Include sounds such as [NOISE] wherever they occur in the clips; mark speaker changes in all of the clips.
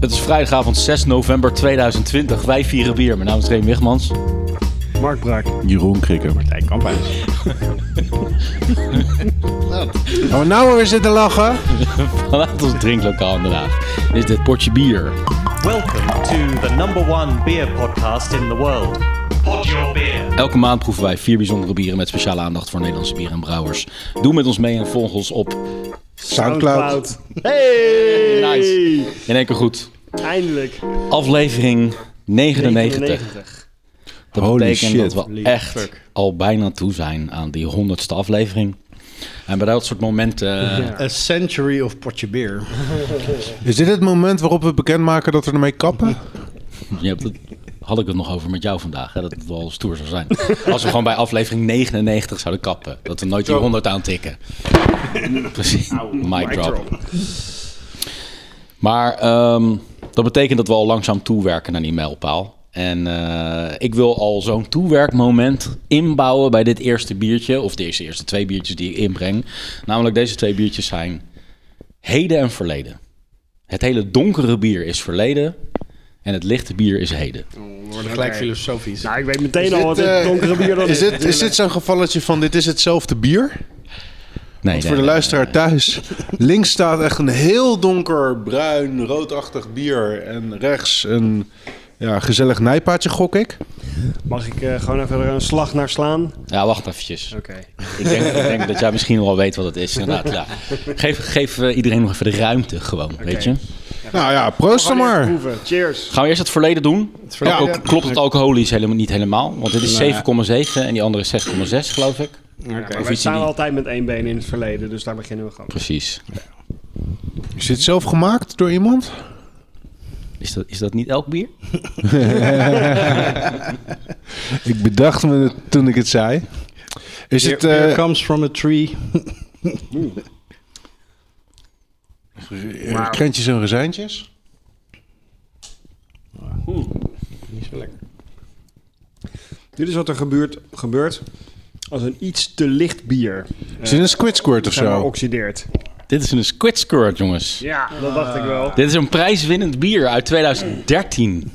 Speaker 1: Het is vrijdagavond 6 november 2020. Wij vieren bier. Mijn naam is Reem Wigmans. [LAUGHS]
Speaker 2: Mark Braak.
Speaker 3: Jeroen Krikker.
Speaker 4: Martijn Kamphuis.
Speaker 3: Gaan we nou weer zitten lachen?
Speaker 1: Vanuit ons drinklokaal in Den Haag is dit potje bier.
Speaker 5: Welcome to the number one beer podcast in the world. Pod your beer.
Speaker 1: Elke maand proeven wij vier bijzondere bieren met speciale aandacht voor Nederlandse bieren en brouwers. Doe met ons mee en volg ons op.
Speaker 3: Soundcloud.
Speaker 2: Hey!
Speaker 1: Nice. In één keer goed.
Speaker 2: Eindelijk.
Speaker 1: Aflevering 99.
Speaker 2: 99.
Speaker 1: Dat
Speaker 3: Holy
Speaker 1: betekent
Speaker 3: shit.
Speaker 1: dat we echt al bijna toe zijn aan die 100ste aflevering. En bij dat soort momenten... eh,
Speaker 2: Ja.
Speaker 4: A century of potje bier.
Speaker 3: Is dit het moment waarop we bekendmaken dat we ermee kappen?
Speaker 1: Je hebt het, had ik het nog over met jou vandaag, hè, dat het wel stoer zou zijn. [LAUGHS] Als we gewoon bij aflevering 99 zouden kappen. Dat we nooit die 100 [LAUGHS] aantikken. Precies, mic drop. Maar ehm, dat betekent dat we al langzaam toewerken naar die mijlpaal. En eh, ik wil al zo'n toewerkmoment inbouwen bij dit eerste biertje. Of deze eerste twee biertjes die ik inbreng. Namelijk deze twee biertjes zijn heden en verleden. Het hele donkere bier is verleden. En het lichte bier is heden.
Speaker 4: We worden gelijk filosofisch.
Speaker 2: Nou, ik weet meteen
Speaker 3: Is
Speaker 2: al
Speaker 3: dit,
Speaker 2: wat
Speaker 3: eh,
Speaker 2: het donkere bier dan
Speaker 3: Is dit, is dit zo'n gevalletje van dit is hetzelfde bier?
Speaker 1: Nee, nee,
Speaker 3: Voor de
Speaker 1: nee.
Speaker 3: luisteraar thuis. Links staat echt een heel donker, bruin, roodachtig bier. En rechts een ja, gezellig nijpaadje, gok ik.
Speaker 2: Mag ik eh, gewoon even er een slag naar slaan?
Speaker 1: Ja, wacht eventjes.
Speaker 2: Oké.
Speaker 1: Ik denk, ik denk dat jij misschien wel weet wat het is. Inderdaad, ja. Geef, geef eh, iedereen nog even de ruimte gewoon, weet je.
Speaker 3: Nou ja, proost dan maar.
Speaker 2: Cheers.
Speaker 1: Gaan we eerst het verleden doen?
Speaker 3: verleden.
Speaker 1: Ook, klopt het alcoholisch helemaal niet helemaal? Want dit is 7,7 en die andere is 6,6 geloof ik.
Speaker 2: Maar
Speaker 1: Of
Speaker 2: we
Speaker 1: iets in
Speaker 2: staan
Speaker 1: die-
Speaker 2: altijd met één been in het verleden, dus daar beginnen we gewoon.
Speaker 1: Precies.
Speaker 3: Is dit zelf gemaakt door iemand?
Speaker 1: Is dat, is dat niet elk bier?
Speaker 3: Ik bedacht me het toen ik het zei. Is
Speaker 4: Beer-
Speaker 3: het...
Speaker 4: beer
Speaker 3: eh,
Speaker 4: comes from a tree.
Speaker 3: eh, krentjes en rozijntjes?
Speaker 4: Niet zo lekker.
Speaker 2: Dit is wat er gebeurt, gebeurt als een iets te licht bier
Speaker 3: Is dit een squid squirt of
Speaker 2: zeg maar,
Speaker 3: zo?
Speaker 2: oxideert.
Speaker 1: Dit is een squid skirt, jongens.
Speaker 2: Ja, dat dacht ik wel.
Speaker 1: Dit is een prijswinnend bier uit 2013.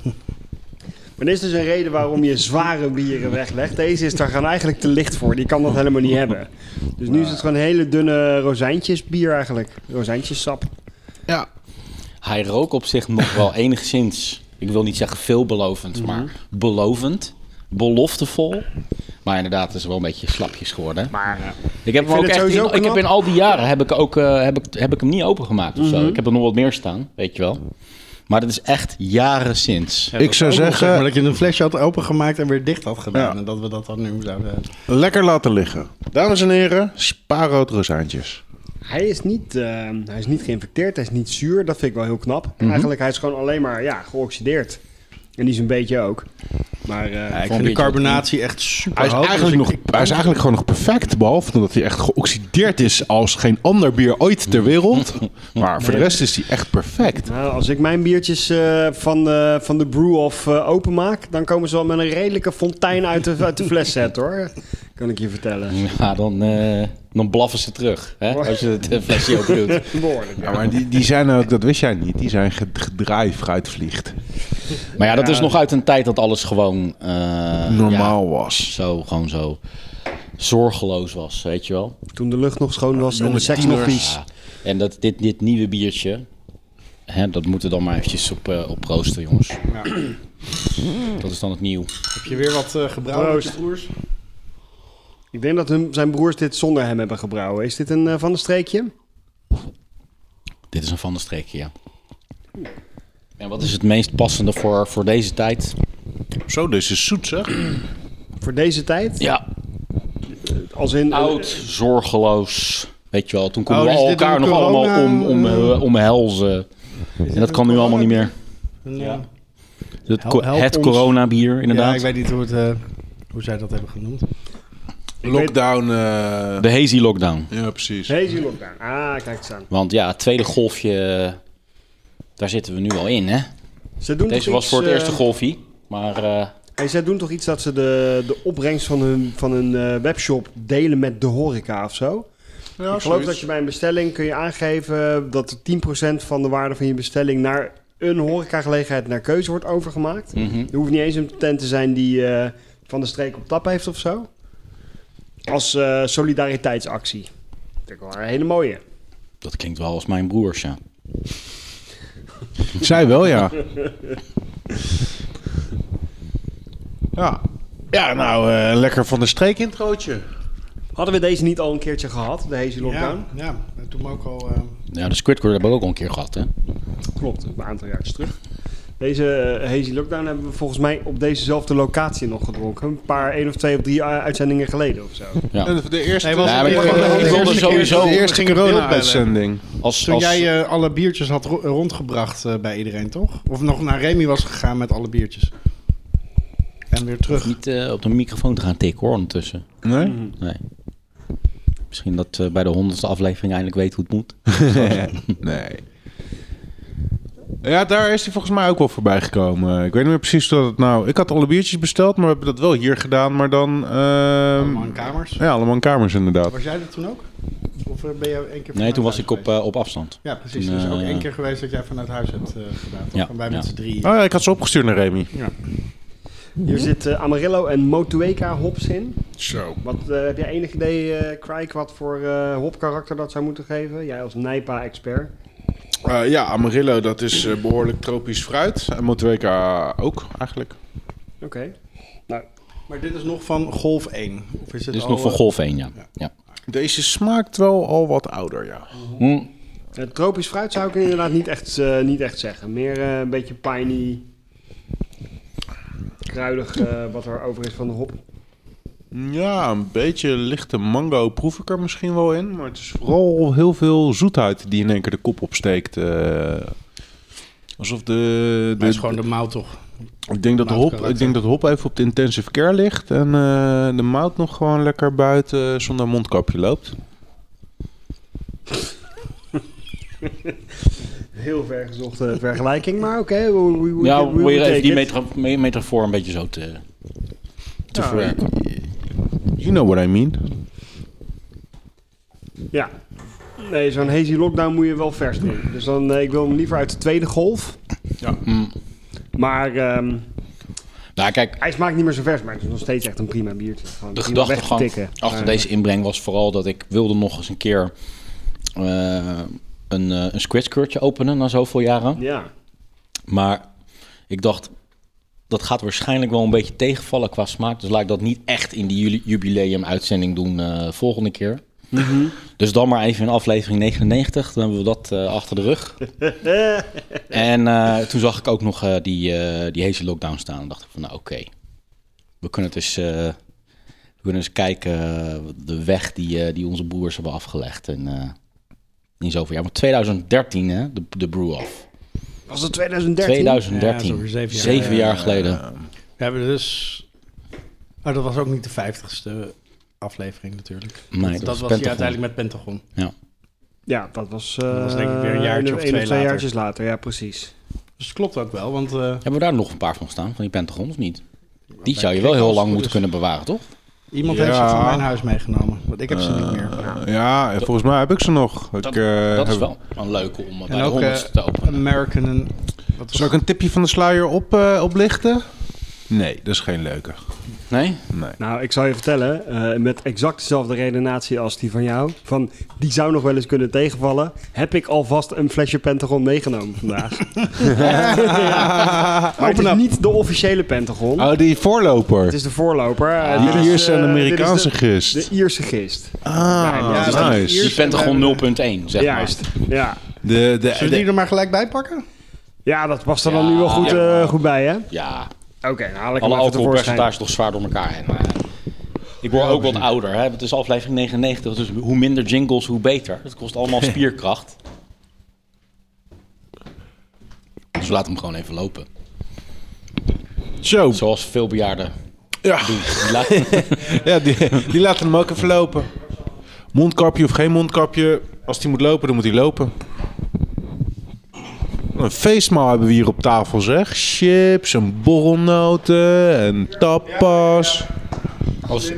Speaker 2: Maar dit is dus een reden waarom je zware bieren weglegt. Deze is daar gaan eigenlijk te licht voor. Die kan dat helemaal niet hebben. Dus nu is het gewoon hele dunne rozijntjes bier eigenlijk. Rozijntjessap.
Speaker 3: Ja.
Speaker 1: Hij rook op zich nog wel enigszins, ik wil niet zeggen veelbelovend, maar belovend, beloftevol. Maar inderdaad, het is wel een beetje slapjes geworden. hè?
Speaker 2: Maar
Speaker 1: Ik heb, hem
Speaker 2: vind
Speaker 1: ook
Speaker 2: het
Speaker 1: echt
Speaker 2: sowieso
Speaker 1: in, ik heb
Speaker 2: knap.
Speaker 1: in al die jaren heb ik, ook, eh, heb ik, heb ik hem niet opengemaakt of zo. Ik heb er nog wat meer staan, weet je wel. Maar dat is echt jaren sinds.
Speaker 3: Ik zou
Speaker 4: Ook nog,
Speaker 3: zeggen-
Speaker 4: zeg maar dat je een flesje had opengemaakt en weer dicht had gedaan.
Speaker 3: Ja.
Speaker 4: En dat we dat dan nu zouden...
Speaker 3: Lekker laten liggen. Dames en heren, spaarrood rozijntjes.
Speaker 2: hij is, niet, eh, hij is niet geïnfecteerd, hij is niet zuur. Dat vind ik wel heel knap.
Speaker 1: Mhm.
Speaker 2: Eigenlijk, hij is gewoon alleen maar ja, geoxideerd. En die is een beetje ook. Maar eh,
Speaker 4: ik
Speaker 1: vind
Speaker 4: vind
Speaker 1: de
Speaker 4: de carbonatie echt super
Speaker 3: Hij is, eigenlijk nog, hij is eigenlijk gewoon nog perfect, behalve omdat hij echt geoxideerd is als geen ander bier ooit ter [LAUGHS] wereld. Maar voor de rest is hij echt perfect.
Speaker 2: nou, als ik mijn biertjes eh, van, de, van de brew of eh, openmaak... dan komen ze wel met een redelijke fontein uit de, uit de fles set, hoor. Kan ik je vertellen.
Speaker 1: Ja, dan, eh, dan blaffen ze terug, hè, als je het eh, flesje open doet.
Speaker 2: Behoorlijk.
Speaker 3: Ja, maar die, die zijn ook, dat wist jij niet, die zijn ged- gedraai fruitvliegt.
Speaker 1: Maar ja, dat is nog uit een tijd dat alles gewoon... eh,
Speaker 3: Normaal
Speaker 1: ja,
Speaker 3: was.
Speaker 1: zo, gewoon zo zorgeloos was, weet je wel.
Speaker 2: Toen de lucht nog schoon was en de seks nog vies.
Speaker 1: Ja. En dat, dit, dit nieuwe biertje, hè, dat moeten we dan maar eventjes op, eh, op proosten, jongens. [CLEARS THROAT] Dat is dan het nieuw.
Speaker 4: Heb je weer wat eh gebrouwen met je
Speaker 2: Proost.
Speaker 4: broers?
Speaker 2: Ik denk dat hun, zijn broers dit zonder hem hebben gebrouwen. Is dit een eh, van de streekje?
Speaker 1: Dit is een van de streekje, ja. En wat is het meest passende voor, voor deze tijd?
Speaker 3: Zo, dus is zoet zeg.
Speaker 2: Voor deze tijd?
Speaker 1: Ja,
Speaker 2: Als in,
Speaker 1: oud, zorgeloos. Weet je wel, toen konden
Speaker 4: Oh,
Speaker 1: we
Speaker 4: is dit
Speaker 1: elkaar
Speaker 4: een
Speaker 1: nog
Speaker 4: corona-
Speaker 1: allemaal om, om, eh, omhelzen. En dat kan nu allemaal niet meer.
Speaker 4: Ja.
Speaker 1: Het,
Speaker 4: Hel-
Speaker 1: co-
Speaker 4: help
Speaker 1: het
Speaker 4: ons.
Speaker 1: coronabier,
Speaker 4: ja,
Speaker 1: inderdaad.
Speaker 4: ik weet niet hoe, het, eh, hoe zij dat hebben genoemd.
Speaker 3: Lockdown. eh,
Speaker 1: De hazy lockdown.
Speaker 3: ja, precies.
Speaker 2: Deze lockdown. Ah, kijk eens aan.
Speaker 1: Want ja, het tweede golfje, eh, daar zitten we nu al in, hè?
Speaker 2: Ze doen
Speaker 1: Deze
Speaker 2: toch
Speaker 1: was
Speaker 2: iets,
Speaker 1: voor het
Speaker 2: eh,
Speaker 1: eerste golfie, maar... eh,
Speaker 2: En zij doen toch iets dat ze de, de opbrengst van hun, van hun eh, webshop delen met de horeca of zo?
Speaker 3: Ja,
Speaker 2: Ik geloof dat je bij een bestelling kun je aangeven dat 10% van de waarde van je bestelling naar een horecagelegenheid naar keuze wordt overgemaakt.
Speaker 1: Mhm.
Speaker 2: Er hoeft niet eens een tent te zijn die eh, van de streek op tap heeft of zo. Als eh, solidariteitsactie. Vind ik wel een hele mooie.
Speaker 1: Dat klinkt wel als mijn broers, ja.
Speaker 3: Zij wel, ja. [LAUGHS] ja. Ja, nou, eh, lekker van de streek introotje.
Speaker 2: Hadden we deze niet al een keertje gehad, de Hazy Lockdown?
Speaker 4: Ja, ja, dat toen ook al. eh,
Speaker 1: Ja, de Squidward hebben we ook al een keer gehad, hè?
Speaker 2: Klopt, een aantal jaar terug. Deze eh, Hazy Lockdown hebben we volgens mij op dezezelfde locatie nog gedronken. Een paar, één of twee of drie eh, uitzendingen geleden of zo.
Speaker 1: Ja.
Speaker 3: En de eerste...
Speaker 4: Nee, want-
Speaker 1: Ja, maar ik- ik wilde sowieso-
Speaker 3: De eerste
Speaker 4: ging corona
Speaker 3: corona-uitzending.
Speaker 1: Als,
Speaker 4: Toen
Speaker 1: als,
Speaker 4: jij eh, alle biertjes had ro- rondgebracht eh, bij iedereen, toch? Of nog naar Remy was gegaan met alle biertjes. En weer terug.
Speaker 1: niet eh, op de microfoon te gaan tikken, hoor, ondertussen.
Speaker 3: Nee?
Speaker 1: Nee. Misschien dat we bij de honderdste aflevering eindelijk weet hoe het moet.
Speaker 3: nee. Ja, daar is hij volgens mij ook wel voorbij gekomen. Ik weet niet meer precies hoe dat het nou... Ik had alle biertjes besteld, maar we hebben dat wel hier gedaan. Maar dan... ehm,
Speaker 4: Allemaal in kamers.
Speaker 3: Ja, allemaal in kamers inderdaad.
Speaker 4: Was jij dat toen ook? Of eh, ben je één keer
Speaker 1: Nee,
Speaker 4: vanuit
Speaker 1: toen was
Speaker 4: huis
Speaker 1: ik op,
Speaker 4: geweest?
Speaker 1: eh, op afstand.
Speaker 4: ja, precies.
Speaker 1: toen,
Speaker 4: Dus
Speaker 1: eh,
Speaker 4: ook één keer geweest dat jij vanuit huis hebt eh, gedaan. Toch?
Speaker 1: Ja,
Speaker 4: en wij
Speaker 1: ja.
Speaker 4: met z'n drieën.
Speaker 3: Oh ja, ik had ze opgestuurd naar Remy.
Speaker 4: Ja.
Speaker 2: Hier zitten Amarillo en Motueka hops in.
Speaker 3: Zo.
Speaker 2: Wat, eh, heb jij enig idee, eh Krijk, wat voor eh, hopkarakter dat zou moeten geven? Jij als Nijpa-expert.
Speaker 3: Eh, ja, Amarillo, dat is eh, behoorlijk tropisch fruit. En Motueka ook, eigenlijk.
Speaker 2: Oké. Nou,
Speaker 4: Maar dit is nog van golf 1. Of is het
Speaker 1: Dit is
Speaker 4: al,
Speaker 1: nog van
Speaker 4: eh,
Speaker 1: golf 1, ja. ja.
Speaker 3: Deze smaakt wel al wat ouder, ja.
Speaker 1: Hm,
Speaker 2: Eh, tropisch fruit zou ik inderdaad niet echt, eh, niet echt zeggen. Meer eh, een beetje piney, kruidig eh, wat er over is van de hop.
Speaker 3: Ja, een beetje lichte mango proef ik er misschien wel in. Maar het is vooral heel veel zoetheid die in één keer de kop opsteekt. eh. alsof de...
Speaker 4: Maar
Speaker 3: de
Speaker 4: het is gewoon de mout toch?
Speaker 3: ik, denk dat de hop, ik denk dat de hop even op de intensive care ligt. En eh, de mout nog gewoon lekker buiten zonder mondkapje loopt.
Speaker 2: Heel vergezochte [LAUGHS] vergelijking, maar oké. we- we- we- we-
Speaker 1: Ja,
Speaker 2: we- we
Speaker 1: probeer
Speaker 2: take
Speaker 1: even die
Speaker 2: it.
Speaker 1: metro- me- metafoor een beetje zo te, te
Speaker 3: Ja,
Speaker 1: verwerken.
Speaker 3: You know what I mean.
Speaker 2: Ja. Nee, zo'n hazy lockdown moet je wel vers doen. Dus dan, eh, ik wil hem liever uit de tweede golf.
Speaker 3: Ja.
Speaker 1: Mm.
Speaker 2: Maar ehm,
Speaker 1: Nou, kijk,
Speaker 2: hij smaakt niet meer zo vers, maar het is nog steeds echt een prima biertje. Gewoon
Speaker 1: de
Speaker 2: prima
Speaker 1: gedachtegang
Speaker 2: weg te tikken.
Speaker 1: achter
Speaker 2: Maar,
Speaker 1: deze inbreng was vooral dat ik wilde nog eens een keer eh, een, eh een squidskirtje openen na zoveel jaren.
Speaker 2: Ja.
Speaker 1: Maar ik dacht, dat gaat waarschijnlijk wel een beetje tegenvallen qua smaak. Dus laat ik dat niet echt in die juli- jubileum-uitzending doen eh, volgende keer. Dus dan maar even in aflevering 99. Dan hebben we dat eh, achter de rug. en eh, toen zag ik ook nog eh, die, eh die Hazy Lockdown staan. En dacht ik van, nou oké. We kunnen het eens... eh, we kunnen eens kijken eh, de weg die, eh, die onze broers hebben afgelegd. En eh niet zoveel jaar. Maar 2013, hè, de, de brew off.
Speaker 2: Was het 2013?
Speaker 1: 2013.
Speaker 4: Ja, zo weer zeven
Speaker 1: zeven,
Speaker 4: jaar.
Speaker 1: jaar geleden.
Speaker 4: We hebben dus... Oh, dat was ook niet de vijftigste aflevering natuurlijk.
Speaker 1: Nee,
Speaker 4: Want
Speaker 1: dat
Speaker 4: dat
Speaker 1: was
Speaker 4: was die
Speaker 1: Pentagon.
Speaker 4: uiteindelijk met Pentagon.
Speaker 2: Ja, dat was, eh,
Speaker 4: Dat was denk ik weer een jaartje
Speaker 2: een
Speaker 4: of
Speaker 2: één
Speaker 4: twee later.
Speaker 2: jaartjes later. Ja, precies.
Speaker 4: Dus het klopt ook wel, want... eh,
Speaker 1: Hebben we daar nog een paar van staan, van die Pentagon of niet? Die zou je wel heel
Speaker 4: als het
Speaker 1: lang
Speaker 4: goed
Speaker 1: moeten
Speaker 4: is.
Speaker 1: kunnen Eh, bewaren, toch?
Speaker 4: Iemand
Speaker 3: Ja.
Speaker 4: heeft ze van mijn huis meegenomen. Want ik heb ze niet meer.
Speaker 3: Ja, en volgens mij heb ik ze nog. Ik, eh,
Speaker 1: dat is
Speaker 3: heb-
Speaker 1: wel een leuke om bij
Speaker 4: En
Speaker 1: de
Speaker 4: ook eh,
Speaker 1: honderdste te openen.
Speaker 4: American... en- Wat was
Speaker 3: Zal ik een tipje van de sluier op, eh, oplichten? Nee, dat is geen leuke.
Speaker 1: Nee?
Speaker 3: Nee.
Speaker 2: Nou, ik zal je vertellen, eh, met exact dezelfde redenatie als die van jou. Van, die zou nog wel eens kunnen tegenvallen. Heb ik alvast een flesje Pentagon meegenomen vandaag.
Speaker 4: [LAUGHS]
Speaker 2: ja. Maar het is niet de officiële Pentagon.
Speaker 3: Oh, die voorloper.
Speaker 2: Het is de voorloper.
Speaker 4: Ah.
Speaker 2: Eh,
Speaker 3: die
Speaker 2: dit is,
Speaker 3: Ierse en
Speaker 2: eh, dit is
Speaker 3: Amerikaanse
Speaker 2: de-
Speaker 3: gist.
Speaker 2: De Ierse gist.
Speaker 3: ah,
Speaker 2: Ja,
Speaker 4: dat is
Speaker 3: nice.
Speaker 1: Die
Speaker 4: Eerst- eh,
Speaker 1: Pentagon 0.1, zeg
Speaker 2: Juist. Ja.
Speaker 3: De, de,
Speaker 4: Zullen we die er maar gelijk bij pakken?
Speaker 2: ja, dat past er dan
Speaker 1: Ja,
Speaker 2: nu wel goed,
Speaker 1: ja.
Speaker 2: eh, goed bij, hè?
Speaker 1: maar. Ja,
Speaker 2: Oké, nou haal ik
Speaker 1: alle
Speaker 2: hem even tevoorschijn.
Speaker 1: alcoholpercentages toch zwaar door elkaar heen. maar, eh, ik word ook wat ouder, hè. Het is aflevering 99, dus hoe minder jingles, hoe beter. Het kost
Speaker 4: [LAUGHS]
Speaker 1: allemaal spierkracht. Dus laat hem gewoon even lopen.
Speaker 3: Zo.
Speaker 1: Zoals veel
Speaker 4: [LAUGHS]
Speaker 1: bejaarden
Speaker 3: Ja,
Speaker 1: doen. Die laten-
Speaker 3: ja die, die laten hem ook even lopen. Mondkapje of geen mondkapje. Als die moet lopen, dan moet hij lopen. Wat Een feestmaal hebben we hier op tafel, zeg. Chips en borrelnoten en tapas.
Speaker 1: Als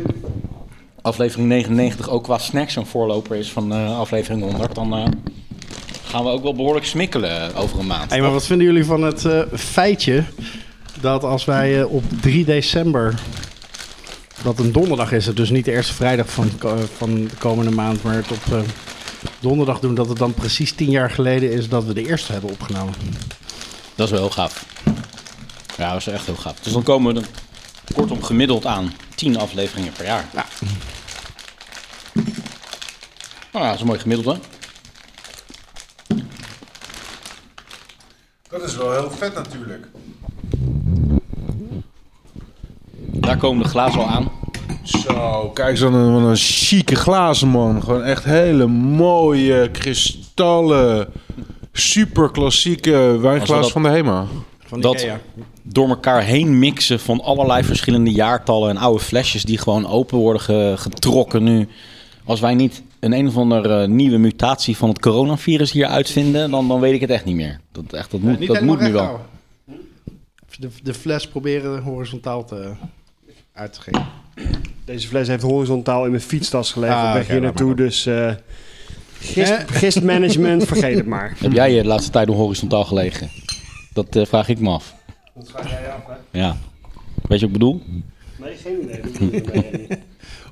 Speaker 1: aflevering 99 ook qua snacks een voorloper is van eh, aflevering 100, dan eh, gaan we ook wel behoorlijk smikkelen over een maand.
Speaker 4: Hey, maar wat vinden jullie van het eh, feitje dat als wij eh, op 3 december, dat een donderdag is, het dus niet de eerste vrijdag van, ko- eh, van de komende maand, maar het op eh, donderdag doen, dat het dan precies 10 jaar geleden is dat we de eerste hebben opgenomen.
Speaker 1: Dat is wel heel gaaf. Ja, dat is echt heel gaaf. Dus dan komen we er kortom gemiddeld aan 10 afleveringen per jaar. Ja. Nou, ja, dat is een mooi gemiddeld, hè?
Speaker 3: Dat is wel heel vet natuurlijk.
Speaker 1: Daar komen de glazen al aan.
Speaker 3: Zo, kijk eens aan een, wat een chique glazen, man. Gewoon echt hele mooie kristallen, super klassieke
Speaker 1: Als
Speaker 3: wijnglas
Speaker 1: we dat-
Speaker 3: van de HEMA.
Speaker 4: Van
Speaker 1: Dat
Speaker 4: Ikea.
Speaker 1: door elkaar heen mixen van allerlei verschillende jaartallen en oude flesjes die gewoon open worden ge- getrokken nu. Als wij niet een een of andere nieuwe mutatie van het coronavirus hier uitvinden, dan, dan weet ik het echt niet meer. Dat, echt, dat moet,
Speaker 4: Niet
Speaker 1: dat
Speaker 4: helemaal
Speaker 1: moet nu wel.
Speaker 4: rechthouden. De, de fles proberen horizontaal te, uit te geven.
Speaker 2: Deze fles heeft horizontaal in mijn fietstas gelegen.
Speaker 4: Ah,
Speaker 2: op weg
Speaker 4: oké,
Speaker 2: hier
Speaker 4: laat
Speaker 2: naartoe,
Speaker 4: maar
Speaker 2: dus... eh gist,
Speaker 4: Eh?
Speaker 2: gistmanagement, vergeet het maar.
Speaker 1: Heb jij je de laatste tijd nog horizontaal gelegen? Dat eh, vraag ik me af.
Speaker 2: Dat ga jij af, hè?
Speaker 1: Ja. Weet je wat ik bedoel?
Speaker 2: [LAUGHS] Nee, geen idee. Dat doe ik ermee.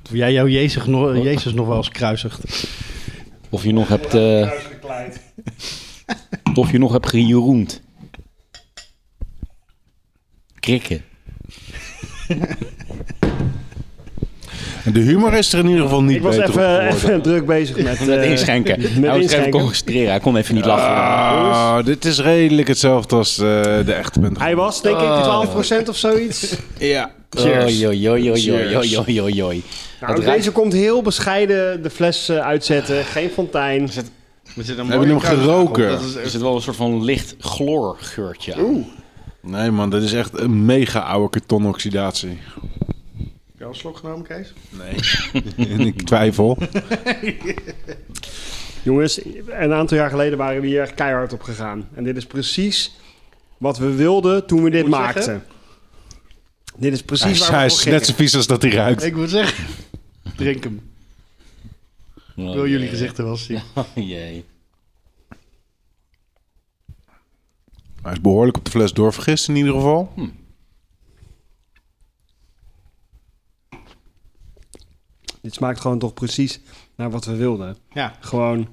Speaker 4: Of jij jouw Jezus nog, Jezus nog wel eens kruisigt.
Speaker 1: Of je nog hebt, eh,
Speaker 2: Kruisgekleid.
Speaker 1: of je nog hebt gejeroend. Krikken.
Speaker 3: De humor is er in ieder geval niet
Speaker 2: Ik was
Speaker 3: beter op
Speaker 2: even,
Speaker 3: geworden.
Speaker 2: even [LAUGHS] druk bezig met...
Speaker 1: [LAUGHS] Met
Speaker 2: eh,
Speaker 1: inschenken. Nou, Hij
Speaker 2: met
Speaker 1: was even
Speaker 2: inschenken.
Speaker 1: concentreren. Hij kon even niet lachen.
Speaker 3: Ah, dit is redelijk hetzelfde als eh, de echte bent.
Speaker 2: Hij was denk ik 12% of zoiets.
Speaker 3: Ja.
Speaker 1: Oei, oei, oei, oei, oei,
Speaker 3: Cheers.
Speaker 1: oei, oei, oei, oei.
Speaker 2: Nou,
Speaker 1: Het ruikt-
Speaker 2: deze komt heel bescheiden de fles eh, uitzetten. Geen fontein.
Speaker 3: Hebben jullie hem geroken?
Speaker 1: Er zit wel een soort van licht chloorgeurtje aan.
Speaker 3: Nee man, dat is echt een mega oude kartonoxidatie.
Speaker 4: Heb je al een slok genomen, Kees?
Speaker 3: Nee. ik twijfel.
Speaker 2: Jongens, een aantal jaar geleden waren we hier keihard op gegaan. En dit is precies wat we wilden toen we dit
Speaker 4: moet
Speaker 2: maakten.
Speaker 4: zeggen-
Speaker 2: Dit is precies
Speaker 3: Hij is,
Speaker 2: waar we
Speaker 3: hij
Speaker 2: voor
Speaker 3: is
Speaker 2: gingen.
Speaker 3: net zo vies als dat hij ruikt.
Speaker 4: Ik moet zeggen, [LAUGHS] drink hem.
Speaker 1: Ik
Speaker 4: Ik wil jullie
Speaker 1: [LAUGHS]
Speaker 4: gezichten wel zien.
Speaker 1: Oh, Jee.
Speaker 3: Hij is behoorlijk op de fles doorvergist in ieder geval.
Speaker 1: Hm.
Speaker 2: Dit smaakt gewoon toch precies naar wat we wilden.
Speaker 4: Ja.
Speaker 2: Gewoon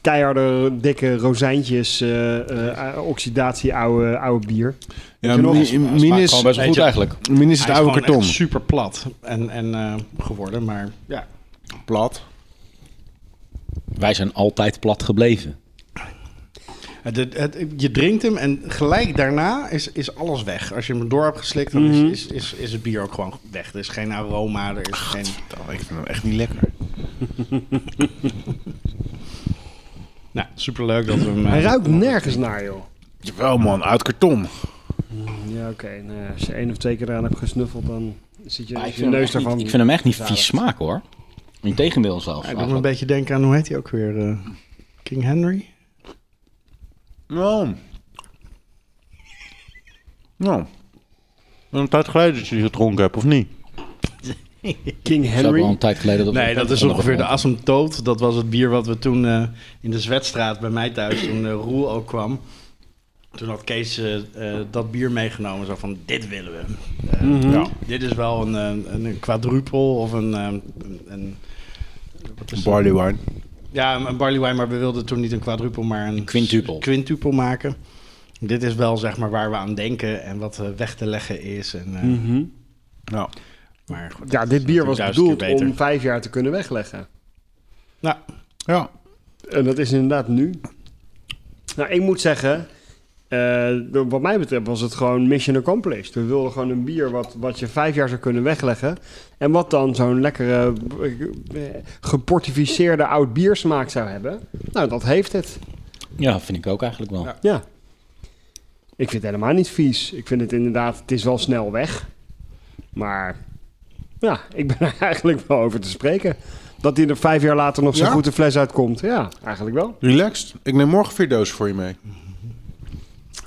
Speaker 2: keiharde, dikke rozijntjes, eh, eh, oxidatie, oude, oude bier.
Speaker 3: Ja,
Speaker 2: je nog?
Speaker 3: Min- Min
Speaker 1: Smaakt
Speaker 3: is,
Speaker 1: gewoon best wel
Speaker 4: Weet
Speaker 1: goed
Speaker 4: je-
Speaker 1: eigenlijk.
Speaker 3: Min is het oude karton.
Speaker 4: super plat en, en eh, geworden, maar ja.
Speaker 3: Plat.
Speaker 1: Wij zijn altijd plat gebleven.
Speaker 4: Het, het- het- je drinkt hem en gelijk daarna is, is alles weg. Als je hem door hebt geslikt, dan
Speaker 3: Mhm.
Speaker 4: is- is, is, is het bier ook gewoon weg. Er is geen aroma, er is geen...
Speaker 3: Oh, ik vind hem echt niet lekker.
Speaker 4: [LAUGHS] Nou, superleuk dat we hem... eh,
Speaker 2: Hij ruikt nergens naar, joh.
Speaker 3: Jawel man, uit karton.
Speaker 2: Ja, oké. Nou ja, als je één of twee keer eraan hebt gesnuffeld, dan zit je,
Speaker 1: Maar
Speaker 2: is
Speaker 1: ik,
Speaker 2: je
Speaker 1: vind hem
Speaker 2: neus
Speaker 1: echt
Speaker 2: daarvan.
Speaker 1: niet, ik vind hem echt niet
Speaker 2: zalig.
Speaker 1: vies smaken hoor. Integendeel zelfs.
Speaker 4: Hij doet me een
Speaker 1: eigenlijk.
Speaker 4: beetje denken aan, hoe heet hij ook weer? eh, King Henry?
Speaker 3: Nou. Nou. Een tijd geleden dat je die gedronken hebt, of niet?
Speaker 2: King
Speaker 1: Dat is ook al
Speaker 2: Henry.
Speaker 1: een tijd geleden dat we-
Speaker 4: Nee, dat is
Speaker 1: we-
Speaker 4: ongeveer de asymptoot. Dat was het bier wat we toen eh, in de Zwetstraat bij mij thuis, toen eh, Roel ook kwam. Toen had Kees eh, eh, dat bier meegenomen. Zo van, dit willen we. Eh, ja, dit is wel een, eh, een, een quadrupel of een... eh, een, een- wat is het?
Speaker 3: Barley wine.
Speaker 4: Ja, een, een barley wine, maar we wilden toen niet een quadrupel, maar een
Speaker 1: Quintupel.
Speaker 4: quintupel maken. Dit is wel zeg maar waar we aan denken en wat eh, weg te leggen is. En, eh,
Speaker 2: Mhm.
Speaker 3: Nou.
Speaker 4: maar goed,
Speaker 2: Ja,
Speaker 4: dat
Speaker 2: dit
Speaker 4: is
Speaker 2: bier
Speaker 4: natuurlijk
Speaker 2: was
Speaker 4: duizend keer
Speaker 2: bedoeld om
Speaker 4: beter.
Speaker 2: vijf jaar te kunnen wegleggen.
Speaker 4: Nou,
Speaker 3: Ja.
Speaker 2: En dat is inderdaad nu. Nou, ik moet zeggen, eh, wat mij betreft was het gewoon mission accomplished. We wilden gewoon een bier wat, wat je vijf jaar zou kunnen wegleggen. En wat dan zo'n lekkere, eh, geportificeerde oud biersmaak zou hebben. Nou, dat heeft het.
Speaker 1: Ja, vind ik ook eigenlijk wel.
Speaker 4: Ja.
Speaker 2: Ja. Ik vind het helemaal niet vies. Ik vind het inderdaad, het is wel snel weg. Maar ja, ik ben er [LAUGHS] eigenlijk wel over te spreken. Dat hij er vijf jaar later nog zo
Speaker 3: Ja?
Speaker 2: goed de fles uitkomt. Ja, eigenlijk wel.
Speaker 3: Relaxed. Ik neem morgen vier dozen voor je mee.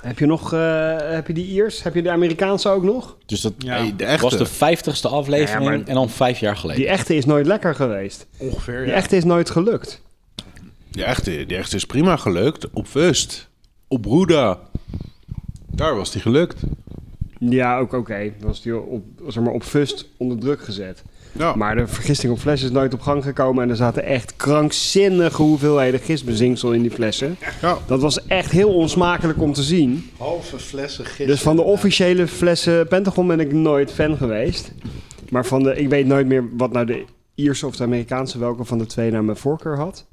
Speaker 2: Heb je nog, eh, heb je die Iers? Heb je de Amerikaanse ook nog?
Speaker 1: Dus dat
Speaker 4: Ja.
Speaker 3: Hey, de echte.
Speaker 1: was de vijftigste aflevering
Speaker 2: Ja, maar-
Speaker 1: en dan vijf jaar geleden.
Speaker 2: Die echte is nooit lekker geweest.
Speaker 4: ongeveer.
Speaker 2: Die
Speaker 4: ja.
Speaker 2: echte is nooit gelukt.
Speaker 3: De echte, de echte is prima gelukt. Op Vust. Op Roeda. Daar was die gelukt.
Speaker 2: Ja, ook oké. Was die op, zeg maar, op fust onder druk gezet.
Speaker 3: Ja.
Speaker 2: Maar de vergisting op flessen is nooit op gang gekomen. En er zaten echt krankzinnige hoeveelheden gistbezinksel in die flessen.
Speaker 3: Ja.
Speaker 2: Dat was echt heel onsmakelijk om te zien.
Speaker 4: Halve flessen gisteren.
Speaker 2: Dus van de officiële flessen Pentagon ben ik nooit fan geweest. Maar van de, ik weet nooit meer wat nou de Ierse of de Amerikaanse welke van de twee naar mijn voorkeur had.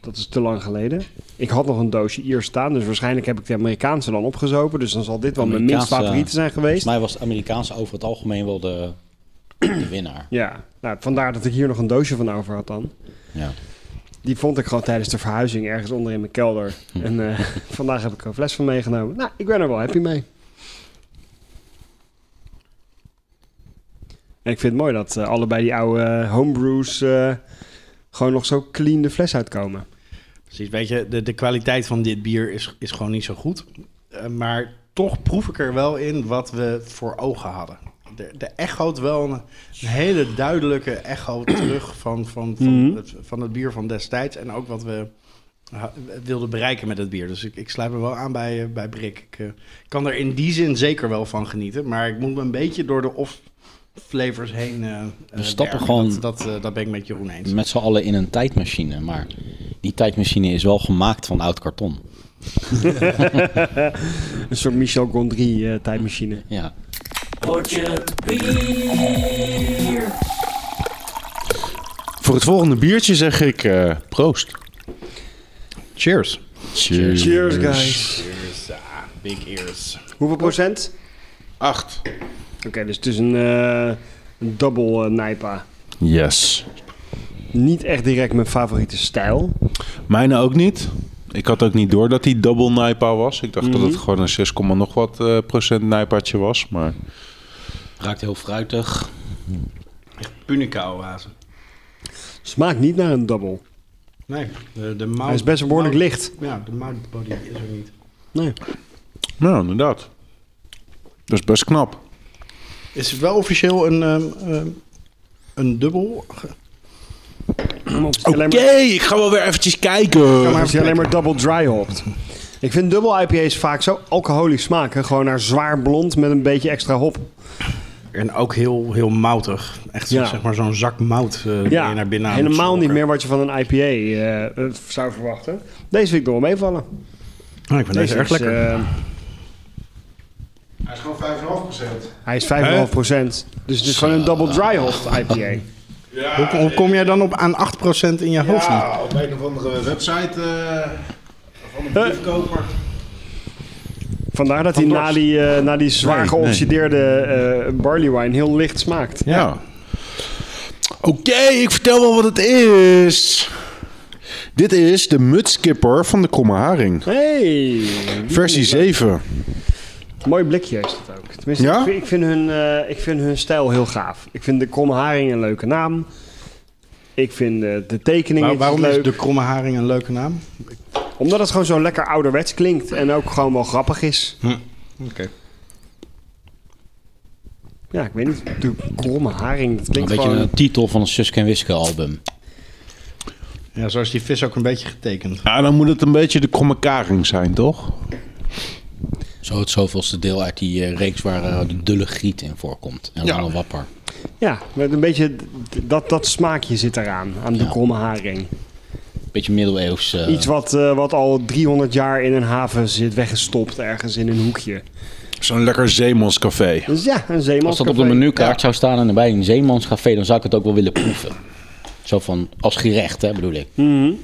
Speaker 2: Dat is te lang geleden. Ik had nog een doosje Iers staan, dus waarschijnlijk heb ik de Amerikaanse dan opgezopen. Dus dan zal dit wel mijn minst
Speaker 1: Amerikaanse- eh,
Speaker 2: favoriete zijn
Speaker 1: Volgens
Speaker 2: geweest.
Speaker 1: mij was het Amerikaanse over het algemeen wel de, de winnaar.
Speaker 2: Ja, nou, vandaar dat ik hier nog een doosje van over had dan.
Speaker 1: Ja.
Speaker 2: Die vond ik gewoon tijdens de verhuizing ergens onder in mijn kelder. En eh, [LAUGHS] vandaag heb ik er een fles van meegenomen. Nou, ik ben er wel happy mee. En ik vind het mooi dat eh, allebei die oude eh, homebrews eh, gewoon nog zo clean de fles uitkomen.
Speaker 4: Precies, weet je, de, de kwaliteit van dit bier is, is gewoon niet zo goed. Eh, maar toch proef ik er wel in wat we voor ogen hadden. De, de echoot wel een, een hele duidelijke echo [CLEARS THROAT] terug van, van, van,
Speaker 2: Mhm.
Speaker 4: het, van het bier van destijds. En ook wat we ha- wilden bereiken met het bier. Dus ik, ik sluit me wel aan bij, eh, bij Brik. Ik eh, kan er in die zin zeker wel van genieten. Maar ik moet me een beetje door de off flavors heen eh, eh,
Speaker 1: stappen
Speaker 4: werken.
Speaker 1: gewoon-
Speaker 4: Dat, dat, eh, dat ben ik met Jeroen eens.
Speaker 1: Met z'n allen in een tijdmachine. Maar die tijdmachine is wel gemaakt van oud karton.
Speaker 2: Een soort Michel Gondry eh, tijdmachine.
Speaker 1: Ja.
Speaker 3: Voor het volgende biertje zeg ik eh, proost.
Speaker 4: Cheers.
Speaker 1: Dus
Speaker 3: Cheers.
Speaker 2: Cheers, guys.
Speaker 4: Cheers. Ah, big ears.
Speaker 2: Hoeveel procent?
Speaker 3: Acht.
Speaker 2: Oké, dus het is een, eh, een double eh, Nijpa.
Speaker 3: Yes.
Speaker 2: Niet echt direct mijn favoriete stijl.
Speaker 3: Mijne ook niet. Ik had ook niet door dat die double Nijpa was. Ik dacht dat het gewoon een 6, komma nog wat eh, procent Nijpaatje was. Maar
Speaker 1: Ruikt heel fruitig.
Speaker 4: Punica oase.
Speaker 2: Smaakt niet naar een double.
Speaker 4: Nee, de, de mout...
Speaker 2: Hij is best behoorlijk
Speaker 4: mout-
Speaker 2: licht.
Speaker 4: Ja, de moutbody is er niet.
Speaker 2: Nee. [CLEARS THROAT]
Speaker 3: nou, inderdaad. Dat is best knap.
Speaker 4: Is het wel officieel een, ehm, ehm, een dubbel?
Speaker 2: Oké.
Speaker 3: Oké, ik ga wel weer eventjes kijken.
Speaker 2: Ja, maar als je alleen maar double dry hopt. Ik vind dubbel IPA's vaak zo alcoholisch smaken. Gewoon naar zwaar blond met een beetje extra hop.
Speaker 4: En ook heel, heel moutig. Echt zo-
Speaker 2: Ja.
Speaker 4: zeg maar zo'n zak mout eh, die
Speaker 2: Ja,
Speaker 4: je naar binnen aan moet
Speaker 2: helemaal niet
Speaker 4: slokken.
Speaker 2: meer wat je van een IPA eh, eh, zou verwachten. Deze vind ik nog wel meevallen.
Speaker 4: Ah, ik vind deze, erg
Speaker 2: is,
Speaker 4: lekker.
Speaker 2: eh,
Speaker 3: Hij is gewoon 5,5%.
Speaker 2: hij is 5,5 procent. Dus het is gewoon een double dry hop IPA.
Speaker 4: hoe, kom- hoe kom jij dan op aan 8% in je hoofd? niet?
Speaker 3: op een of andere website van een
Speaker 2: briefkoper. Eh. Vandaar dat hij na die, eh, na die zwaar
Speaker 3: Nee, nee.
Speaker 2: geoxideerde eh, barley wine heel licht smaakt.
Speaker 3: Ja. Oké, ik vertel wel wat het is. Dit is de mutskipper van de Kromme Haring.
Speaker 2: Hey, die vind
Speaker 3: Versie
Speaker 2: ik leuk.
Speaker 3: 7.
Speaker 2: Mooi blikje is dat ook. Tenminste,
Speaker 3: Ja?
Speaker 2: ik, vind, ik, vind hun, eh, ik vind hun stijl heel gaaf. Ik vind de Krom Haring een leuke naam. Ik vind eh, de tekening
Speaker 4: Waar- waarom is
Speaker 2: leuk.
Speaker 4: de kromme haring een leuke naam?
Speaker 2: Omdat het gewoon zo lekker ouderwets klinkt en ook gewoon wel grappig is.
Speaker 4: Hm. Oké.
Speaker 2: Ja, ik weet niet. De Kromme Haring, dat
Speaker 1: Een
Speaker 2: klinkt
Speaker 1: beetje
Speaker 2: gewoon...
Speaker 1: een titel van een Suske en Wiske album.
Speaker 4: Ja, zo is die vis ook een beetje getekend.
Speaker 3: Ja, dan moet het een beetje de Kromme Karing zijn, toch?
Speaker 1: Zo het zoveelste deel uit die eh, reeks waar eh, de dulle griet in voorkomt. En
Speaker 3: Ja.
Speaker 1: Lange Wapper.
Speaker 2: Ja, met een beetje d- d- dat, dat smaakje zit eraan, aan de
Speaker 1: Ja.
Speaker 2: Kromme Haring.
Speaker 1: Beetje middeleeuws. eh,
Speaker 2: Iets wat, eh, wat al 300 jaar in een haven zit, weggestopt ergens in een hoekje.
Speaker 3: Zo'n lekker zeemanscafé.
Speaker 2: Dus ja, een zeeman.
Speaker 1: Als dat op de menukaart zou staan en bij een zeemanscafé, dan zou ik het ook wel willen proeven. Zo van, als gerecht, hè, bedoel ik. Ze hebben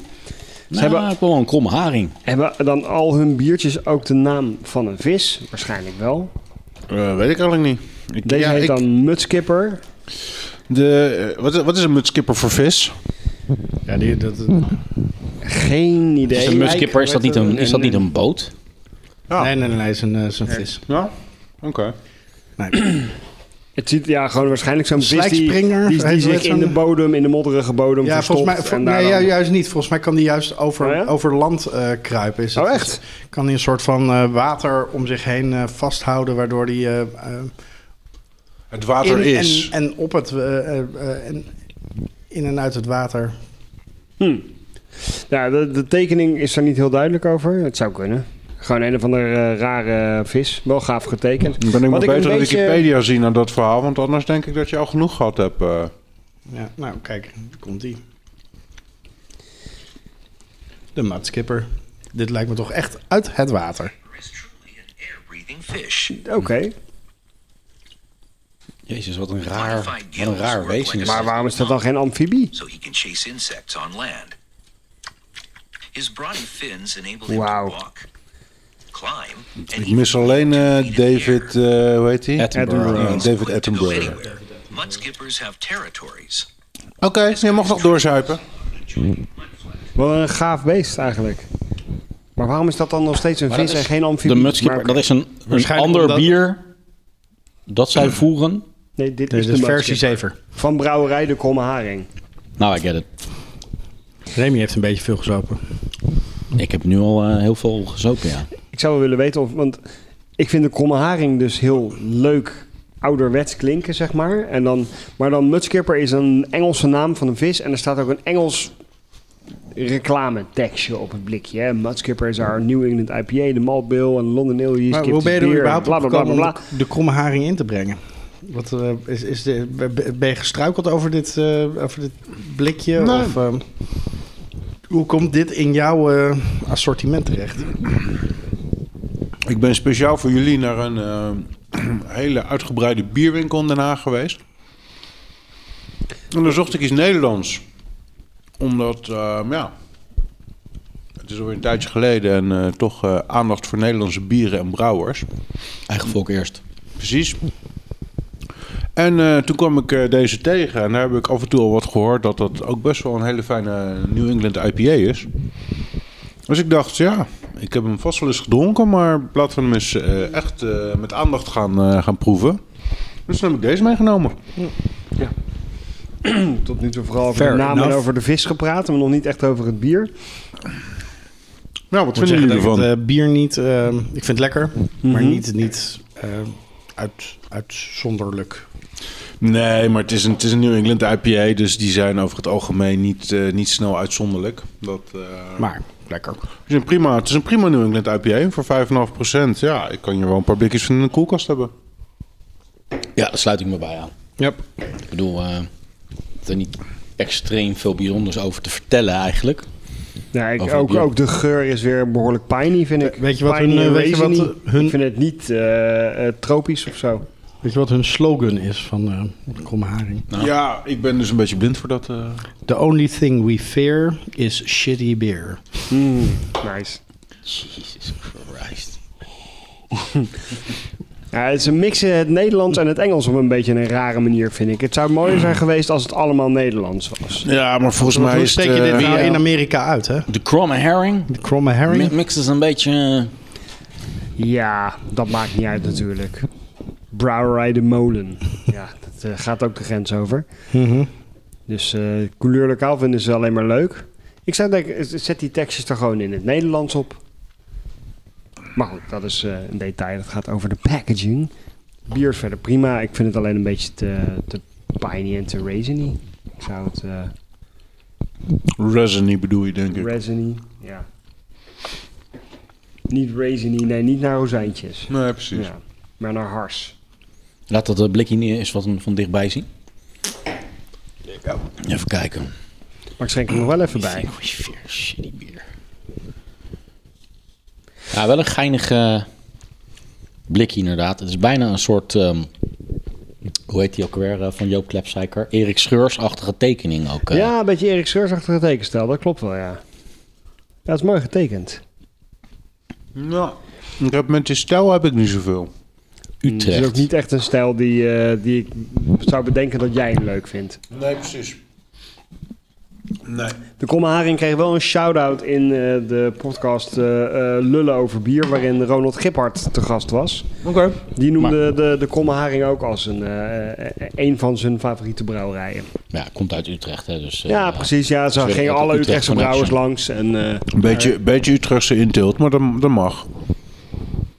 Speaker 2: hebben-
Speaker 1: ook wel een kromme haring.
Speaker 2: Hebben dan al hun biertjes ook de naam van een vis? Waarschijnlijk wel.
Speaker 3: Eh, weet ik eigenlijk niet. Ik,
Speaker 2: Deze
Speaker 3: ja,
Speaker 2: heet
Speaker 3: ik-
Speaker 2: dan Mutskipper.
Speaker 3: de, eh, wat, is- wat is een mutskipper voor vis?
Speaker 4: Ja, die, dat,
Speaker 2: Geen idee.
Speaker 1: Is een mutskipper, is dat niet een, is dat niet een boot?
Speaker 3: Ja.
Speaker 4: Nee, nee, nee, nee, is een, eh, is een vis.
Speaker 3: Ja? Oké.
Speaker 4: Nee.
Speaker 2: Het ziet ja, gewoon waarschijnlijk zo'n vis die,
Speaker 4: Slijkspringer,
Speaker 2: die, die
Speaker 4: heet
Speaker 2: zich
Speaker 4: het
Speaker 2: in de
Speaker 4: zo'n-
Speaker 2: bodem, in de modderige bodem
Speaker 4: Ja,
Speaker 2: verstopt.
Speaker 4: volgens mij,
Speaker 2: en
Speaker 4: vol-
Speaker 2: daar
Speaker 4: nee,
Speaker 2: dan-
Speaker 4: ju- juist niet. Volgens mij kan die juist over,
Speaker 2: Oh ja?
Speaker 4: over land eh, kruipen. Is het-
Speaker 2: Oh, echt?
Speaker 4: Kan die een soort van eh, water om zich heen eh, vasthouden, waardoor die eh, eh,
Speaker 3: Het water
Speaker 4: in
Speaker 3: is.
Speaker 4: En, en op het eh, eh, eh, en in en uit het water.
Speaker 2: Hm. Ja, de, de tekening is daar niet heel duidelijk over. Het zou kunnen. Gewoon een of andere eh, rare vis. Wel gaaf getekend.
Speaker 3: Dan ben ik
Speaker 2: Wat
Speaker 3: maar
Speaker 2: ik een
Speaker 3: beter
Speaker 2: beetje-
Speaker 3: Wikipedia zien aan dat verhaal, want anders denk ik dat je al genoeg gehad hebt. eh.
Speaker 4: Ja, nou, kijk, daar komt die. De maatskipper. Dit lijkt me toch echt uit het water.
Speaker 6: is truly an air-breathing fish.
Speaker 2: Oké.
Speaker 1: Jezus, wat een raar, wat een raar wezen is
Speaker 2: Maar
Speaker 1: dat.
Speaker 2: waarom is dat dan geen amfibie?
Speaker 6: so he can chase insects on land. His brawny fins enable him
Speaker 2: Wow.
Speaker 6: to walk, climb, and
Speaker 3: Ik mis alleen eh, David, eh, hoe heet hij? Eh,
Speaker 1: Attenborough.
Speaker 3: David Attenborough. Oké,
Speaker 6: Mudskippers have territories.
Speaker 3: je mag nog doorzuipen.
Speaker 2: Wel een gaaf beest eigenlijk. Maar waarom is dat dan nog steeds een
Speaker 1: Maar
Speaker 2: vis
Speaker 1: dat
Speaker 2: en
Speaker 1: is-
Speaker 2: geen
Speaker 1: De
Speaker 2: amfibie?
Speaker 1: mudskipper,
Speaker 2: Maar-
Speaker 1: dat is een, een
Speaker 4: Waarschijnlijk
Speaker 1: ander
Speaker 4: omdat-
Speaker 1: bier dat zij voeren.
Speaker 2: Nee, dit is
Speaker 4: Dit
Speaker 2: de
Speaker 4: is versie
Speaker 2: mudskipper.
Speaker 4: 7.
Speaker 2: Van brouwerij De Kromme Haring.
Speaker 1: Nou, I get it.
Speaker 4: Remy heeft een beetje veel gezopen.
Speaker 1: Ik heb nu al eh, heel veel gezopen, ja.
Speaker 2: Ik zou wel willen weten of... Want ik vind de Kromme Haring dus heel leuk ouderwets klinken, zeg maar. En dan, maar dan mudskipper is een Engelse naam van een vis. En er staat ook een Engels reclametekstje op het blikje. hè. Mudskipper is our New England IPA, de Malt Bill en London Ale. Je
Speaker 4: Maar
Speaker 2: skipt
Speaker 4: hoe ben je er
Speaker 2: bier,
Speaker 4: überhaupt
Speaker 2: bla,
Speaker 4: op
Speaker 2: bla, bla,
Speaker 4: gekomen
Speaker 2: bla,
Speaker 4: om
Speaker 2: bla.
Speaker 4: de, de kromme haring in te brengen? Wat, eh, is, is de, ben je gestruikeld over dit, eh, over dit blikje?
Speaker 3: Nee.
Speaker 4: Of, eh, hoe komt dit in jouw eh, assortiment terecht?
Speaker 3: Ik ben speciaal voor jullie naar een eh, [CLEARS THROAT] hele uitgebreide bierwinkel in Den Haag geweest. En daar zocht ik iets Nederlands. Omdat, eh, ja, het is alweer een tijdje geleden en eh, toch eh, aandacht voor Nederlandse bieren en brouwers.
Speaker 1: Eigen volk eerst.
Speaker 3: Precies. En eh, toen kwam ik eh, deze tegen en daar heb ik af en toe al wat gehoord dat dat ook best wel een hele fijne New England IPA is. Dus ik dacht, ja, ik heb hem vast wel eens gedronken, maar laten we hem eens eh, echt eh, met aandacht gaan, eh, gaan proeven. Dus toen heb ik deze meegenomen.
Speaker 2: Tot nu toe vooral over
Speaker 4: Fair
Speaker 2: de naam en
Speaker 4: enough.
Speaker 2: over de vis gepraat, maar nog niet echt over het bier.
Speaker 3: Nou, wat
Speaker 4: Ik moet
Speaker 3: vinden
Speaker 4: zeggen
Speaker 3: jullie
Speaker 4: dat ik
Speaker 3: ervan? Mhm.
Speaker 4: het eh, bier niet... eh, ik vind het lekker, maar niet, niet eh, uit, uitzonderlijk.
Speaker 3: Nee, maar het is, een, het is een New England IPA, dus die zijn over het algemeen niet, eh, niet snel uitzonderlijk. Dat, eh,
Speaker 4: Maar lekker.
Speaker 3: Het is een prima, het is een prima New England IPA voor 5,5%. Ja, ik kan hier wel een paar blikjes van in de koelkast hebben.
Speaker 1: Ja, daar sluit ik me bij aan.
Speaker 4: Yep.
Speaker 1: Ik bedoel, eh er niet extreem veel bijzonders over te vertellen eigenlijk.
Speaker 2: Ja, ik,
Speaker 1: Over
Speaker 2: ook,
Speaker 1: bier.
Speaker 2: ook de geur is weer behoorlijk piney, vind ik.
Speaker 4: Weet je wat
Speaker 2: Piney
Speaker 4: hun, eh,
Speaker 2: en
Speaker 4: weet je wat
Speaker 2: raisiny.
Speaker 4: hun-
Speaker 2: Ik vind het niet eh, eh, tropisch of zo.
Speaker 4: Weet je wat hun slogan is van eh, de kromme haring?
Speaker 3: Ja, ik ben dus een beetje blind voor dat. eh.
Speaker 4: The only thing we fear is shitty beer.
Speaker 2: Nice.
Speaker 1: Jesus Christ.
Speaker 2: Ja, het is een mix eh, het Nederlands en het Engels op een beetje een rare manier, vind ik. Het zou mooier zijn geweest als het allemaal Nederlands was.
Speaker 3: Ja, maar volgens
Speaker 4: Maar
Speaker 3: mij
Speaker 4: hoe
Speaker 3: is het,
Speaker 4: spreek je
Speaker 3: eh,
Speaker 4: dit nou
Speaker 3: wie-
Speaker 4: in Amerika uit, hè?
Speaker 1: De kromme herring.
Speaker 4: De kromme
Speaker 1: Mi-
Speaker 4: herring?
Speaker 1: Mix is een beetje... eh,
Speaker 2: Ja, dat maakt niet uit natuurlijk. Brouwerij de Molen. Ja, dat eh, gaat ook de grens over. Dus eh couleur lokaal vinden ze alleen maar leuk. Ik zou denken, eh, zet die tekstjes er gewoon in het Nederlands op. Maar goed, dat is eh, een detail. Dat gaat over de packaging. Bier is verder prima. Ik vind het alleen een beetje te, te piney en te raisiny. Ik zou het... eh,
Speaker 3: Resiny bedoel je, denk ik.
Speaker 2: Resiny, ja. Niet raisiny, nee, niet naar rozijntjes.
Speaker 3: Nee, precies.
Speaker 2: Ja, maar naar hars.
Speaker 1: Laat dat eh, blikje niet eens wat van dichtbij zien. Even kijken.
Speaker 2: Maar ik schenk hem nog wel even bij.
Speaker 1: Oh, shit, shitty bier. Ja, wel een geinig eh, blikje inderdaad. Het is bijna een soort, ehm, hoe heet die ook weer, eh, van Joop Klepsijker? Erik Scheurs-achtige tekening ook. eh.
Speaker 2: Ja, een beetje Erik Seursachtige tekenstel, dat klopt wel, ja. Ja, het is mooi getekend.
Speaker 3: Ja. Ik heb met je stijl heb ik niet zoveel.
Speaker 2: Het is Mm, dus ook
Speaker 1: Utrecht.
Speaker 2: niet echt een stijl die, eh, die ik zou bedenken dat jij hem leuk vindt.
Speaker 3: Nee, precies. Nee.
Speaker 2: De Komme Haring kreeg wel een shout-out in eh, de podcast eh, eh, Lullen over Bier, waarin Ronald Giphart te gast was.
Speaker 3: Oké.
Speaker 2: Die noemde de, de Komme Haring ook als een, eh, eh, een van zijn favoriete brouwerijen.
Speaker 1: Ja, komt uit Utrecht, hè, dus... eh,
Speaker 2: Ja, precies. Ja,
Speaker 1: ze
Speaker 2: zo gingen
Speaker 1: werken
Speaker 2: alle
Speaker 1: uit de
Speaker 2: Utrechtse
Speaker 1: Utrecht
Speaker 2: brouwers
Speaker 1: Connection.
Speaker 2: langs. En, eh,
Speaker 3: Een beetje, beetje Utrechtse intilt, maar dat, dat mag.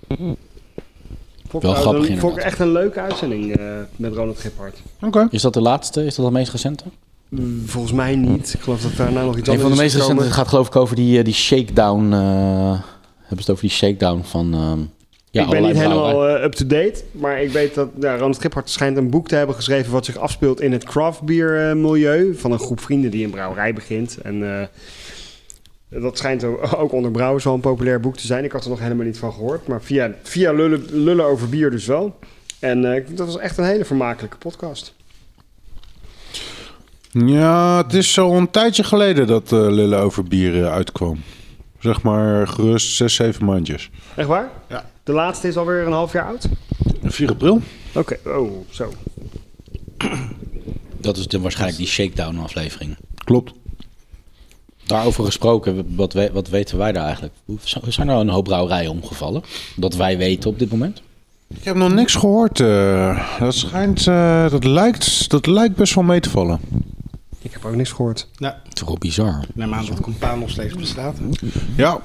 Speaker 2: vond ik
Speaker 1: Wel
Speaker 2: trouwens
Speaker 1: grappig,
Speaker 2: een- Vond ik
Speaker 1: inderdaad.
Speaker 2: echt een leuke uitzending eh, met Ronald Giphart.
Speaker 3: Oké.
Speaker 1: Is dat de laatste? Is dat de meest recente?
Speaker 2: Mm, Volgens mij niet. Ik geloof dat daarna nog iets
Speaker 1: Een
Speaker 2: anders
Speaker 1: van de meest
Speaker 2: is gekomen.
Speaker 1: recente gaat geloof ik over die, eh, die shakedown. eh, hebben ze het over die shakedown van... ehm, ja,
Speaker 2: ik ben
Speaker 1: allerlei
Speaker 2: niet helemaal
Speaker 1: brouwerij.
Speaker 2: eh, up-to-date, maar ik weet dat ja, Ronald Schiphart schijnt een boek te hebben geschreven wat zich afspeelt in het craft beer eh, milieu van een groep vrienden die een brouwerij begint. En eh, dat schijnt o- ook [LAUGHS] onder brouwers wel een populair boek te zijn. Ik had er nog helemaal niet van gehoord, maar via, via lullen, lullen over bier dus wel. En eh, ik- dat was echt een hele vermakelijke podcast.
Speaker 3: Ja, het is zo een tijdje geleden dat eh, Lullen over bieren uitkwam. Zeg maar gerust 6, 7 maandjes.
Speaker 2: Echt waar?
Speaker 3: Ja.
Speaker 2: De laatste is alweer een half jaar oud?
Speaker 3: 4 april?
Speaker 2: Oké, oh, zo. eh,
Speaker 1: Dat is dan waarschijnlijk die shakedown aflevering.
Speaker 3: Klopt.
Speaker 1: Daarover gesproken, wat, we- wat weten wij daar eigenlijk? Hoe- z- Zijn er al een hoop brouwerijen omgevallen? Dat wij weten op dit moment?
Speaker 3: Ik heb nog niks gehoord. eh. dat schijnt, eh, dat, lijkt, dat lijkt best wel mee te vallen.
Speaker 2: Ik heb ook niks gehoord.
Speaker 4: Nou,
Speaker 1: Het is wel bizar.
Speaker 4: ik neem aan dat Compaan nog steeds bestaat. hè?
Speaker 3: Ja.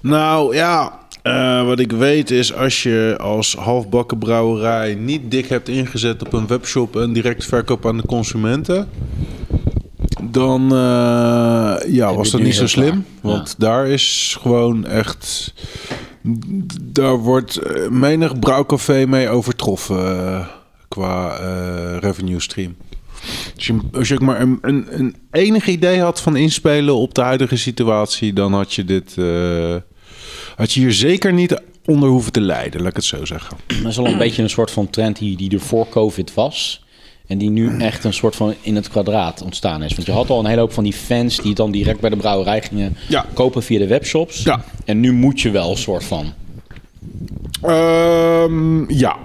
Speaker 3: Nou ja, eh, wat ik weet is als je als halfbakken brouwerij niet dik hebt ingezet op een webshop en direct verkoop aan de consumenten. Dan eh, ja,
Speaker 1: je
Speaker 3: was
Speaker 1: het
Speaker 3: dat
Speaker 1: nu
Speaker 3: niet zo
Speaker 1: heel
Speaker 3: slim.
Speaker 1: klaar.
Speaker 3: Want daar is gewoon echt. Daar wordt eh, menig brouwcafé mee overtroffen eh, qua eh, revenue stream. Als je, als je ook maar een, een, een enig idee had van inspelen op de huidige situatie, dan had je dit. eh, had je hier zeker niet onder hoeven te lijden, laat ik het zo zeggen.
Speaker 1: Dat is
Speaker 3: [CLEARS THROAT]
Speaker 1: al een beetje een soort van trend die, die er voor COVID was. En die nu echt een soort van in het kwadraat ontstaan is. Want je had al een hele hoop van die fans die het dan direct bij de brouwerij gingen
Speaker 3: Ja.
Speaker 1: kopen via de webshops.
Speaker 3: Ja.
Speaker 1: En nu moet je wel een soort van.
Speaker 3: Ehm, ja.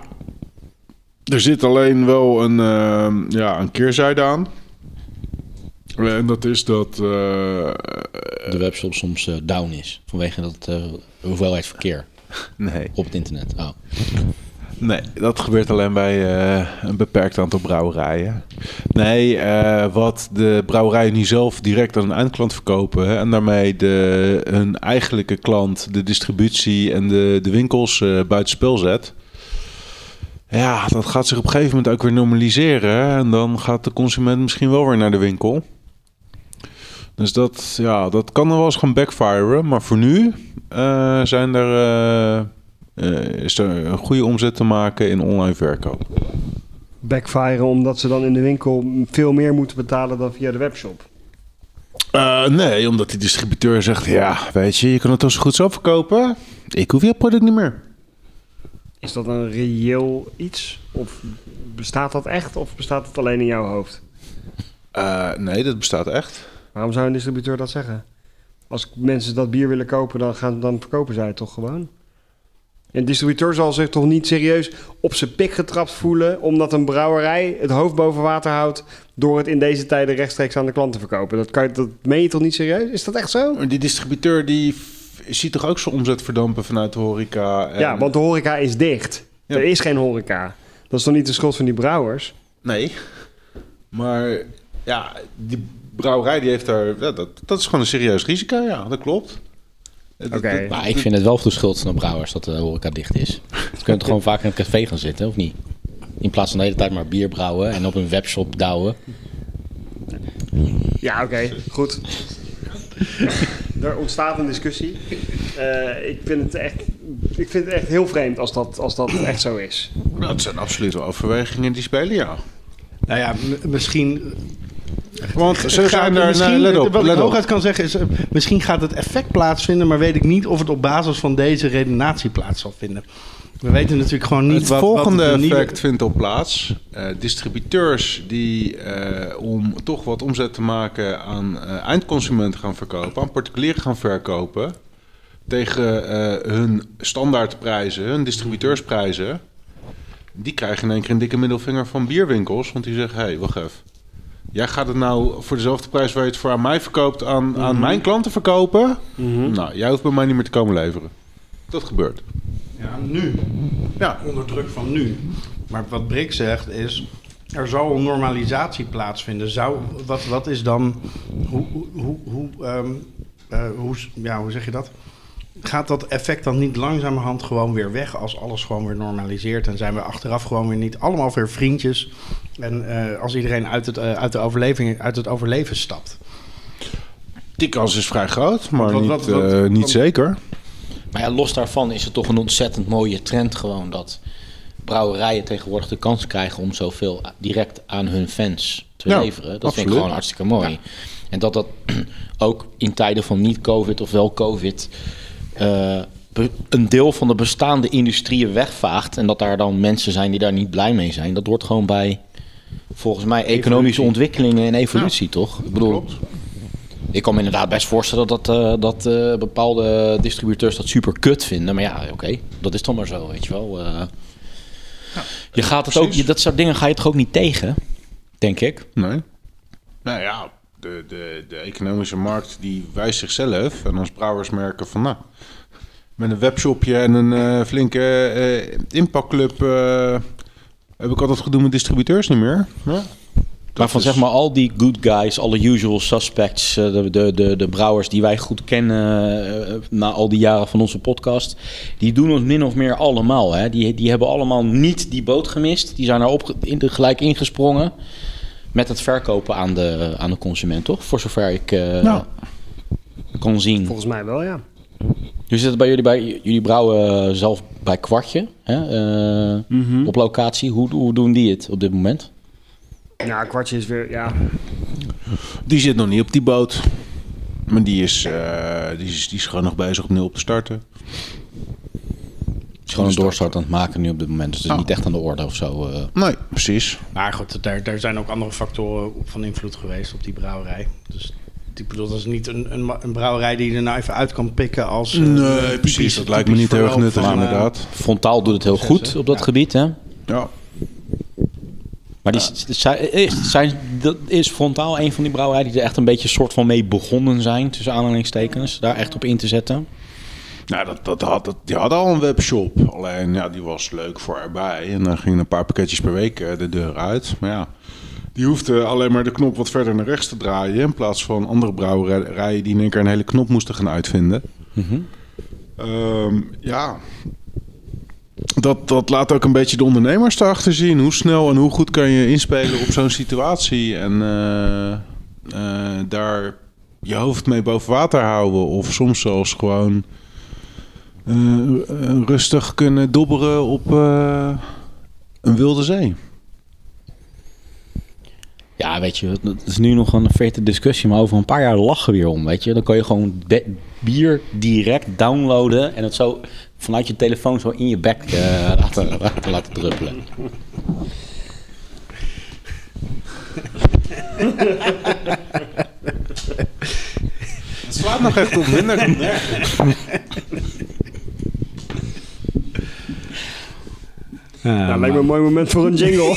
Speaker 3: Er zit alleen wel een, ehm, ja, een keerzijde aan. En dat is dat. eh,
Speaker 1: De webshop soms eh, down is. Vanwege dat eh, hoeveelheid verkeer
Speaker 3: nee.
Speaker 1: op het internet. Oh.
Speaker 3: Nee, dat gebeurt alleen bij eh, een beperkt aantal brouwerijen. Nee, eh, wat de brouwerijen nu zelf direct aan een eindklant verkopen... Hè, en daarmee de, hun eigenlijke klant, de distributie en de, de winkels eh buitenspel zet... Ja, dat gaat zich op een gegeven moment ook weer normaliseren. hè, En dan gaat de consument misschien wel weer naar de winkel. Dus dat, ja, dat kan er wel eens gaan backfiren. Maar voor nu eh, zijn er... eh, eh, is er een goede omzet te maken in online verkoop.
Speaker 2: Backfiren omdat ze dan in de winkel veel meer moeten betalen dan via de webshop.
Speaker 3: Eh, nee, omdat die distributeur zegt: Ja, weet je, je kan het toch zo goed zelf verkopen. Ik hoef je product niet meer.
Speaker 2: Is dat een reëel iets? Of bestaat dat echt? Of bestaat het alleen in jouw hoofd?
Speaker 3: Eh, nee, dat bestaat echt.
Speaker 2: Waarom zou een distributeur dat zeggen? Als mensen dat bier willen kopen, dan, gaan, dan verkopen zij het toch gewoon? Een distributeur zal zich toch niet serieus op zijn pik getrapt voelen... omdat een brouwerij het hoofd boven water houdt... door het in deze tijden rechtstreeks aan de klant te verkopen. Dat, kan, je- dat meen je toch niet serieus? Is dat echt zo?
Speaker 3: Maar die distributeur die f- ziet toch ook zijn omzet verdampen vanuit de horeca. en-
Speaker 2: Ja, want de horeca is dicht.
Speaker 3: Ehm, Ja.
Speaker 2: Er is geen horeca. Dat is toch niet de schuld van die brouwers?
Speaker 3: Nee. Maar ja, die brouwerij die heeft daar. ja, dat, dat is gewoon een serieus risico, ja, dat klopt. Eh, Oké.
Speaker 2: Oké.
Speaker 1: Maar ik vind het wel de schuld van de brouwers dat de horeca dicht is. [LAUGHS] Ze kunnen toch gewoon vaak in het café gaan zitten, of niet? In plaats van de hele tijd maar bier brouwen en op een webshop douwen.
Speaker 2: Ja, oké, goed. er ontstaat een discussie. Eh, ik, vind het echt, ik vind het echt heel vreemd als dat, als dat echt zo is.
Speaker 3: Dat zijn absoluut wel overwegingen die spelen, ja.
Speaker 4: Nou ja, m- misschien
Speaker 3: Want ze
Speaker 4: Gaat-
Speaker 3: zijn er.
Speaker 4: misschien-
Speaker 3: Nee, let op,
Speaker 4: wat
Speaker 3: let
Speaker 4: ik
Speaker 3: op.
Speaker 4: hooguit kan zeggen is, eh, misschien gaat het effect plaatsvinden, maar weet ik niet of het op basis van deze redenatie plaats zal vinden. We weten natuurlijk gewoon niet
Speaker 3: het
Speaker 4: wat,
Speaker 3: volgende
Speaker 4: wat de nieuwe-
Speaker 3: effect vindt op plaats. Eh, distributeurs die eh, om toch wat omzet te maken aan eh, eindconsumenten gaan verkopen, aan particulieren gaan verkopen. Tegen eh, hun standaardprijzen, hun distributeursprijzen. Die krijgen in één keer een dikke middelvinger van bierwinkels. Want die zeggen, hé, hey, wacht even. Jij gaat het nou voor dezelfde prijs waar je het voor aan mij verkoopt, aan,
Speaker 4: Mhm.
Speaker 3: aan mijn klanten verkopen. Nou, jij hoeft bij mij niet meer te komen leveren. Dat gebeurt.
Speaker 4: Ja, nu. Ja, onder druk van nu. Maar wat Brik zegt is, er zal een normalisatie plaatsvinden. Zou, wat, wat is dan, hoe, hoe- hoe, hoe, ehm, eh, hoe, s- ja, hoe zeg je dat? Gaat dat effect dan niet langzamerhand gewoon weer weg als alles gewoon weer normaliseert? En zijn we achteraf gewoon weer niet allemaal weer vriendjes En eh, als iedereen uit het, eh, uit, de overleving, uit het overleven stapt.
Speaker 3: Die kans is vrij groot, maar
Speaker 4: Wat-
Speaker 3: niet,
Speaker 4: wat- wat-
Speaker 3: eh, niet
Speaker 4: wat-
Speaker 3: zeker.
Speaker 1: Maar ja, los daarvan is het toch een ontzettend mooie trend gewoon dat brouwerijen tegenwoordig de kans krijgen om zoveel a- direct aan hun fans te
Speaker 3: Ja,
Speaker 1: leveren. Dat vind
Speaker 3: absoluut.
Speaker 1: ik gewoon hartstikke mooi. En dat [CLEARS THROAT] dat ook in tijden van niet-covid of wel covid eh, be- een deel van de bestaande industrieën wegvaagt en dat daar dan mensen zijn die daar niet blij mee zijn. Dat hoort gewoon bij volgens mij economische ontwikkelingen en evolutie, toch? Ik bedoel, ik kan me inderdaad best voorstellen dat, eh, dat eh, bepaalde distributeurs dat super kut vinden. Maar ja, oké, dat is dan maar zo, weet je wel. eh. je gaat het ook, je, dat soort dingen ga je toch ook niet tegen, denk ik.
Speaker 3: Nee. Nou ja, de, de, de economische markt die wijst zichzelf. En ons brouwers merken van nou, met een webshopje en een eh, flinke eh, inpakclub eh, heb ik altijd gedoe met distributeurs niet meer. Ja.
Speaker 1: maar van
Speaker 3: is-
Speaker 1: zeg maar al die good guys, alle usual suspects, eh, de, de, de, de brouwers die wij goed kennen eh, na al die jaren van onze podcast, die doen ons min of meer allemaal. Hè? Die, die hebben allemaal niet die boot gemist. Die zijn er op, in, de- gelijk ingesprongen met het verkopen aan de, aan de consument, toch? Voor zover ik eh,
Speaker 3: Nou.
Speaker 1: kon zien.
Speaker 2: Volgens mij wel, ja.
Speaker 1: Jullie zitten bij jullie bij jullie brouwen eh, zelf bij kwartje hè? eh,
Speaker 3: Mhm.
Speaker 1: op locatie. Hoe, hoe doen die het op dit moment?
Speaker 2: Ja, kwartje is weer, ja.
Speaker 3: Die zit nog niet op die boot. Maar die is, eh, die is, die is gewoon nog bezig op nul te starten.
Speaker 1: Het is gewoon een doorstart aan het maken nu op dit moment. Dus het is niet echt aan de orde of zo. eh.
Speaker 3: Nee, precies.
Speaker 4: Maar goed, daar, daar zijn ook andere factoren op van invloed geweest op die brouwerij. Dus ik bedoel, dat is niet een, een, ma- een brouwerij die je er nou even uit kan pikken als... eh,
Speaker 3: Nee,
Speaker 4: typisch-
Speaker 3: precies. Dat lijkt me
Speaker 4: typisch
Speaker 3: niet heel erg
Speaker 4: verloop
Speaker 3: nuttig,
Speaker 4: van, eh,
Speaker 3: inderdaad.
Speaker 1: Frontaal doet het heel
Speaker 4: Processen,
Speaker 1: goed op dat
Speaker 4: ja.
Speaker 1: gebied. Hè?
Speaker 3: Ja.
Speaker 1: Maar die, z- zij- is, zijn, dat is Frontaal een van die brouwerijen die er echt een beetje soort van mee begonnen zijn. Tussen aanhalingstekens. Daar echt op in te zetten.
Speaker 3: Nou, dat, dat had, dat, die hadden al een webshop. Alleen, ja, die was leuk voor erbij. En dan gingen een paar pakketjes per week eh, de deur uit. Maar ja, die hoefde alleen maar de knop wat verder naar rechts te draaien. In plaats van andere brouwerijen die in één keer een hele knop moesten gaan uitvinden. Ehm, ja, dat, dat laat ook een beetje de ondernemers erachter zien. Hoe snel en hoe goed kan je inspelen op zo'n situatie. En eh, eh, daar je hoofd mee boven water houden. Of soms zelfs gewoon eh, eh, rustig kunnen dobberen op eh, een wilde zee.
Speaker 1: Ja, weet je, dat is nu nog een vette discussie, maar over een paar jaar lachen we weer om, weet je. Dan kan je gewoon de- bier direct downloaden en het zo vanuit je telefoon zo in je bek eh, [LAUGHS] laten, laten, laten druppelen.
Speaker 3: Het slaat nog echt op minder.
Speaker 4: Ja,
Speaker 2: Nou, lijkt me een mooi moment voor een jingle.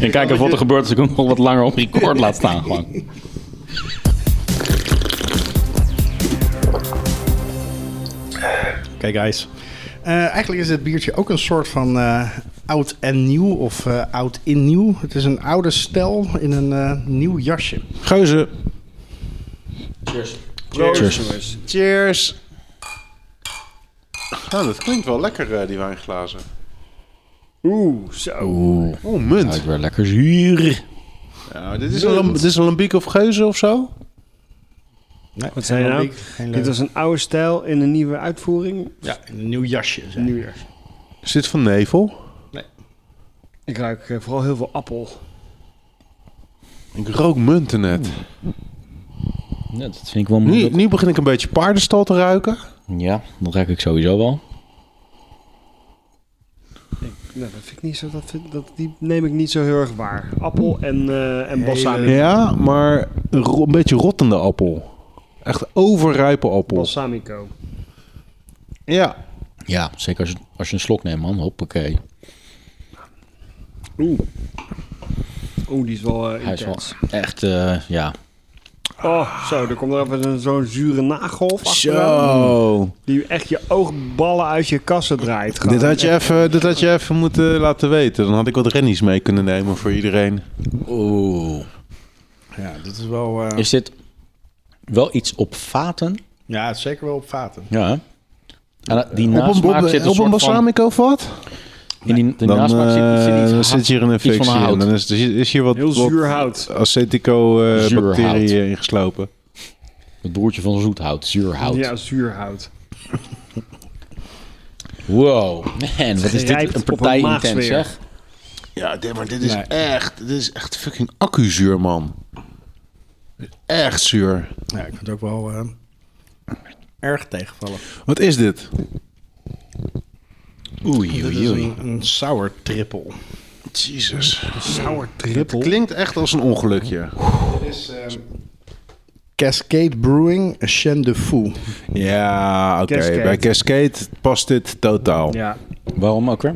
Speaker 1: En kijk even wat er gebeurt als ik hem nog wat langer op record laat staan gewoon.
Speaker 4: Oké, guys. Eh, eigenlijk is dit biertje ook een soort van eh, oud en nieuw of eh, oud in nieuw. Het is een oude stel in een eh, nieuw jasje.
Speaker 3: Geuze.
Speaker 2: Cheers. jongens.
Speaker 3: Cheers. Nou, dat klinkt wel lekker, eh, die wijnglazen.
Speaker 2: Oeh, zo.
Speaker 3: Oh, munt.
Speaker 1: Ruikt weer lekker zuur.
Speaker 3: Ja, nou, dit, is een, dit is een lambiek of geuze of zo?
Speaker 4: Nee,
Speaker 2: Wat zei je nou? Dit was een oude stijl in een nieuwe uitvoering.
Speaker 4: ja, in een nieuw jasje. zeg.
Speaker 2: Nieuw jaar.
Speaker 3: Is dit van nevel?
Speaker 2: Ik ruik eh, vooral heel veel appel.
Speaker 3: Ik rook munten net.
Speaker 1: Ja, dat vind ik wel
Speaker 3: Hmm. Nu,
Speaker 1: moeilijk.
Speaker 3: nu begin ik een beetje paardenstal te ruiken.
Speaker 1: Ja, dat ruik ik sowieso wel.
Speaker 2: Nou, dat vind ik niet zo. Dat, vind- dat, die neem ik niet zo heel erg waar. Appel en, eh en balsamico.
Speaker 3: Ja, maar een, ro- een beetje rottende appel. Echt overrijpe appel.
Speaker 2: Balsamico.
Speaker 3: Ja.
Speaker 1: Ja, zeker als, als je een slok neemt, man. Hoppakee.
Speaker 2: Oeh. Oeh, die is wel eh
Speaker 1: Hij is wel
Speaker 2: intens.
Speaker 1: echt, eh, ja.
Speaker 2: Oh, zo. Er komt er even een- zo'n zure nagel of achteraan.
Speaker 3: Zo.
Speaker 2: Die echt je oogballen uit je kassen draait. gewoon.
Speaker 3: Dit had, je even, dit had je even moeten laten weten. Dan had ik wat rennies mee kunnen nemen voor iedereen.
Speaker 1: Oeh.
Speaker 4: Ja, dit is wel... eh,
Speaker 1: Is dit wel iets op vaten?
Speaker 4: Ja, het is zeker wel op vaten.
Speaker 1: Ja. En dat- die
Speaker 3: Op een,
Speaker 1: nasmaak
Speaker 3: op,
Speaker 1: zit een
Speaker 3: op een
Speaker 1: soort van...
Speaker 3: balsamico of wat?
Speaker 1: In die, de
Speaker 3: Dan
Speaker 1: nasmaak zit, zit
Speaker 3: eh,
Speaker 1: iets,
Speaker 3: dan
Speaker 1: hard,
Speaker 3: zit hier een
Speaker 1: iets van
Speaker 3: infectie
Speaker 1: hout.
Speaker 3: en dan is, is hier wat,
Speaker 2: Heel
Speaker 3: wat
Speaker 2: zuur hout.
Speaker 1: Zuur hout.
Speaker 3: acetico-bacteriën ingeslopen.
Speaker 1: Het broertje van zoethout, zuurhout.
Speaker 2: Ja, zuurhout.
Speaker 1: Wow, man, wat is
Speaker 2: Grijpt
Speaker 1: dit een
Speaker 2: op een
Speaker 1: partij intens,
Speaker 2: maagsfeer.
Speaker 1: zeg.
Speaker 3: Ja, dit- maar dit is echt, dit is echt fucking accuzuur, man. Echt zuur.
Speaker 4: Ja, ik vind het ook wel eh, erg tegenvallen.
Speaker 3: Wat is dit?
Speaker 1: Oei,
Speaker 4: Dit
Speaker 1: oei,
Speaker 4: is
Speaker 1: oei.
Speaker 4: een, een sour triple.
Speaker 3: Jesus.
Speaker 2: Sour
Speaker 3: Het
Speaker 2: trippel.
Speaker 3: klinkt echt als een ongelukje.
Speaker 4: Dit is ehm, Cascade Brewing Chien de Fou.
Speaker 3: Ja, oké.
Speaker 2: Cascade.
Speaker 3: Bij Cascade past dit totaal.
Speaker 2: Ja,
Speaker 1: Waarom ook weer?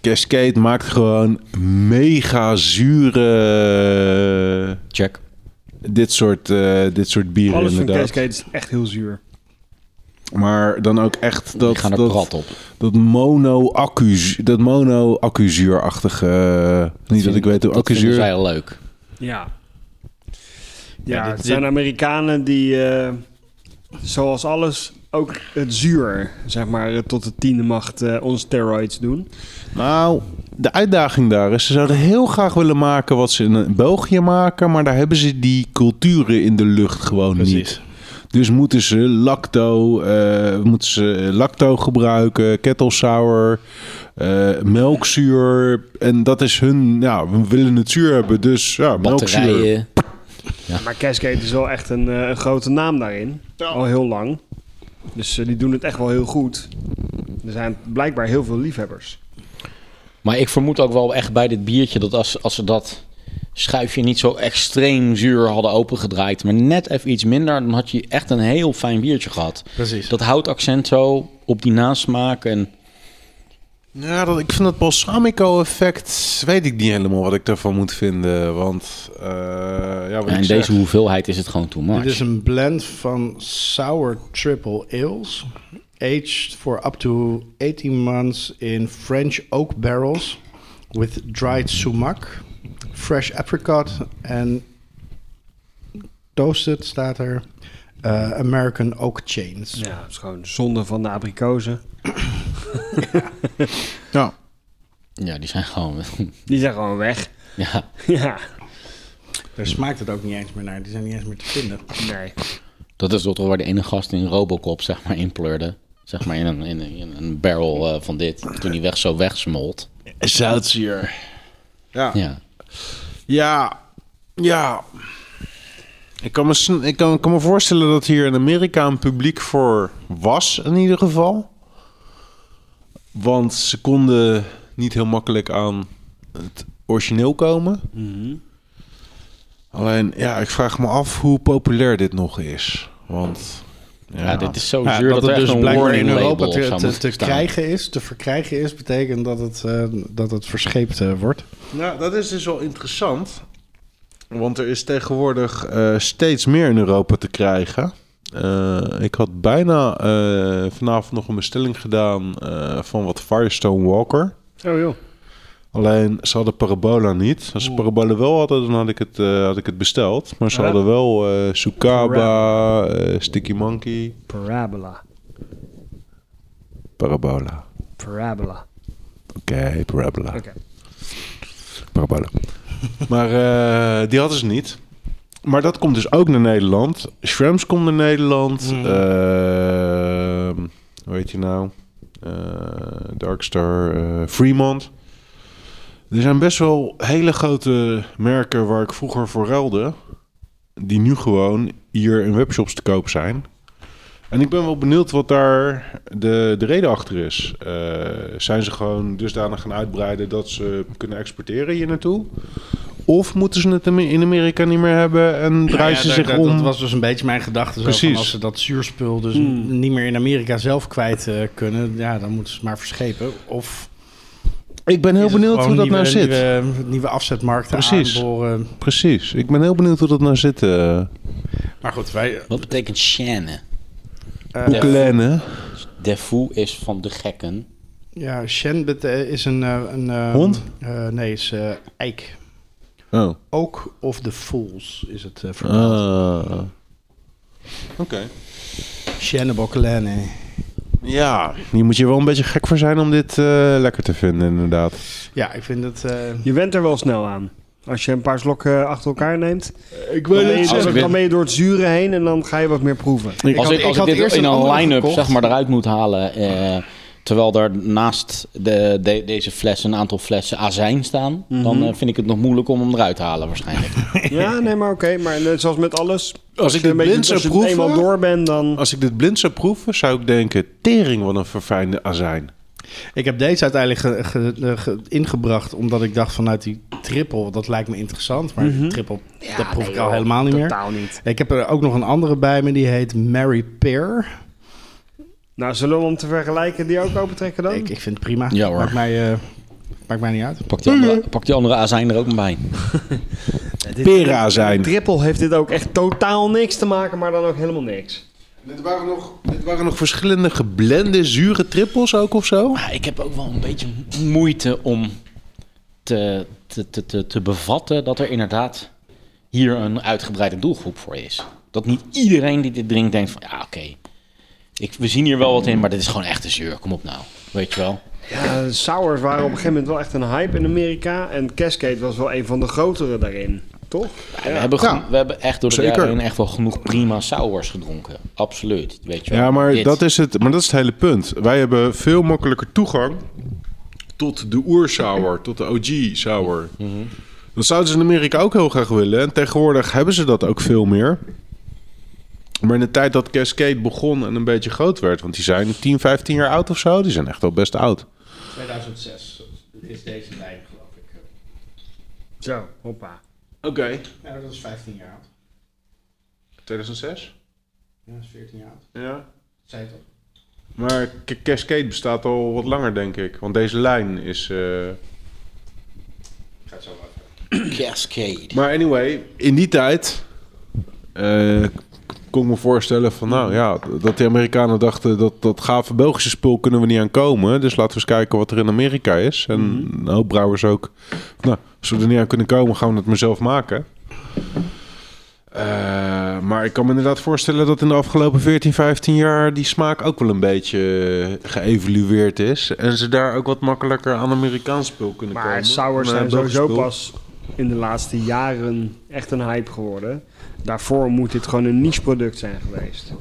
Speaker 3: Cascade maakt gewoon mega zure...
Speaker 1: Check.
Speaker 3: Dit soort, eh, dit soort bieren
Speaker 2: alles van
Speaker 3: inderdaad.
Speaker 2: Cascade is echt heel zuur.
Speaker 3: Maar dan ook echt dat...
Speaker 1: Die gaan er
Speaker 3: dat,
Speaker 1: prat op.
Speaker 3: Dat mono dat mono accuzuurachtige niet dat ik weet hoe
Speaker 1: Dat dus vinden
Speaker 3: accuzuur...
Speaker 1: zij al leuk.
Speaker 2: Ja. Ja,
Speaker 4: Ja, dit-
Speaker 2: het zijn
Speaker 4: dit-
Speaker 2: Amerikanen die, eh, zoals alles, ook het zuur, zeg maar, eh, tot de tiende macht eh on steroids doen.
Speaker 3: Nou, de uitdaging daar is, ze zouden heel graag willen maken wat ze in eh, België maken, maar daar hebben ze die culturen in de lucht gewoon niet. Dus moeten ze lacto, eh, moeten ze lacto gebruiken, kettle sour, eh, melkzuur. En dat is hun, ja, we willen het zuur hebben, dus ja, melkzuur.
Speaker 1: Batterijen.
Speaker 2: Maar Cascade is wel echt een, eh, een grote naam daarin. Al heel lang. Dus eh, die doen het echt wel heel goed. Er zijn blijkbaar heel veel liefhebbers.
Speaker 1: Maar ik vermoed ook wel echt bij dit biertje dat als, als ze dat schuifje niet zo extreem zuur hadden opengedraaid, maar net even iets minder, dan had je echt een heel fijn biertje gehad.
Speaker 4: Precies.
Speaker 1: Dat houtaccent zo op die nasmaak en
Speaker 3: Ja, dat, ik vind dat balsamico-effect, weet ik niet helemaal wat ik daarvan moet vinden. Want, eh, ja, wat
Speaker 1: Ja,
Speaker 3: ik
Speaker 1: in
Speaker 3: zeg.
Speaker 1: deze hoeveelheid is het gewoon too much.
Speaker 4: Dit is een blend van sour triple ales. Aged for up to 18 months in French oak barrels. With dried sumac, fresh apricot en toasted staat er. eh, American oak chains.
Speaker 2: Ja, dat is gewoon zonde van de abrikozen.
Speaker 3: Ja.
Speaker 1: Ja, die zijn gewoon... [LAUGHS]
Speaker 2: Die zijn gewoon weg. [LAUGHS]
Speaker 1: ja,
Speaker 2: ja.
Speaker 4: Daar smaakt het ook niet eens meer naar. Die zijn niet eens meer te vinden.
Speaker 2: Nee.
Speaker 1: dat is toch wel waar de ene gast in Robocop zeg maar in pleurde. Zeg maar in een, in een, in een barrel eh, van dit, toen die weg zo wegsmolt.
Speaker 3: Zoutzuur. Ja.
Speaker 1: Ja.
Speaker 3: Ja, ja. Ik kan, me, sn- ik, kan, ik kan me voorstellen dat hier in Amerika een publiek voor was, in ieder geval. Want ze konden niet heel makkelijk aan het origineel komen. Alleen, ja, ik vraag me af hoe populair dit nog is. Want, ja,
Speaker 1: Ja, dit is zo
Speaker 4: Ja,
Speaker 1: zuur dat, er
Speaker 4: het
Speaker 1: echt
Speaker 4: dus
Speaker 1: een
Speaker 4: blijkbaar
Speaker 1: warning
Speaker 4: in Europa
Speaker 1: label op
Speaker 4: te,
Speaker 1: zou
Speaker 4: te,
Speaker 1: moeten
Speaker 4: te
Speaker 1: staan.
Speaker 4: krijgen is, te verkrijgen is, betekent dat het, eh, dat het verscheept eh, wordt.
Speaker 3: Nou, dat is dus wel interessant. Want er is tegenwoordig eh, steeds meer in Europa te krijgen. Eh, ik had bijna eh, vanavond nog een bestelling gedaan eh, van wat Firestone Walker.
Speaker 2: Oh joh.
Speaker 3: Alleen ze hadden Parabola niet. Als ze Parabola wel hadden, dan had ik het, eh, had ik het besteld. Maar ze
Speaker 2: Ja.
Speaker 3: hadden wel eh Sukaba, eh, Sticky Monkey,
Speaker 2: Parabola.
Speaker 3: Parabola.
Speaker 2: Parabola.
Speaker 3: Oké, Parabola.
Speaker 2: Oké.
Speaker 3: Parabola. maar eh, die hadden ze niet. Maar dat komt dus ook naar Nederland. Shrems komt naar Nederland.
Speaker 4: Mm.
Speaker 3: Ehm, hoe heet je nou? Eh, Darkstar, eh, Fremont. Er zijn best wel hele grote merken waar ik vroeger voor ruilde. Die nu gewoon hier in webshops te koop zijn. En ik ben wel benieuwd wat daar de, de reden achter is. Eh, zijn ze gewoon dusdanig gaan uitbreiden dat ze kunnen exporteren hier naartoe? Of moeten ze het in Amerika niet meer hebben en draaien ze
Speaker 4: Nou Ja,
Speaker 3: zich
Speaker 4: daar- daar-
Speaker 3: om?
Speaker 4: Dat was dus een beetje mijn gedachte. Zo, van
Speaker 3: Precies.
Speaker 4: als ze dat zuurspul dus niet meer in Amerika zelf kwijt eh, kunnen, ja, dan moeten ze het maar verschepen. Of
Speaker 3: Ik ben heel
Speaker 4: is het
Speaker 3: benieuwd
Speaker 4: gewoon
Speaker 3: hoe dat nou
Speaker 4: nieuwe-
Speaker 3: zit.
Speaker 4: Nieuwe, nieuwe afzetmarkten
Speaker 3: Precies.
Speaker 4: aanboren.
Speaker 3: Precies. Ik ben heel benieuwd hoe dat nou zit. eh
Speaker 4: Maar goed, wij...
Speaker 1: Wat betekent Shannon?
Speaker 4: eh,
Speaker 1: Ja.
Speaker 3: Kleine.
Speaker 1: Defoe is van de gekken.
Speaker 4: ja, Shen bet- eh, is een... eh, een eh,
Speaker 3: Hond?
Speaker 4: eh, nee, is eh, eik.
Speaker 3: Oh.
Speaker 4: Oak of the Fools is het eh verhaal.
Speaker 3: Ah. Oké.
Speaker 4: Shannebokkelene.
Speaker 3: Ja, hier moet je wel een beetje gek voor zijn om dit eh, lekker te vinden, inderdaad.
Speaker 4: Ja, ik vind het... eh,
Speaker 2: Je went er wel snel aan. Als je een paar slokken eh, achter elkaar neemt,
Speaker 4: ik
Speaker 2: dan ben, je
Speaker 1: zeggen.
Speaker 2: door, dan ben je door het zure heen en dan ga je wat meer
Speaker 3: [LAUGHS]
Speaker 2: proeven.
Speaker 1: als
Speaker 4: had-
Speaker 1: ik, als
Speaker 4: ik
Speaker 1: ik,
Speaker 4: had
Speaker 1: dit
Speaker 4: eerst
Speaker 1: in
Speaker 4: een
Speaker 1: een
Speaker 4: andere
Speaker 1: line-up
Speaker 4: gekocht.
Speaker 1: zeg maar eruit moet halen. eh, terwijl daar naast de, de- deze fles een aantal flessen azijn staan.
Speaker 4: Mhm.
Speaker 1: Dan eh, vind ik het nog moeilijk om hem eruit te halen
Speaker 4: [LAUGHS]
Speaker 1: waarschijnlijk.
Speaker 2: Ja, nee, maar oké. maar net zoals met alles.
Speaker 3: Als ik
Speaker 2: je
Speaker 3: dit
Speaker 2: een beetje-
Speaker 3: blind zou
Speaker 2: als je eenmaal
Speaker 3: proeven,
Speaker 2: door bent, dan...
Speaker 3: als ik dit blind zou proeven, zou ik denken, tering, wat een verfijnde azijn.
Speaker 4: Ik heb deze uiteindelijk ge- ge- ge- ge- ingebracht omdat ik dacht vanuit die triple, dat lijkt me interessant. Maar die triple, dat proef ik al helemaal niet meer.
Speaker 2: Totaal niet.
Speaker 4: Ik heb er ook nog een andere bij me, die heet Mary Pear.
Speaker 2: Nou, zullen we hem te vergelijken die ook opentrekken dan?
Speaker 4: Ik, ik vind het prima.
Speaker 1: Ja, hoor.
Speaker 4: Maakt mij, eh, maakt mij niet uit.
Speaker 1: Pak die andere, pak die andere azijn er ook maar bij.
Speaker 3: Pera-azijn.
Speaker 2: Triple heeft dit ook echt totaal niks te maken, maar dan ook helemaal niks.
Speaker 3: Dit waren, nog, dit waren nog verschillende geblende, zure trippels ook of zo?
Speaker 1: Maar ik heb ook wel een beetje moeite om te, te, te, te, te bevatten dat er inderdaad hier een uitgebreide doelgroep voor is. Dat niet iedereen die dit drinkt denkt van ja oké, ik- we zien hier wel wat in, maar dit is gewoon echt een zeur. Kom op nou, weet je wel.
Speaker 2: Ja, de sours waren op een gegeven moment wel echt een hype in Amerika. En Cascade was wel een van de grotere daarin, toch?
Speaker 1: We, hebben ge- we hebben echt door de
Speaker 3: Zeker.
Speaker 1: jaren heen echt wel genoeg prima sours gedronken. Absoluut, weet je wel.
Speaker 3: Ja, maar
Speaker 1: Dit.
Speaker 3: dat, is het, maar dat is het hele punt. Wij hebben veel makkelijker toegang tot de oersauer, tot de OG-sauer. Dat zouden ze in Amerika ook heel graag willen. En tegenwoordig hebben ze dat ook veel meer. Maar in de tijd dat Cascade begon en een beetje groot werd... want die zijn 10, 15 jaar oud of zo, die zijn echt al best oud.
Speaker 4: 2006 is deze lijn, geloof ik.
Speaker 2: Zo, hoppa.
Speaker 3: Oké.
Speaker 4: Ja, dat is 15 jaar oud.
Speaker 3: 2006?
Speaker 4: Ja, dat is 14 jaar oud.
Speaker 3: Ja.
Speaker 4: Zij toch?
Speaker 3: Maar K- Cascade bestaat al wat langer, denk ik. Want deze lijn is... eh,
Speaker 4: Gaat zo wat.
Speaker 1: Cascade.
Speaker 3: Maar anyway, in die tijd eh, kon ik me voorstellen van, nou ja, dat de Amerikanen dachten dat dat gave Belgische spul kunnen we niet aan komen. Dus laten we eens kijken wat er in Amerika is. En
Speaker 2: Mhm.
Speaker 3: een hoop brouwers ook. Nou, als we er niet aan kunnen komen, gaan we het maar zelf maken. Eh, maar ik kan me inderdaad voorstellen dat in de afgelopen 14, 15 jaar die smaak ook wel een beetje eh, geëvalueerd is. En ze daar ook wat makkelijker aan Amerikaans spul kunnen komen.
Speaker 2: Maar sours
Speaker 3: Maar
Speaker 2: zijn
Speaker 3: Belgisch
Speaker 2: sowieso
Speaker 3: spul-
Speaker 2: pas in de laatste jaren echt een hype geworden. Daarvoor moet dit gewoon een niche product zijn geweest.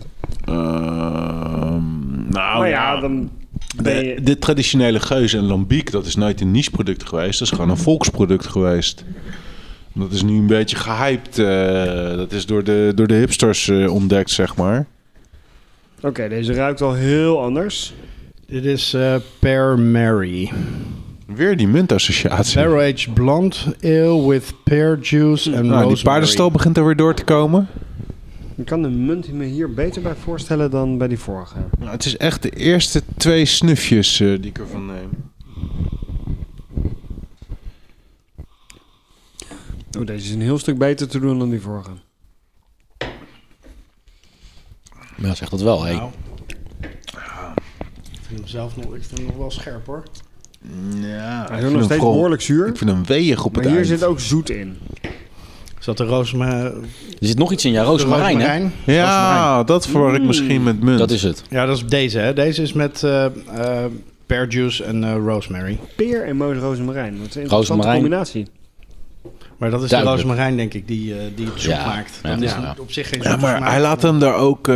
Speaker 3: Ehm, nou
Speaker 2: maar ja, dan ben
Speaker 3: De,
Speaker 2: je...
Speaker 3: de traditionele geus en lambiek, dat is nooit een niche-product geweest. Dat is gewoon een volksproduct geweest. Dat is nu een beetje gehyped. eh, dat is door de, door de hipsters eh, ontdekt, zeg maar.
Speaker 2: Oké, deze ruikt wel heel anders.
Speaker 4: Dit is eh Pear Mary.
Speaker 3: Weer die muntassociatie.
Speaker 4: Barrel Age Blonde Ale with pear juice en
Speaker 3: Nou, die
Speaker 4: rosemary.
Speaker 3: paardenstal begint er weer door te komen.
Speaker 2: Ik kan de munt me hier beter bij voorstellen dan bij die vorige.
Speaker 3: Nou, het is echt de eerste twee snufjes eh, die ik ervan neem.
Speaker 2: Oh, deze is een heel stuk beter te doen dan die vorige.
Speaker 1: Ja, zeg dat wel, hé.
Speaker 4: Nou. Ik vind hem zelf nog, ik vind hem nog wel scherp hoor.
Speaker 3: Ja,
Speaker 2: Hij is ook nog steeds behoorlijk zuur.
Speaker 3: Ik vind hem weeg op
Speaker 2: Maar
Speaker 3: het
Speaker 2: hier
Speaker 3: eind.
Speaker 2: zit ook zoet in.
Speaker 4: Zat de
Speaker 1: Oh,
Speaker 4: roosma-
Speaker 1: Er zit nog iets in jouw rozemarijn, hè?
Speaker 4: roosmarijn?
Speaker 3: Ja, dat verwar ik
Speaker 2: Hmm.
Speaker 3: misschien met munt.
Speaker 1: Dat is het.
Speaker 4: Ja, dat is deze hè. Deze is met eh eh, pear juice en eh, rosemary.
Speaker 2: Peer en moos rozemarijn. Dat is een interessante
Speaker 1: Rozemarijn.
Speaker 2: combinatie.
Speaker 4: Maar dat is
Speaker 1: Duidelijk.
Speaker 4: de roosmarijn denk ik die, eh, die het zoet
Speaker 1: Ja,
Speaker 4: maakt.
Speaker 1: ja,
Speaker 4: Dan is
Speaker 1: ja.
Speaker 4: het op zich geen zoet
Speaker 3: Ja, maar hij laat hem daar ook... eh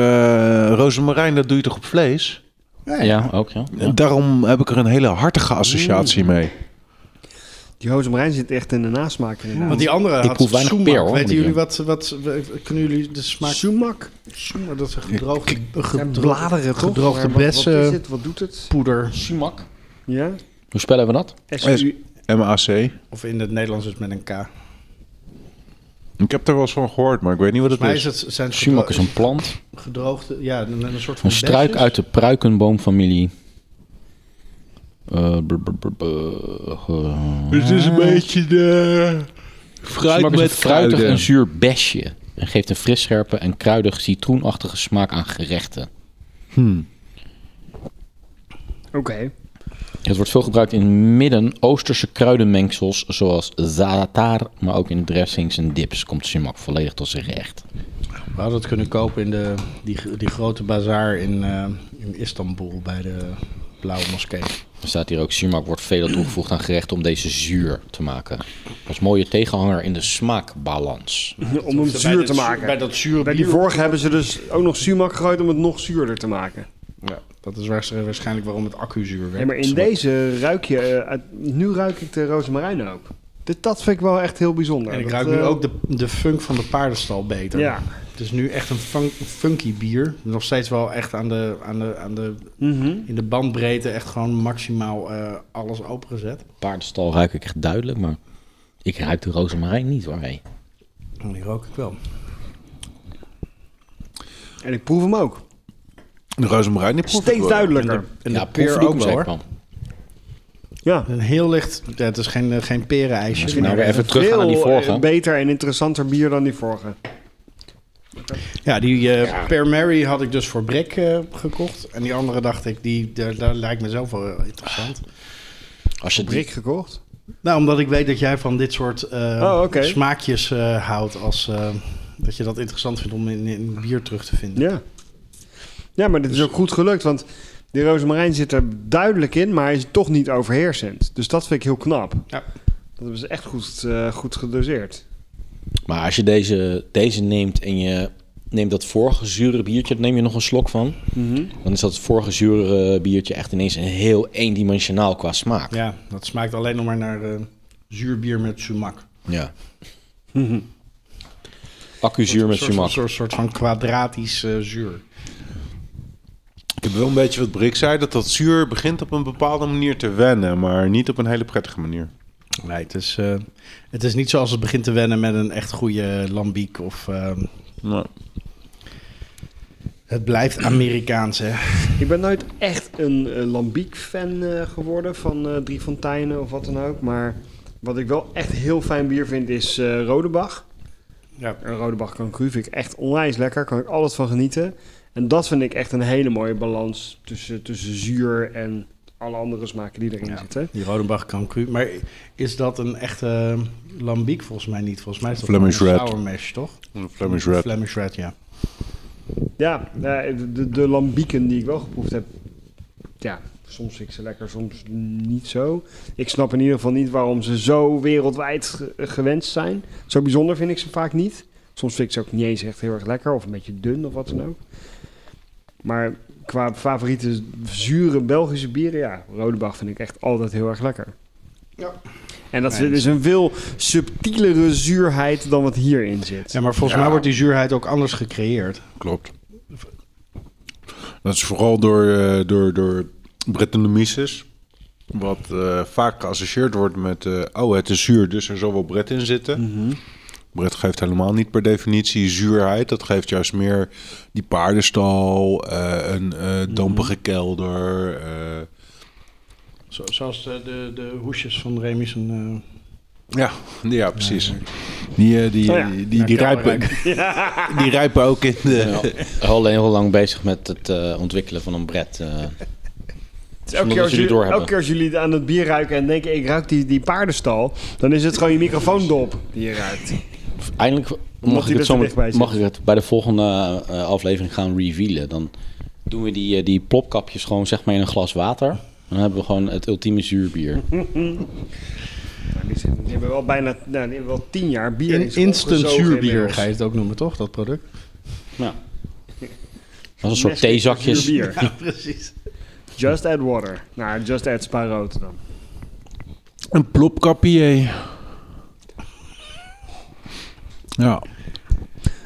Speaker 3: rozemarijn, dat doe je toch op vlees?
Speaker 1: Ja, ook, ja.
Speaker 3: En Daarom heb ik er een hele hartige associatie mee.
Speaker 2: Die rozemarijn zit echt in de nasmaak inderdaad.
Speaker 4: Want die andere had
Speaker 1: proef weinig
Speaker 4: sumac.
Speaker 1: peer, hoor,
Speaker 4: Weten
Speaker 1: die
Speaker 4: jullie
Speaker 1: hier.
Speaker 4: wat, wat... Kunnen jullie de smaak...
Speaker 2: Sumac.
Speaker 4: Sumac, dat is een gedroogde...
Speaker 2: zijn
Speaker 4: gedroogde
Speaker 2: bladeren toch?
Speaker 4: gedroogde
Speaker 2: Maar wat- Wat, is
Speaker 4: bessen.
Speaker 2: het? Wat doet het?
Speaker 4: poeder.
Speaker 1: Sumac.
Speaker 2: Ja?
Speaker 1: Hoe spellen we dat?
Speaker 2: SU.
Speaker 3: MAC.
Speaker 4: Of in het Nederlands is het met een K.
Speaker 3: Ik heb er wel eens van gehoord, maar ik weet niet wat het
Speaker 4: Maar is
Speaker 3: is.
Speaker 4: het, zijn het
Speaker 1: Sumac is
Speaker 4: gedro-
Speaker 1: een plant.
Speaker 4: gedroogde, ja, een, een soort van
Speaker 1: Een struik
Speaker 4: besjes?
Speaker 1: uit de pruikenboomfamilie. Eh, br- br- br- br- eh,
Speaker 3: Het is een beetje de...
Speaker 1: Smaak
Speaker 3: Fruit
Speaker 1: is een fruitig en zuur besje. En geeft een fris scherpe en kruidig citroenachtige smaak aan gerechten.
Speaker 2: Oké.
Speaker 1: Het wordt veel gebruikt in Midden-Oosterse kruidenmengsels zoals zaatar, maar ook in dressings en dips komt sumac volledig tot zijn recht.
Speaker 4: We hadden het kunnen kopen in de, die, die grote bazaar in, eh, in Istanbul bij de Blauwe Moskee.
Speaker 1: Er staat hier ook, zuurmaak wordt veelal toegevoegd aan gerecht om deze zuur te maken. Als mooie tegenhanger in de smaakbalans.
Speaker 2: Om hem
Speaker 4: Bij
Speaker 2: zuur
Speaker 4: dat
Speaker 2: te
Speaker 4: zu-
Speaker 2: maken.
Speaker 4: Bij dat zure
Speaker 2: Bij die
Speaker 4: bier.
Speaker 2: vorige hebben ze dus ook nog sumac gegooid om het nog zuurder te maken.
Speaker 4: Ja, dat is waarsch- waarschijnlijk waarom het accuzuur werd.
Speaker 2: Nee, maar in deze ruik je... eh, uit- nu ruik ik de rozemarijn ook. Dit, dat vind ik wel echt heel bijzonder.
Speaker 4: En ik
Speaker 2: Dat,
Speaker 4: ruik nu
Speaker 2: eh,
Speaker 4: ook de, de funk van de paardenstal beter.
Speaker 2: Ja.
Speaker 4: Het is nu echt een fun- funky bier. Nog steeds wel echt aan de, aan de, aan de,
Speaker 2: mhm.
Speaker 4: in de bandbreedte echt gewoon maximaal eh, alles opengezet.
Speaker 1: Paardenstal ruik ik echt duidelijk, maar ik ruik de rozemarijn niet waarmee.
Speaker 4: En Oh, die rook ik wel.
Speaker 2: En ik proef hem ook.
Speaker 3: De rozemarijn, die proef ik
Speaker 2: Steeds
Speaker 3: wel.
Speaker 2: duidelijker.
Speaker 4: En
Speaker 1: ja,
Speaker 4: de peer
Speaker 1: proefdoek
Speaker 4: ook wel
Speaker 1: zeg
Speaker 4: hoor.
Speaker 1: man.
Speaker 2: Ja.
Speaker 4: Een heel licht, ja, het is geen, eh, geen perenijsje.
Speaker 1: Nou, weer
Speaker 4: maar-
Speaker 1: even terug naar die
Speaker 2: Veel,
Speaker 1: vorige.
Speaker 2: eh, beter en interessanter bier dan die vorige.
Speaker 4: Ja, die eh Per Mary had ik dus voor Brick eh, gekocht. En die andere dacht ik, die, daar, daar lijkt me zelf wel eh, interessant.
Speaker 1: Als je die,
Speaker 2: Brik gekocht.
Speaker 4: Nou, omdat ik weet dat jij van dit soort eh,
Speaker 2: Oh, oké.
Speaker 4: smaakjes eh, houdt. Als, eh, dat je dat interessant vindt om in, in bier terug te vinden.
Speaker 2: Ja. Dus- Ja, maar dit is ook goed gelukt, want die rozemarijn zit er duidelijk in, maar hij is toch niet overheersend. Dus dat vind ik heel knap.
Speaker 4: Ja.
Speaker 2: Dat hebben ze echt goed, eh, goed gedoseerd.
Speaker 1: maar als je deze, deze neemt en je neemt dat vorige zure biertje, daar neem je nog een slok van.
Speaker 4: Mhm.
Speaker 1: Dan is dat vorige zure eh, biertje echt ineens een heel eendimensionaal qua smaak.
Speaker 4: Ja, dat smaakt alleen nog maar naar eh, zuur bier met sumac.
Speaker 1: Ja. Accuzuur met
Speaker 4: Mhm. Een soort,
Speaker 1: sumac.
Speaker 4: soort, soort van kwadratisch eh, zuur.
Speaker 3: Ik heb wel een beetje wat Brik zei, dat dat zuur begint op een bepaalde manier te wennen, maar niet op een hele prettige manier.
Speaker 4: Nee, het is, eh, het is niet zoals het begint te wennen met een echt goede lambiek. Of, eh,
Speaker 3: Nou,
Speaker 4: het blijft Amerikaans, hè.
Speaker 2: Ik ben nooit echt een eh, lambiek-fan eh, geworden van eh Drie Fonteinen of wat dan ook. Maar wat ik wel echt heel fijn bier vind is eh Rodebach.
Speaker 4: Ja.
Speaker 2: Een Rodebach kan vind ik echt onwijs lekker. Kan ik altijd van genieten. En dat vind ik echt een hele mooie balans tussen, tussen zuur en alle andere smaken die erin
Speaker 4: Ja.
Speaker 2: zitten.
Speaker 4: Die Rodenbach kan cru. Maar is dat een echte lambiek? Volgens mij niet. Volgens mij is dat
Speaker 3: Flemish
Speaker 4: een
Speaker 3: Red.
Speaker 4: sour mash, toch?
Speaker 3: een Flemish Red.
Speaker 4: Flemish Red, ja.
Speaker 2: Ja, eh, de- de, de lambieken die ik wel geproefd heb. Ja, soms vind ik ze lekker, soms niet zo. Ik snap in ieder geval niet waarom ze zo wereldwijd ge- gewenst zijn. Zo bijzonder vind ik ze vaak niet. Soms vind ik ze ook niet eens echt heel erg lekker of een beetje dun of wat dan ook. Maar qua favoriete zure Belgische bieren, ja, Rodebach vind ik echt altijd heel erg lekker.
Speaker 4: Ja.
Speaker 2: En dat
Speaker 4: Eens.
Speaker 2: is een veel subtielere zuurheid dan wat hierin zit.
Speaker 4: Ja, maar volgens mij wordt die zuurheid ook anders gecreëerd.
Speaker 3: Klopt. Dat is vooral door, eh, door, door Brettanomyces. Wat eh, vaak geassocieerd wordt met... eh, oh, het is zuur, dus er zal wel Bret in zitten. Bret geeft helemaal niet per definitie zuurheid. Dat geeft juist meer die paardenstal, eh, een eh dampige kelder. eh,
Speaker 4: Zo- zoals de, de, de hoesjes van Remy zijn... eh,
Speaker 3: ja, ja, precies. Die, eh, die,
Speaker 2: Oh ja,
Speaker 3: die, die, die,
Speaker 4: ja,
Speaker 3: rijpen, [LAUGHS] die rijpen ook in de...
Speaker 1: Ja. Al heel lang bezig met het eh, ontwikkelen van een bret. eh.
Speaker 2: Elke
Speaker 1: Zonder dat
Speaker 2: keer, als
Speaker 1: jullie
Speaker 2: jullie,
Speaker 1: doorhebben.
Speaker 2: elke keer als jullie aan het bier ruiken en denken ik ruik die, die paardenstal, dan is het gewoon je microfoondop die je ruikt.
Speaker 1: Eindelijk
Speaker 2: Omdat
Speaker 1: mag
Speaker 2: hij
Speaker 1: ik,
Speaker 2: er
Speaker 1: het zo
Speaker 2: te dichtbij zit.
Speaker 1: mag ik het bij de volgende eh, aflevering gaan revealen. Dan doen we die, eh, die plopkapjes gewoon zeg maar in een glas water. Dan hebben we gewoon het ultieme zuurbier.
Speaker 2: [LAUGHS] Nou, die, zitten- die hebben wel bijna nou, die hebben wel tien jaar bier. die
Speaker 4: in,
Speaker 2: is
Speaker 4: instant
Speaker 2: opgezogen
Speaker 4: zuurbier
Speaker 2: inmiddels.
Speaker 4: ga je het ook noemen, toch? Dat product.
Speaker 1: Ja. Dat is een soort
Speaker 2: Nesquik
Speaker 1: theezakjes.
Speaker 2: zuurbier.
Speaker 4: Ja, precies.
Speaker 2: Just add water. Nou, just add spa rood dan.
Speaker 3: Een plopkapier. Ja.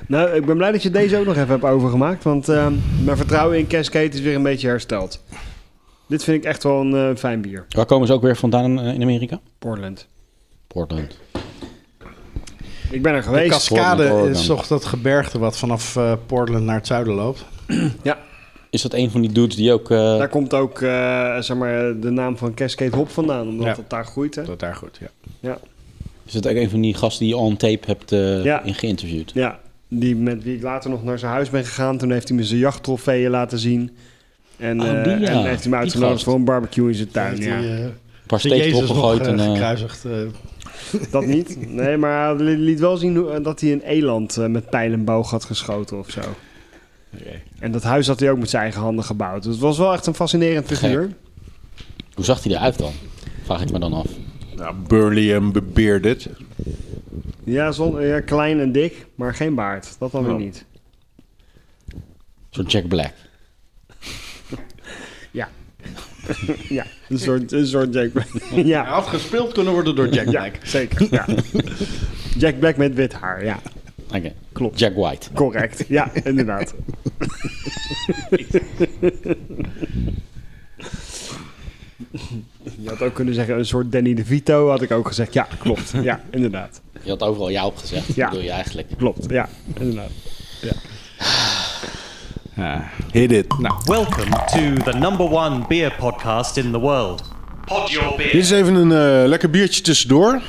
Speaker 2: Nou, ik ben blij dat je deze ook nog even hebt overgemaakt, want ehm, mijn vertrouwen in Cascade is weer een beetje hersteld. Dit vind ik echt wel een eh, fijn bier.
Speaker 1: Waar komen ze ook weer vandaan eh, in Amerika?
Speaker 2: Portland.
Speaker 1: Portland.
Speaker 2: Ik ben er
Speaker 4: De
Speaker 2: geweest.
Speaker 4: cascade
Speaker 1: Oregon.
Speaker 4: is toch dat gebergte wat vanaf eh, Portland naar het zuiden loopt.
Speaker 1: Is dat een van die dudes die ook... eh,
Speaker 2: Daar komt ook eh, zeg maar, de naam van Cascade Hop vandaan, omdat
Speaker 4: Ja.
Speaker 2: dat daar groeit. Hè?
Speaker 4: Dat daar goed, ja.
Speaker 1: is dat ook een van die gasten die je on tape hebt eh,
Speaker 2: Ja.
Speaker 1: in geïnterviewd?
Speaker 2: Ja, die met wie ik later nog naar zijn huis ben gegaan. Toen heeft hij me zijn jachttrofeeën laten zien. En,
Speaker 1: Oh,
Speaker 2: eh,
Speaker 1: die, ja.
Speaker 2: en heeft hij me
Speaker 1: Die
Speaker 2: uitgenodigd
Speaker 1: gast.
Speaker 2: voor een barbecue in zijn tuin.
Speaker 4: Die,
Speaker 2: ja.
Speaker 4: eh,
Speaker 1: paar
Speaker 4: De
Speaker 1: steekjes
Speaker 4: Jezus nog
Speaker 1: opgegooid.
Speaker 4: eh,
Speaker 1: en, eh,
Speaker 4: gekruisigd. eh.
Speaker 2: Dat niet. Nee, maar hij li- liet wel zien hoe- eh, dat hij een eland eh, met pijl en boog had geschoten of zo. En dat huis had hij ook met zijn eigen handen gebouwd. Dus het was wel echt een fascinerend figuur.
Speaker 1: hoe zag hij eruit dan? Vraag ik me dan af.
Speaker 3: Nou, burly en bebearded.
Speaker 2: Ja, zon, ja, klein en dik, maar geen baard. Dat dan weer
Speaker 1: Oh.
Speaker 3: Ja.
Speaker 2: niet.
Speaker 1: Zo'n Jack Black.
Speaker 2: Ja. [LAUGHS] ja, een soort, een soort Jack Black. [LAUGHS] ja.
Speaker 4: Hij had gespeeld kunnen worden door Jack
Speaker 2: ja,
Speaker 4: Black. [LAUGHS]
Speaker 2: zeker. Ja. Jack Black met wit haar, ja.
Speaker 1: Oké.
Speaker 2: Klopt.
Speaker 1: Jack White.
Speaker 2: Correct, ja, inderdaad. Je had ook kunnen zeggen een soort Danny DeVito, had ik ook gezegd. Ja, klopt. Ja, inderdaad.
Speaker 1: Je had overal ja op gezegd.
Speaker 2: Ja.
Speaker 1: Bedoel je eigenlijk.
Speaker 2: Klopt, ja, inderdaad.
Speaker 3: Hit it. Nou,
Speaker 5: Welcome to the number one beer podcast in the world. Pod your beer.
Speaker 3: Dit is even een eh, lekker biertje tussendoor.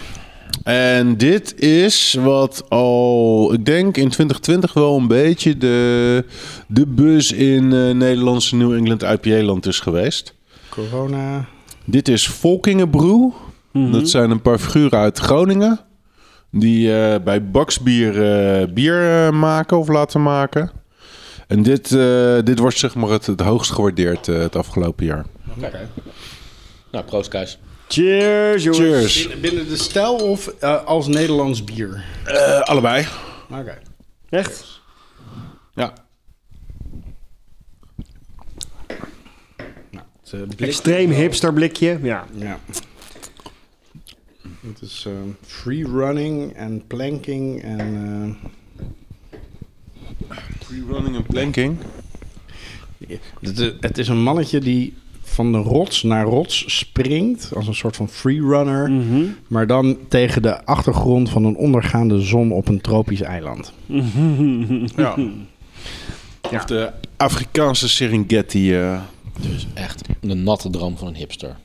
Speaker 3: En dit is wat al, ik denk in 2020 wel een beetje de, de bus in eh, Nederlandse New England IPA-land is geweest.
Speaker 4: Corona.
Speaker 3: Dit is Volkingenbroe.
Speaker 2: Mhm.
Speaker 3: Dat zijn een paar figuren uit Groningen. Die eh, bij Baksbier eh, bier eh, maken of laten maken. En dit, eh, dit wordt zeg maar het, het hoogst gewaardeerd eh, het afgelopen jaar.
Speaker 1: Nou, proost Kuis.
Speaker 2: Cheers, jongens.
Speaker 3: Cheers.
Speaker 4: Binnen, binnen de stijl of eh, als Nederlands bier?
Speaker 3: Eh, allebei.
Speaker 4: Oké.
Speaker 2: Echt?
Speaker 3: Ja.
Speaker 4: Nou, het, eh, blik-
Speaker 2: Extreem hipster blikje. Ja,
Speaker 4: Ja. [LAUGHS] Het is eh, free running en planking en... eh,
Speaker 3: Pre-running en planking.
Speaker 4: Het, eh, het is een mannetje die van de rots naar rots springt, als een soort van freerunner, maar dan tegen de achtergrond van een ondergaande zon op een tropisch eiland.
Speaker 3: Ja. Of de Afrikaanse Serengeti. eh.
Speaker 1: Dus echt de natte droom van een hipster.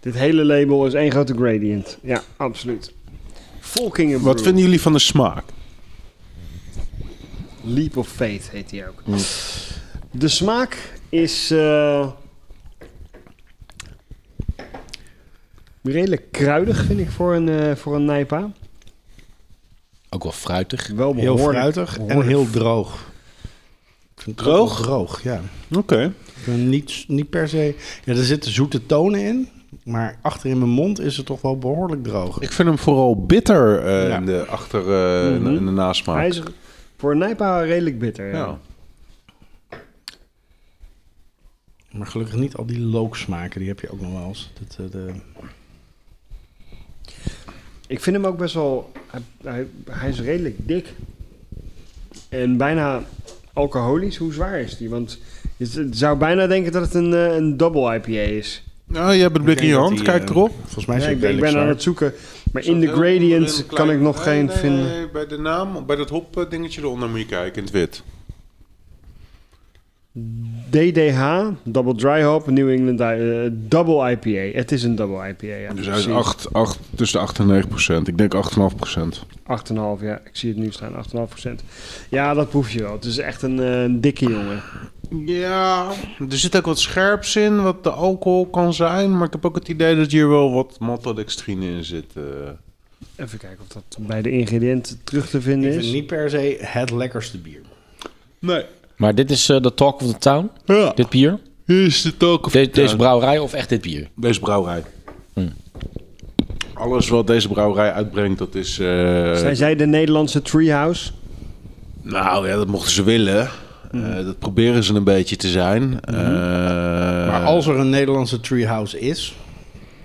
Speaker 2: dit hele label is één grote gradient. Ja, absoluut. Volkingen
Speaker 3: Wat vinden jullie van de smaak?
Speaker 2: Leap of Faith heet die ook. De smaak is eh, redelijk kruidig, vind ik, voor een, eh voor een Nijpa.
Speaker 1: Ook wel fruitig.
Speaker 2: Wel
Speaker 4: Heel
Speaker 2: behoorlijk-
Speaker 4: fruitig en
Speaker 2: behoorlijk-
Speaker 4: heel droog. Ik vind het ook
Speaker 3: Droog?
Speaker 4: wel Droog, ja.
Speaker 3: Oké.
Speaker 4: Ik vind het Niet, niet per se... Ja, er zitten zoete tonen in, maar achter in mijn mond is het toch wel behoorlijk droog.
Speaker 3: Ik vind hem vooral bitter eh,
Speaker 4: Ja.
Speaker 3: in, de achter, eh, in de- in de nasmaak.
Speaker 2: Mhm. Hij is voor een Nijpa redelijk bitter. Ja.
Speaker 3: Ja.
Speaker 4: Maar gelukkig niet al die looksmaken, die heb je ook nog wel eens. Dat, eh, de,
Speaker 2: Ik vind hem ook best wel. Hij, hij, hij is redelijk dik. En bijna alcoholisch. Hoe zwaar is die? Want je zou bijna denken dat het een, eh, een double IPA is.
Speaker 3: Nou, je hebt het blik in je hand. Kijk erop.
Speaker 4: Volgens mij is
Speaker 2: eh,
Speaker 4: het
Speaker 2: Ja, ik ben, ik
Speaker 4: redelijk
Speaker 2: ben aan
Speaker 4: zwaar.
Speaker 2: het zoeken. Maar in de gradient kan ik nog geen vinden.
Speaker 3: eh, bij de naam, bij dat hop eh, dingetje eronder moet je kijken in het wit.
Speaker 2: DDH, Double Dry Hop, New England eh, Double IPA. Het is een Double IPA, ja.
Speaker 3: Dus hij is
Speaker 2: Precies.
Speaker 3: 8, 8, tussen de 8 en 9 procent. Ik denk 8,5 procent.
Speaker 2: 8,5, ja. Ik zie het nu staan, 8,5%. Ja, dat proef je wel. Het is echt een, eh, een dikke jongen.
Speaker 3: Ja, er zit ook wat scherps in, wat de alcohol kan zijn. Maar ik heb ook het idee dat hier wel wat maltodextrine in zit. eh.
Speaker 2: Even kijken of dat bij de ingrediënten terug te vinden
Speaker 4: Ik
Speaker 2: is.
Speaker 4: vind niet per se het lekkerste bier.
Speaker 3: Nee.
Speaker 1: Maar dit is eh, de talk of the town,
Speaker 3: Ja,
Speaker 1: dit bier.
Speaker 3: hier is de talk of
Speaker 1: De-
Speaker 3: town.
Speaker 1: deze brouwerij of echt dit bier?
Speaker 3: Deze brouwerij. Hmm. Alles wat deze brouwerij uitbrengt, dat is... eh,
Speaker 2: Zijn zij de Nederlandse Treehouse?
Speaker 3: Nou ja, dat mochten ze willen. Eh, dat proberen ze een beetje te zijn. Eh,
Speaker 4: Maar als er een Nederlandse Treehouse is,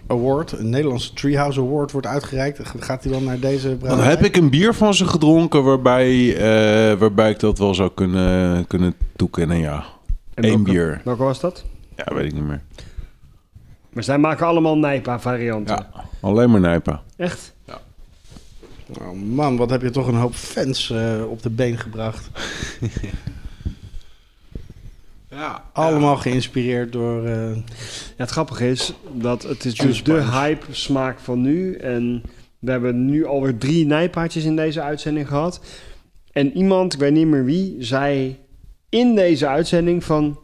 Speaker 4: award, een Nederlandse Treehouse Award wordt uitgereikt, gaat die dan naar deze
Speaker 3: Dan
Speaker 4: brouwerij?
Speaker 3: heb ik een bier van ze gedronken waarbij, eh, waarbij ik dat wel zou kunnen, kunnen toekennen, ja.
Speaker 2: En
Speaker 3: Eén
Speaker 2: welke-
Speaker 3: bier.
Speaker 2: Welke was dat?
Speaker 3: Ja, weet ik niet meer.
Speaker 2: Maar zij maken allemaal Nijpa-varianten.
Speaker 3: Ja, alleen maar Nijpa.
Speaker 2: Echt?
Speaker 4: Oh man, wat heb je toch een hoop fans eh, op de been
Speaker 3: [LAUGHS]
Speaker 4: gebracht.
Speaker 3: Ja.
Speaker 4: Allemaal geïnspireerd door... eh,
Speaker 2: Ja, het grappige is dat het is dus de hype smaak van nu. En we hebben nu alweer drie nijpaardjes in deze uitzending gehad. En iemand, ik weet niet meer wie, zei in deze uitzending van...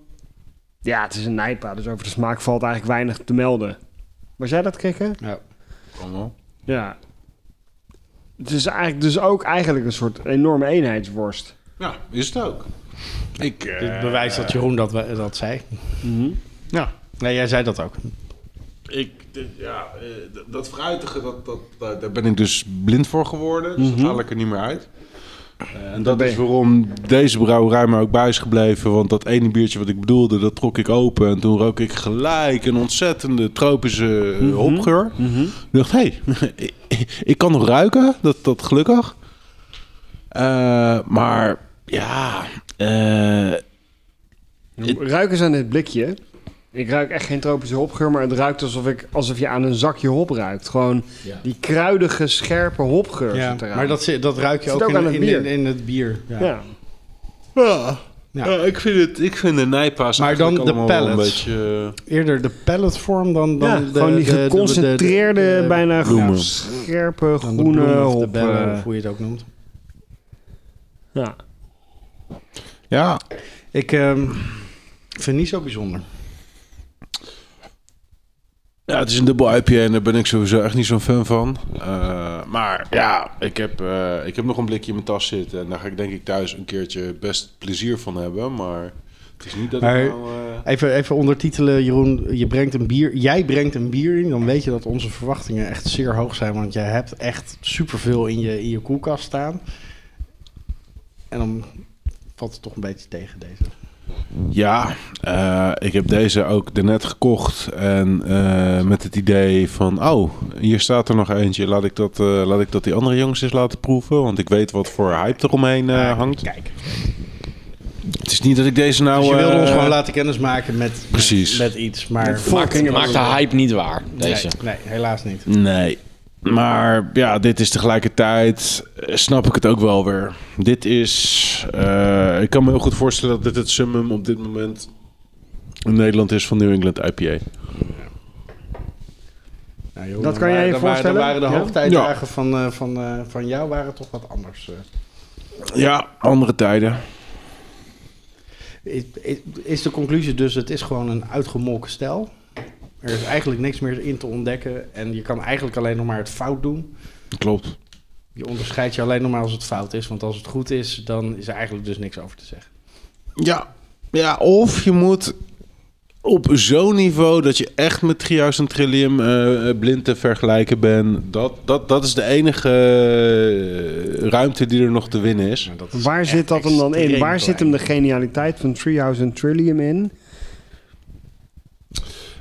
Speaker 2: Ja, het is een nijpa, dus over de smaak valt eigenlijk weinig te melden. Maar Was jij dat kikken?
Speaker 4: Ja.
Speaker 3: Kan wel.
Speaker 2: Ja. Het is eigenlijk dus ook eigenlijk een soort enorme eenheidsworst.
Speaker 3: Ja, is het ook. Ik, eh,
Speaker 4: Dit bewijst dat Jeroen dat, we- dat zei.
Speaker 3: Mhm.
Speaker 4: Ja. Nee, jij zei dat ook.
Speaker 3: Ik, dit- ja, eh, d- dat fruitige, dat, dat, daar- daar ben ik dus blind voor geworden. Dus dat haal ik er niet meer uit. Eh, en dat
Speaker 2: Mhm. ben
Speaker 3: is
Speaker 2: je.
Speaker 3: waarom deze brouwerij maar ook bij is gebleven. Want dat ene biertje wat ik bedoelde, dat trok ik open. En toen rook ik gelijk een ontzettende tropische eh,
Speaker 2: Mhm.
Speaker 3: hopgeur. Ik dacht, hé, hey, [LAUGHS] ik kan nog ruiken. Dat, dat gelukkig. Eh, maar ja, eh,
Speaker 2: Ruik eens aan dit blikje. Ik ruik echt geen tropische hopgeur, maar het ruikt alsof, ik, alsof je aan een zakje hop ruikt. Gewoon die kruidige, scherpe hopgeur
Speaker 4: Ja.
Speaker 2: zit eraan.
Speaker 4: Maar dat, zit- dat ruik je
Speaker 2: Zit
Speaker 4: ook,
Speaker 2: ook
Speaker 4: in,
Speaker 2: aan het
Speaker 4: in,
Speaker 2: bier.
Speaker 4: in, in het bier. Ja.
Speaker 2: ja.
Speaker 3: Ja.
Speaker 4: Ja.
Speaker 3: Eh, ik, vind het, ik vind de nijpaas
Speaker 4: Maar
Speaker 3: eigenlijk
Speaker 4: dan de
Speaker 3: allemaal wel
Speaker 4: pellets.
Speaker 3: Een beetje, eh,
Speaker 4: Eerder de palletvorm dan, dan
Speaker 2: Ja,
Speaker 4: de,
Speaker 2: gewoon die
Speaker 4: de- de- de- de-
Speaker 2: geconcentreerde,
Speaker 4: de- de-
Speaker 2: bijna
Speaker 3: bloemen.
Speaker 2: scherpe,
Speaker 4: dan de bloemen
Speaker 2: groene
Speaker 4: of de
Speaker 2: hop.
Speaker 4: bellen,
Speaker 2: eh,
Speaker 4: of hoe je het ook noemt.
Speaker 2: Ja.
Speaker 3: ja,
Speaker 4: Ik ehm, vind het niet zo bijzonder.
Speaker 3: Ja, het is een dubbel IPA en daar ben ik sowieso echt niet zo'n fan van. Eh, maar ja, ik heb, eh, ik heb nog een blikje in mijn tas zitten. En daar ga ik denk ik thuis een keertje best plezier van hebben. Maar het is niet dat
Speaker 4: Maar-
Speaker 3: ik nou... eh,
Speaker 4: Even, even ondertitelen, Jeroen. Je brengt een bier, jij brengt een bier in. Dan weet je dat onze verwachtingen echt zeer hoog zijn. Want jij hebt echt superveel in je, in je koelkast staan. En dan valt het toch een beetje tegen deze.
Speaker 3: Ja, eh, ik heb deze ook daarnet gekocht. En eh, met het idee van, oh, hier staat er nog eentje. Laat ik dat, eh, laat ik dat die andere jongens eens laten proeven. Want ik weet wat voor hype eromheen eh, hangt.
Speaker 4: Kijk.
Speaker 3: Het is niet dat ik deze nou...
Speaker 4: Dus je wilde ons
Speaker 3: eh,
Speaker 4: gewoon laten kennismaken met,
Speaker 3: Precies.
Speaker 4: met, met iets. Maar
Speaker 1: Maakt, maakt de hype niet waar, deze.
Speaker 4: Nee, nee, helaas niet.
Speaker 3: Nee. Maar ja, dit is tegelijkertijd, eh, snap ik het ook wel weer. Dit is, eh, ik kan me heel goed voorstellen dat dit het summum op dit moment in Nederland is van New England IPA.
Speaker 4: Nou, Jeroen, dan
Speaker 2: Dat kan
Speaker 4: waren-
Speaker 2: jij je
Speaker 4: dan waren-
Speaker 2: voorstellen?
Speaker 4: Dan waren
Speaker 2: Ja?
Speaker 4: de hoogtijdagen van, eh, van, eh, van jou waren toch wat anders. eh.
Speaker 3: Ja, andere tijden.
Speaker 4: Is- is- Is de conclusie dus, het is gewoon een uitgemolken stijl. Er is eigenlijk niks meer in te ontdekken. En je kan eigenlijk alleen nog maar het fout doen.
Speaker 3: Klopt.
Speaker 4: Je onderscheidt je alleen nog maar als het fout is. Want als het goed is, dan is er eigenlijk dus niks over te zeggen.
Speaker 3: Ja. ja, of je moet op zo'n niveau dat je echt met Trias en Trillium eh, eh, blind te vergelijken bent. Dat, dat, dat is de enige eh, ruimte die er nog te winnen is.
Speaker 4: Maar dat is
Speaker 2: Waar
Speaker 4: echt
Speaker 2: zit dat hem dan in?
Speaker 4: extreem
Speaker 2: Waar zit hem de
Speaker 4: klein.
Speaker 2: genialiteit van Treehouse en Trillium in?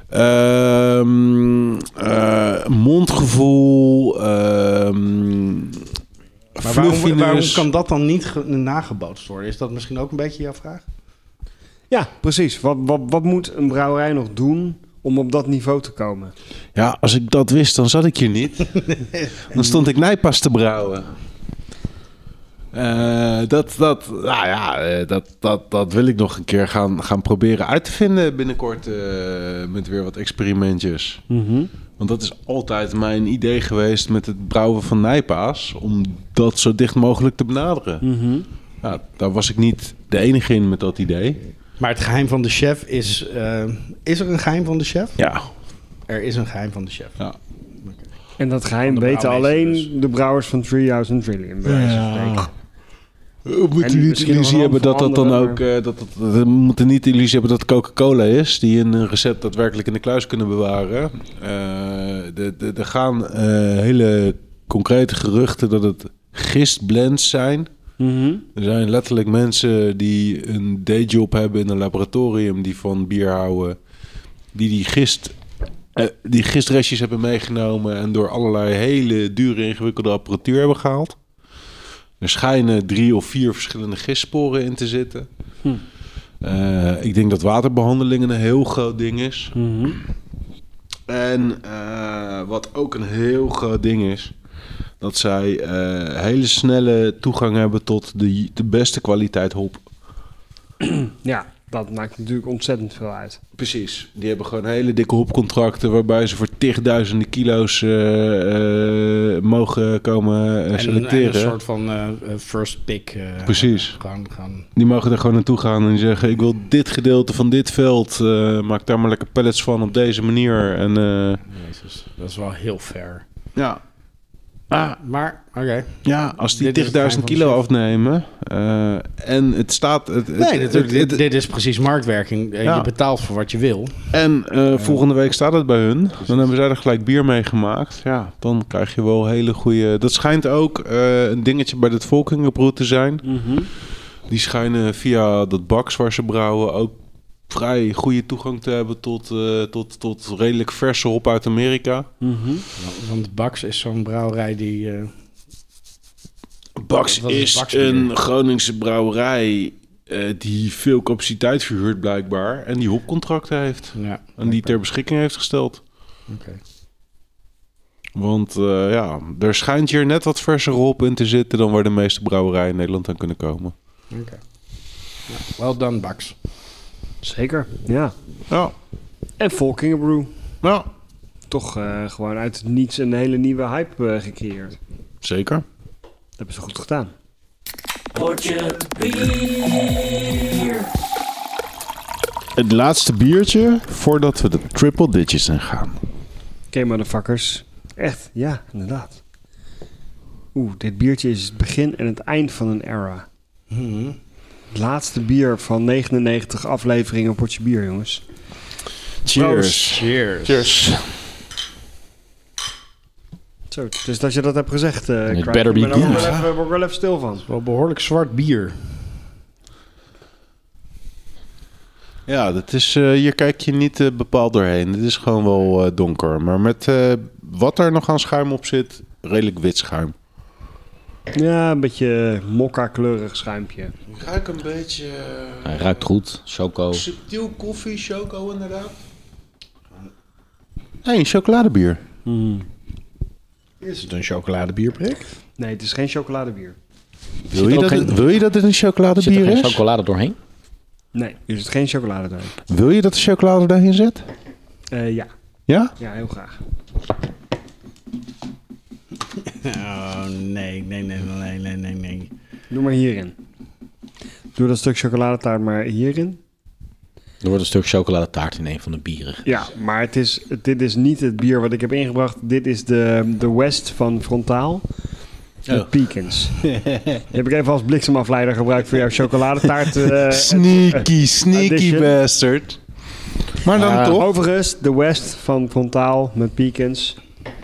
Speaker 3: Ehm, eh, mondgevoel. ehm
Speaker 4: Maar waarom, waarom
Speaker 3: fluffiness.
Speaker 4: kan dat dan niet ge- nagebootst worden? Is dat misschien ook een beetje jouw vraag?
Speaker 2: Ja, precies. Wat, wat, wat moet een brouwerij nog doen om op dat niveau te komen?
Speaker 3: Ja, als ik dat wist, dan zat ik hier niet. dan stond ik nijpas te brouwen. Eh, dat, dat, nou ja, eh, dat, dat, dat wil ik nog een keer gaan, gaan proberen uit te vinden binnenkort eh, met weer wat experimentjes. Want dat is altijd mijn idee geweest met het brouwen van nijpaas. Om dat zo dicht mogelijk te benaderen. Nou, daar was ik niet de enige in met dat idee.
Speaker 4: Maar het geheim van de chef is... eh, is er een geheim van de chef?
Speaker 3: Ja.
Speaker 4: Er is een geheim van de chef.
Speaker 2: En dat geheim
Speaker 4: Van de
Speaker 2: weten alleen
Speaker 4: brouwmeester dus.
Speaker 2: de brouwers van Treehouse en Trillium. bij wijze van spreken.
Speaker 3: We Eh, moeten
Speaker 2: En
Speaker 3: niet de
Speaker 2: misschien nog
Speaker 3: illusie
Speaker 2: een
Speaker 3: hebben dat dat dan
Speaker 2: veranderen,
Speaker 3: ook. eh, dat, dat- we moeten niet de illusie hebben dat Coca-Cola is. Die een eh, recept daadwerkelijk in de kluis kunnen bewaren. Eh, de de- er gaan eh, hele concrete geruchten dat het gistblends zijn.
Speaker 2: Mhm.
Speaker 3: Er zijn letterlijk mensen die een dayjob hebben in een laboratorium die van bier houden. Die die gist, eh, die gistrestjes hebben meegenomen en door allerlei hele dure ingewikkelde apparatuur hebben gehaald. Er schijnen drie of vier verschillende gistsporen in te zitten. Eh, ik denk dat waterbehandeling een heel groot ding is. En eh, wat ook een heel groot ding is, dat zij eh, hele snelle toegang hebben tot de, de beste kwaliteit hop.
Speaker 2: Ja, dat maakt natuurlijk ontzettend veel uit.
Speaker 3: Precies. Die hebben gewoon hele dikke hopcontracten waarbij ze voor tigduizenden kilo's eh, eh, mogen komen eh,
Speaker 4: En, een- en een
Speaker 3: selecteren.
Speaker 4: soort van eh, eh, first pick. eh,
Speaker 3: Precies.
Speaker 4: Gaan, gaan.
Speaker 3: Die mogen er gewoon naartoe gaan en die zeggen: Ik wil dit gedeelte van dit veld. eh, maak daar maar lekker pallets van op deze manier. En, eh,
Speaker 4: Jezus, dat is wel heel fair.
Speaker 3: ja. Ah,
Speaker 4: Maar, oké.
Speaker 3: ja, als die
Speaker 4: Dit is het
Speaker 3: 10.000
Speaker 4: geheim
Speaker 3: kilo
Speaker 4: van
Speaker 3: afnemen eh, en het staat... Het, het-
Speaker 4: Nee, natuurlijk.
Speaker 3: het- het-
Speaker 4: dit, dit is precies marktwerking. Eh,
Speaker 3: Ja.
Speaker 4: Je betaalt voor wat je wil.
Speaker 3: en eh, volgende week staat het bij hun. Dan hebben zij er gelijk bier mee gemaakt. Ja, dan krijg je wel hele goede... Dat schijnt ook eh, een dingetje bij het Volkingenbroed te zijn.
Speaker 4: Mhm.
Speaker 3: Die schijnen via dat baks waar ze brouwen ook vrij goede toegang te hebben tot, eh, tot, tot redelijk verse hop uit Amerika.
Speaker 4: Want Bax is zo'n brouwerij die... eh,
Speaker 3: Bax
Speaker 4: Wat is
Speaker 3: is
Speaker 4: Bax bier?
Speaker 3: een Groningse brouwerij eh, die veel capaciteit verhuurt blijkbaar en die hopcontracten heeft
Speaker 4: ja,
Speaker 3: en die ter beschikking heeft gesteld.
Speaker 4: oké.
Speaker 3: Want eh, ja, er schijnt hier net wat verse hop in te zitten dan waar de meeste brouwerijen in Nederland aan kunnen komen.
Speaker 4: oké. Ja, well done, Bax.
Speaker 2: Zeker, ja.
Speaker 3: Ja,
Speaker 2: En Volkingenbrew.
Speaker 3: ja,
Speaker 2: Toch eh, gewoon uit het niets een hele nieuwe hype eh, gecreëerd.
Speaker 3: zeker.
Speaker 2: Dat hebben ze goed gedaan.
Speaker 3: Het laatste biertje voordat we de triple digits in gaan.
Speaker 2: Oké, motherfuckers. Echt, ja, inderdaad. Oeh, dit biertje is het begin en het eind van een era. Mhm. Het laatste bier van 99 afleveringen Potje Bier, jongens.
Speaker 3: Cheers.
Speaker 4: Cheers.
Speaker 2: Zo, dus dat je dat hebt gezegd, eh
Speaker 1: It
Speaker 2: Craig,
Speaker 1: better
Speaker 2: ik
Speaker 1: be
Speaker 2: ben er ook
Speaker 1: good.
Speaker 2: wel even- word ik wel even stil van.
Speaker 4: Wel behoorlijk zwart bier.
Speaker 3: Ja, dat is, eh, hier kijk je niet eh, bepaald doorheen. Dit is gewoon wel eh, donker. Maar met eh, wat er nog aan schuim op zit, redelijk wit schuim.
Speaker 2: Ja, een beetje mokka-kleurig schuimpje.
Speaker 3: Ik ruik een beetje eh,
Speaker 1: Hij ruikt goed. Choco.
Speaker 3: subtiel koffie, choco inderdaad. Nee, een chocoladebier.
Speaker 4: Is het een chocoladebierprik?
Speaker 2: Nee, het is geen chocoladebier.
Speaker 3: Wil je,
Speaker 1: ook
Speaker 3: dat
Speaker 1: geen-
Speaker 3: het, wil je dat het een
Speaker 1: Zit er
Speaker 3: chocoladebier
Speaker 1: geen
Speaker 3: is?
Speaker 1: chocolade doorheen?
Speaker 2: Nee, er zit geen chocolade doorheen.
Speaker 3: Wil je dat de chocolade daarin zit?
Speaker 2: Eh, ja.
Speaker 3: Ja?
Speaker 2: ja, heel graag.
Speaker 4: Oh, nee, nee, nee, nee, nee, nee, nee.
Speaker 2: Doe maar hierin. Doe dat stuk chocoladetaart maar hierin.
Speaker 1: Er wordt een stuk chocoladetaart in een van de bieren.
Speaker 2: Ja, maar het is, het- dit is niet het bier wat ik heb ingebracht. Dit is de, de West van Frontaal. De
Speaker 4: Oh. [LAUGHS]
Speaker 2: Pekins. Die heb ik even als bliksemafleider gebruikt voor jouw chocoladetaart. eh,
Speaker 3: Sneaky, sneaky
Speaker 2: addition.
Speaker 3: bastard. Maar dan
Speaker 1: Ah.
Speaker 3: toch?
Speaker 2: Overigens, de West van Frontaal met Pekins.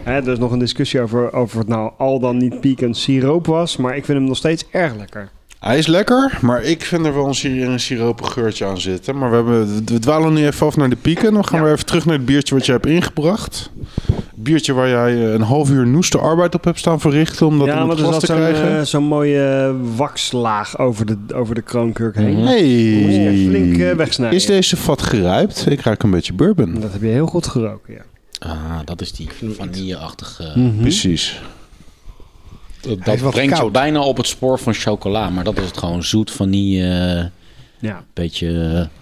Speaker 2: Hè, er is nog een discussie over of het nou al dan niet Pekins siroop was. Maar ik vind hem nog steeds erg lekker.
Speaker 3: Hij is lekker, maar ik vind er wel een, si- een siropig geurtje aan zitten. Maar we, hebben, we dwalen nu even af naar de pieken. Dan gaan we even terug naar het biertje wat jij hebt ingebracht. Het biertje waar jij eh, een half uur noeste arbeid op hebt staan verrichten om dat
Speaker 2: ja,
Speaker 3: in
Speaker 2: want
Speaker 3: het
Speaker 2: er
Speaker 3: glas
Speaker 2: zat
Speaker 3: te
Speaker 2: zo'n
Speaker 3: krijgen.
Speaker 2: eh, zo'n mooie wakslaag over de, over de kroonkurk heen.
Speaker 3: Mhm.
Speaker 2: Moest je
Speaker 3: hey.
Speaker 2: echt flink eh, wegsnijden.
Speaker 3: Is deze vat gerijpt? Ik ruik een beetje bourbon.
Speaker 2: Dat heb je heel goed geroken, ja.
Speaker 1: Ah, dat is die vanilleachtige...
Speaker 3: Hm. Mhm. Precies.
Speaker 1: Dat,
Speaker 4: Hij is wat
Speaker 1: brengt je
Speaker 4: koud.
Speaker 1: bijna op het spoor van chocola. Maar dat is het gewoon zoet vanille... eh,
Speaker 2: ja.
Speaker 1: beetje...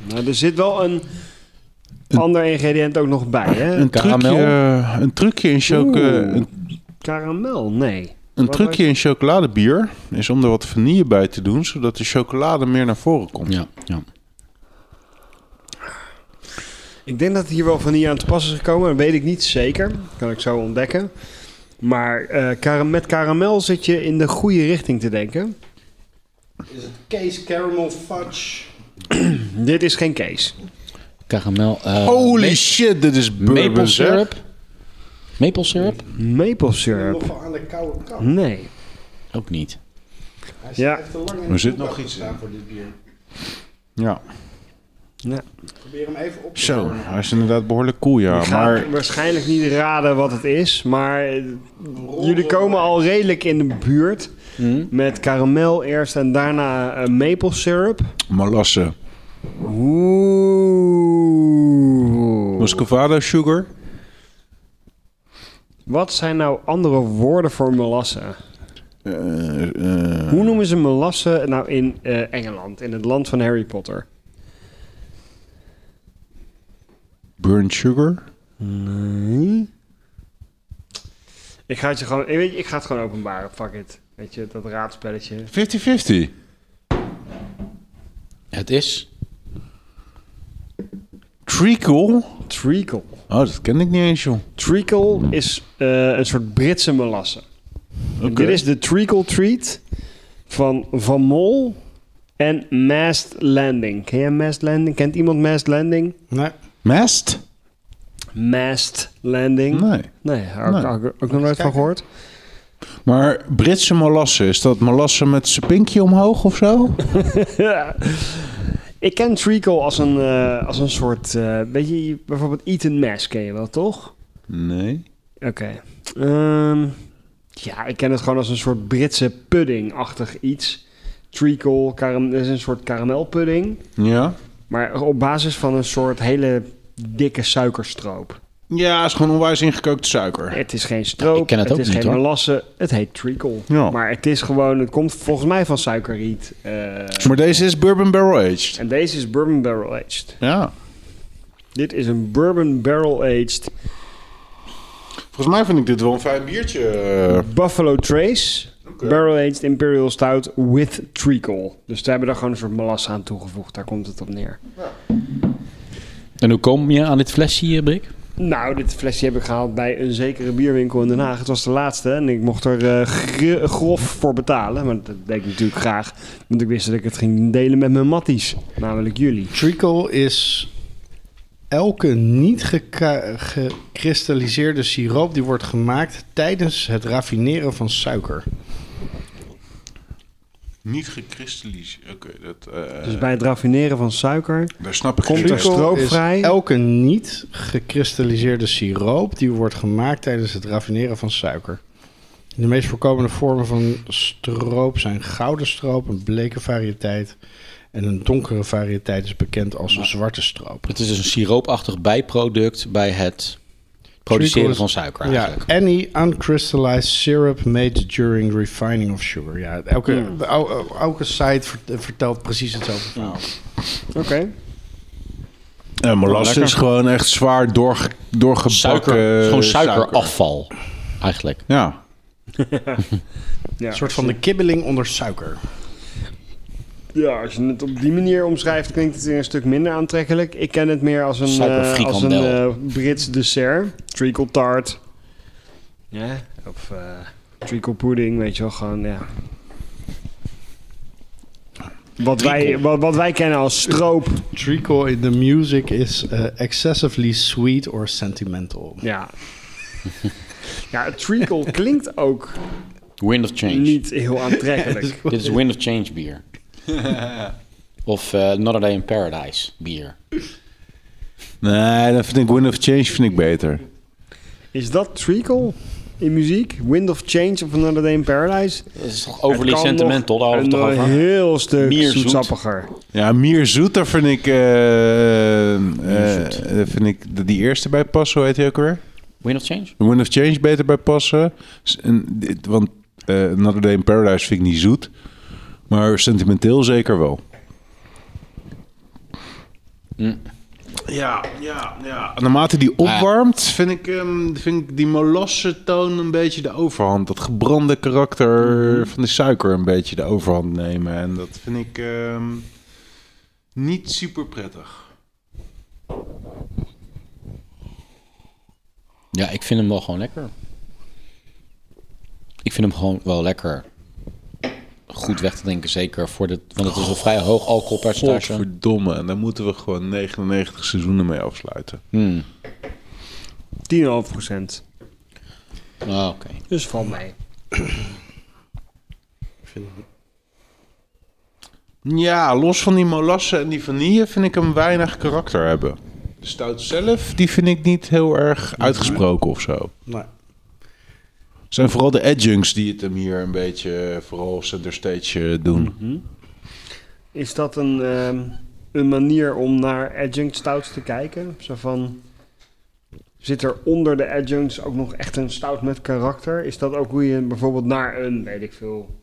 Speaker 1: eh,
Speaker 2: Nou, er zit wel een ander ingrediënt ook nog bij, hè?
Speaker 3: Een trucje, een trucje in choco,
Speaker 2: Oeh.
Speaker 3: een,
Speaker 2: Karamel, nee.
Speaker 3: een
Speaker 2: Wat
Speaker 3: trucje in chocoladebier is om er wat vanille bij te doen, zodat de chocolade meer naar voren komt.
Speaker 1: ja, ja.
Speaker 2: Ik denk dat hier wel vanille aan te pas is gekomen. Dat weet ik niet zeker. Kan ik zo ontdekken. Maar eh, kara- met karamel zit je in de goede richting te denken.
Speaker 4: Is het Case Caramel Fudge?
Speaker 2: Dit is geen case.
Speaker 1: Karamel... eh,
Speaker 3: Holy
Speaker 1: ma-
Speaker 3: shit, dit is bourbon,
Speaker 1: Maple
Speaker 3: zeg.
Speaker 1: syrup? Maple syrup?
Speaker 2: Maple syrup.
Speaker 4: Nog wel aan de koude kant.
Speaker 2: Nee.
Speaker 1: Ook niet.
Speaker 4: Hij
Speaker 2: Ja.
Speaker 4: heeft te lang in
Speaker 3: Er
Speaker 4: de
Speaker 3: zit
Speaker 4: koelkast
Speaker 3: nog iets
Speaker 4: gestaan
Speaker 3: in.
Speaker 4: voor dit bier.
Speaker 3: Ja.
Speaker 2: Ja.
Speaker 4: Probeer hem even op te
Speaker 3: Zo,
Speaker 4: warmen.
Speaker 3: hij is inderdaad behoorlijk cool, ja.
Speaker 2: Ik ga
Speaker 3: Maar
Speaker 2: waarschijnlijk niet raden wat het is, maar eh, jullie komen al redelijk in de buurt. Met karamel eerst en daarna eh, maple syrup.
Speaker 3: malasse,
Speaker 2: Oeh.
Speaker 3: muscovado sugar,
Speaker 2: Wat zijn nou andere woorden voor melasse?
Speaker 3: eh, eh,
Speaker 2: Hoe noemen ze melasse nou in eh, Engeland, in het land van Harry Potter?
Speaker 3: Burnt Sugar?
Speaker 2: Ik ga, het je gewoon, ik, weet, je, ik ga het gewoon openbaren. Fuck it. Weet je, dat raadspelletje.
Speaker 3: 50-50.
Speaker 1: Het is.
Speaker 3: Treacle?
Speaker 2: Treacle.
Speaker 3: Oh, dat ken ik niet eens, joh.
Speaker 2: Treacle is eh, een soort Britse melasse. En Dit is de Treacle Treat van Van Mol en Mast Landing. Ken jij Mast Landing? Kent iemand Mast Landing?
Speaker 4: Nee.
Speaker 3: Mast?
Speaker 2: Mast Landing?
Speaker 3: Nee.
Speaker 2: Nee, daar
Speaker 3: Nee.
Speaker 2: heb ik ook nog nooit van gehoord.
Speaker 3: Maar Britse molassen, is dat molassen met zijn pinkje omhoog of zo?
Speaker 2: Ja. Ik ken treacle als een, eh, als een soort... eh, weet je, bijvoorbeeld Eton Mass ken je wel, toch?
Speaker 3: Nee.
Speaker 2: Oké. Ehm, ja, ik ken het gewoon als een soort Britse pudding-achtig iets. Treacle, karam- dat is een soort karamelpudding.
Speaker 3: Ja?
Speaker 2: Maar op basis van een soort hele dikke suikerstroop.
Speaker 3: Ja, is gewoon onwijs ingekookte suiker.
Speaker 2: Het is geen stroop,
Speaker 1: Ik ken het ook
Speaker 2: is
Speaker 1: niet,
Speaker 2: geen
Speaker 1: hoor.
Speaker 2: melasse, het heet treacle.
Speaker 3: Ja.
Speaker 2: Maar het is gewoon, het komt volgens mij van suikerriet. eh,
Speaker 3: Maar deze is bourbon barrel aged.
Speaker 2: en deze is bourbon barrel aged.
Speaker 3: Ja.
Speaker 2: Dit is een bourbon barrel aged
Speaker 3: Volgens mij vind ik dit wel een fijn biertje. eh.
Speaker 2: Buffalo Trace barrel aged imperial stout with treacle. Dus ze hebben daar gewoon een soort melasse aan toegevoegd. Daar komt het op neer.
Speaker 1: En hoe kom je aan dit flesje, eh, Brik?
Speaker 2: Nou, dit flesje heb ik gehaald bij een zekere bierwinkel in Den Haag. Het was de laatste en ik mocht er eh, gr- grof voor betalen. Maar dat deed ik natuurlijk graag, want ik wist dat ik het ging delen met mijn matties. Namelijk jullie.
Speaker 4: Treacle is elke niet geka- gekristalliseerde siroop die wordt gemaakt tijdens het raffineren van suiker.
Speaker 3: Niet gekristalliseerd. Oké, dat... eh,
Speaker 2: Dus bij het raffineren van suiker.
Speaker 3: daar snap ik
Speaker 2: Komt
Speaker 3: geen
Speaker 2: er
Speaker 3: tekst.
Speaker 2: zo- stroopvrij.
Speaker 4: is elke niet gekristalliseerde siroop die wordt gemaakt tijdens het raffineren van suiker. De meest voorkomende vormen van stroop zijn gouden stroop, een bleke variëteit. En een donkere variëteit is bekend als zwarte stroop.
Speaker 1: Het is dus een siroopachtig bijproduct bij het produceren
Speaker 4: Treacle
Speaker 1: van
Speaker 4: is-
Speaker 1: suiker
Speaker 4: Ja,
Speaker 1: eigenlijk.
Speaker 4: any uncrystallized syrup made during refining of sugar. Ja, elke, de el- el- elke site vert- vertelt precies hetzelfde verhaal.
Speaker 2: Oké.
Speaker 3: Eh, molassen is gewoon echt zwaar doorge, doorgebakken
Speaker 1: Suiker, het is gewoon suikerafval eigenlijk.
Speaker 3: Ja.
Speaker 2: Ja.
Speaker 4: Een soort van de kibbeling onder suiker.
Speaker 2: Ja, als je het op die manier omschrijft, klinkt het weer een stuk minder aantrekkelijk. Ik ken het meer als een, eh, als een
Speaker 1: Suikerfrikandel.
Speaker 2: eh, Brits dessert. Treacle tart. Ja. Of eh, treacle pudding, weet je wel, gewoon, ja. Wat wij, wat, wat wij kennen als stroop.
Speaker 4: Treacle in the music is eh, excessively sweet or sentimental.
Speaker 2: Ja. [LAUGHS] Ja, treacle klinkt ook
Speaker 1: Wind of change.
Speaker 2: niet heel aantrekkelijk.
Speaker 1: Dit
Speaker 2: [LAUGHS]
Speaker 1: is Wind of Change bier. of eh Another Day in Paradise bier.
Speaker 3: Nee, dan vind ik Wind of Change vind ik beter.
Speaker 2: Is dat treacle in muziek? Wind of Change of Another Day in Paradise?
Speaker 1: Dat is toch
Speaker 2: Het
Speaker 1: overly
Speaker 2: kan
Speaker 1: sentimental, daar
Speaker 2: nog
Speaker 1: hadden we het
Speaker 2: een eh,
Speaker 1: toch over.
Speaker 2: heel stuk
Speaker 1: Meer zoet.
Speaker 2: zoetsappiger.
Speaker 3: Ja, meer zoeter vind ik, eh, eh, eh, vind ik de- die eerste bij passen, hoe heet hij ook weer?
Speaker 1: Wind of Change?
Speaker 3: Wind of Change beter bij passen. S- en dit- want eh Another Day in Paradise vind ik niet zoet. Maar sentimenteel zeker wel. Ja, ja, ja. Naarmate die opwarmt, vind, ik, ehm, vind ik die molasse toon een beetje de overhand. Dat gebrande karakter van de suiker een beetje de overhand nemen. En dat vind ik ehm, niet super prettig.
Speaker 1: Ja, ik vind hem wel gewoon lekker. Ik vind hem gewoon wel lekker. Goed weg te denken, zeker. Voor dit, want het is een vrij hoog alcoholpercentage.
Speaker 3: Godverdomme, en daar moeten we gewoon 99 seizoenen mee afsluiten.
Speaker 1: Hmm.
Speaker 2: 10,5 procent.
Speaker 1: Ah, oké.
Speaker 2: Dus van mij.
Speaker 3: Ja, los van die molassen en die vanille vind ik hem weinig karakter hebben. Mhm. De stout zelf, die vind ik niet heel erg uitgesproken of zo.
Speaker 4: Nou,
Speaker 3: Het zijn vooral de adjuncts die het hem hier een beetje, eh, vooral center stage eh, doen.
Speaker 2: Is dat een, ehm, een manier om naar adjunct stouts te kijken? Zo van, zit er onder de adjuncts ook nog echt een stout met karakter? Is dat ook hoe je bijvoorbeeld naar een, weet ik veel,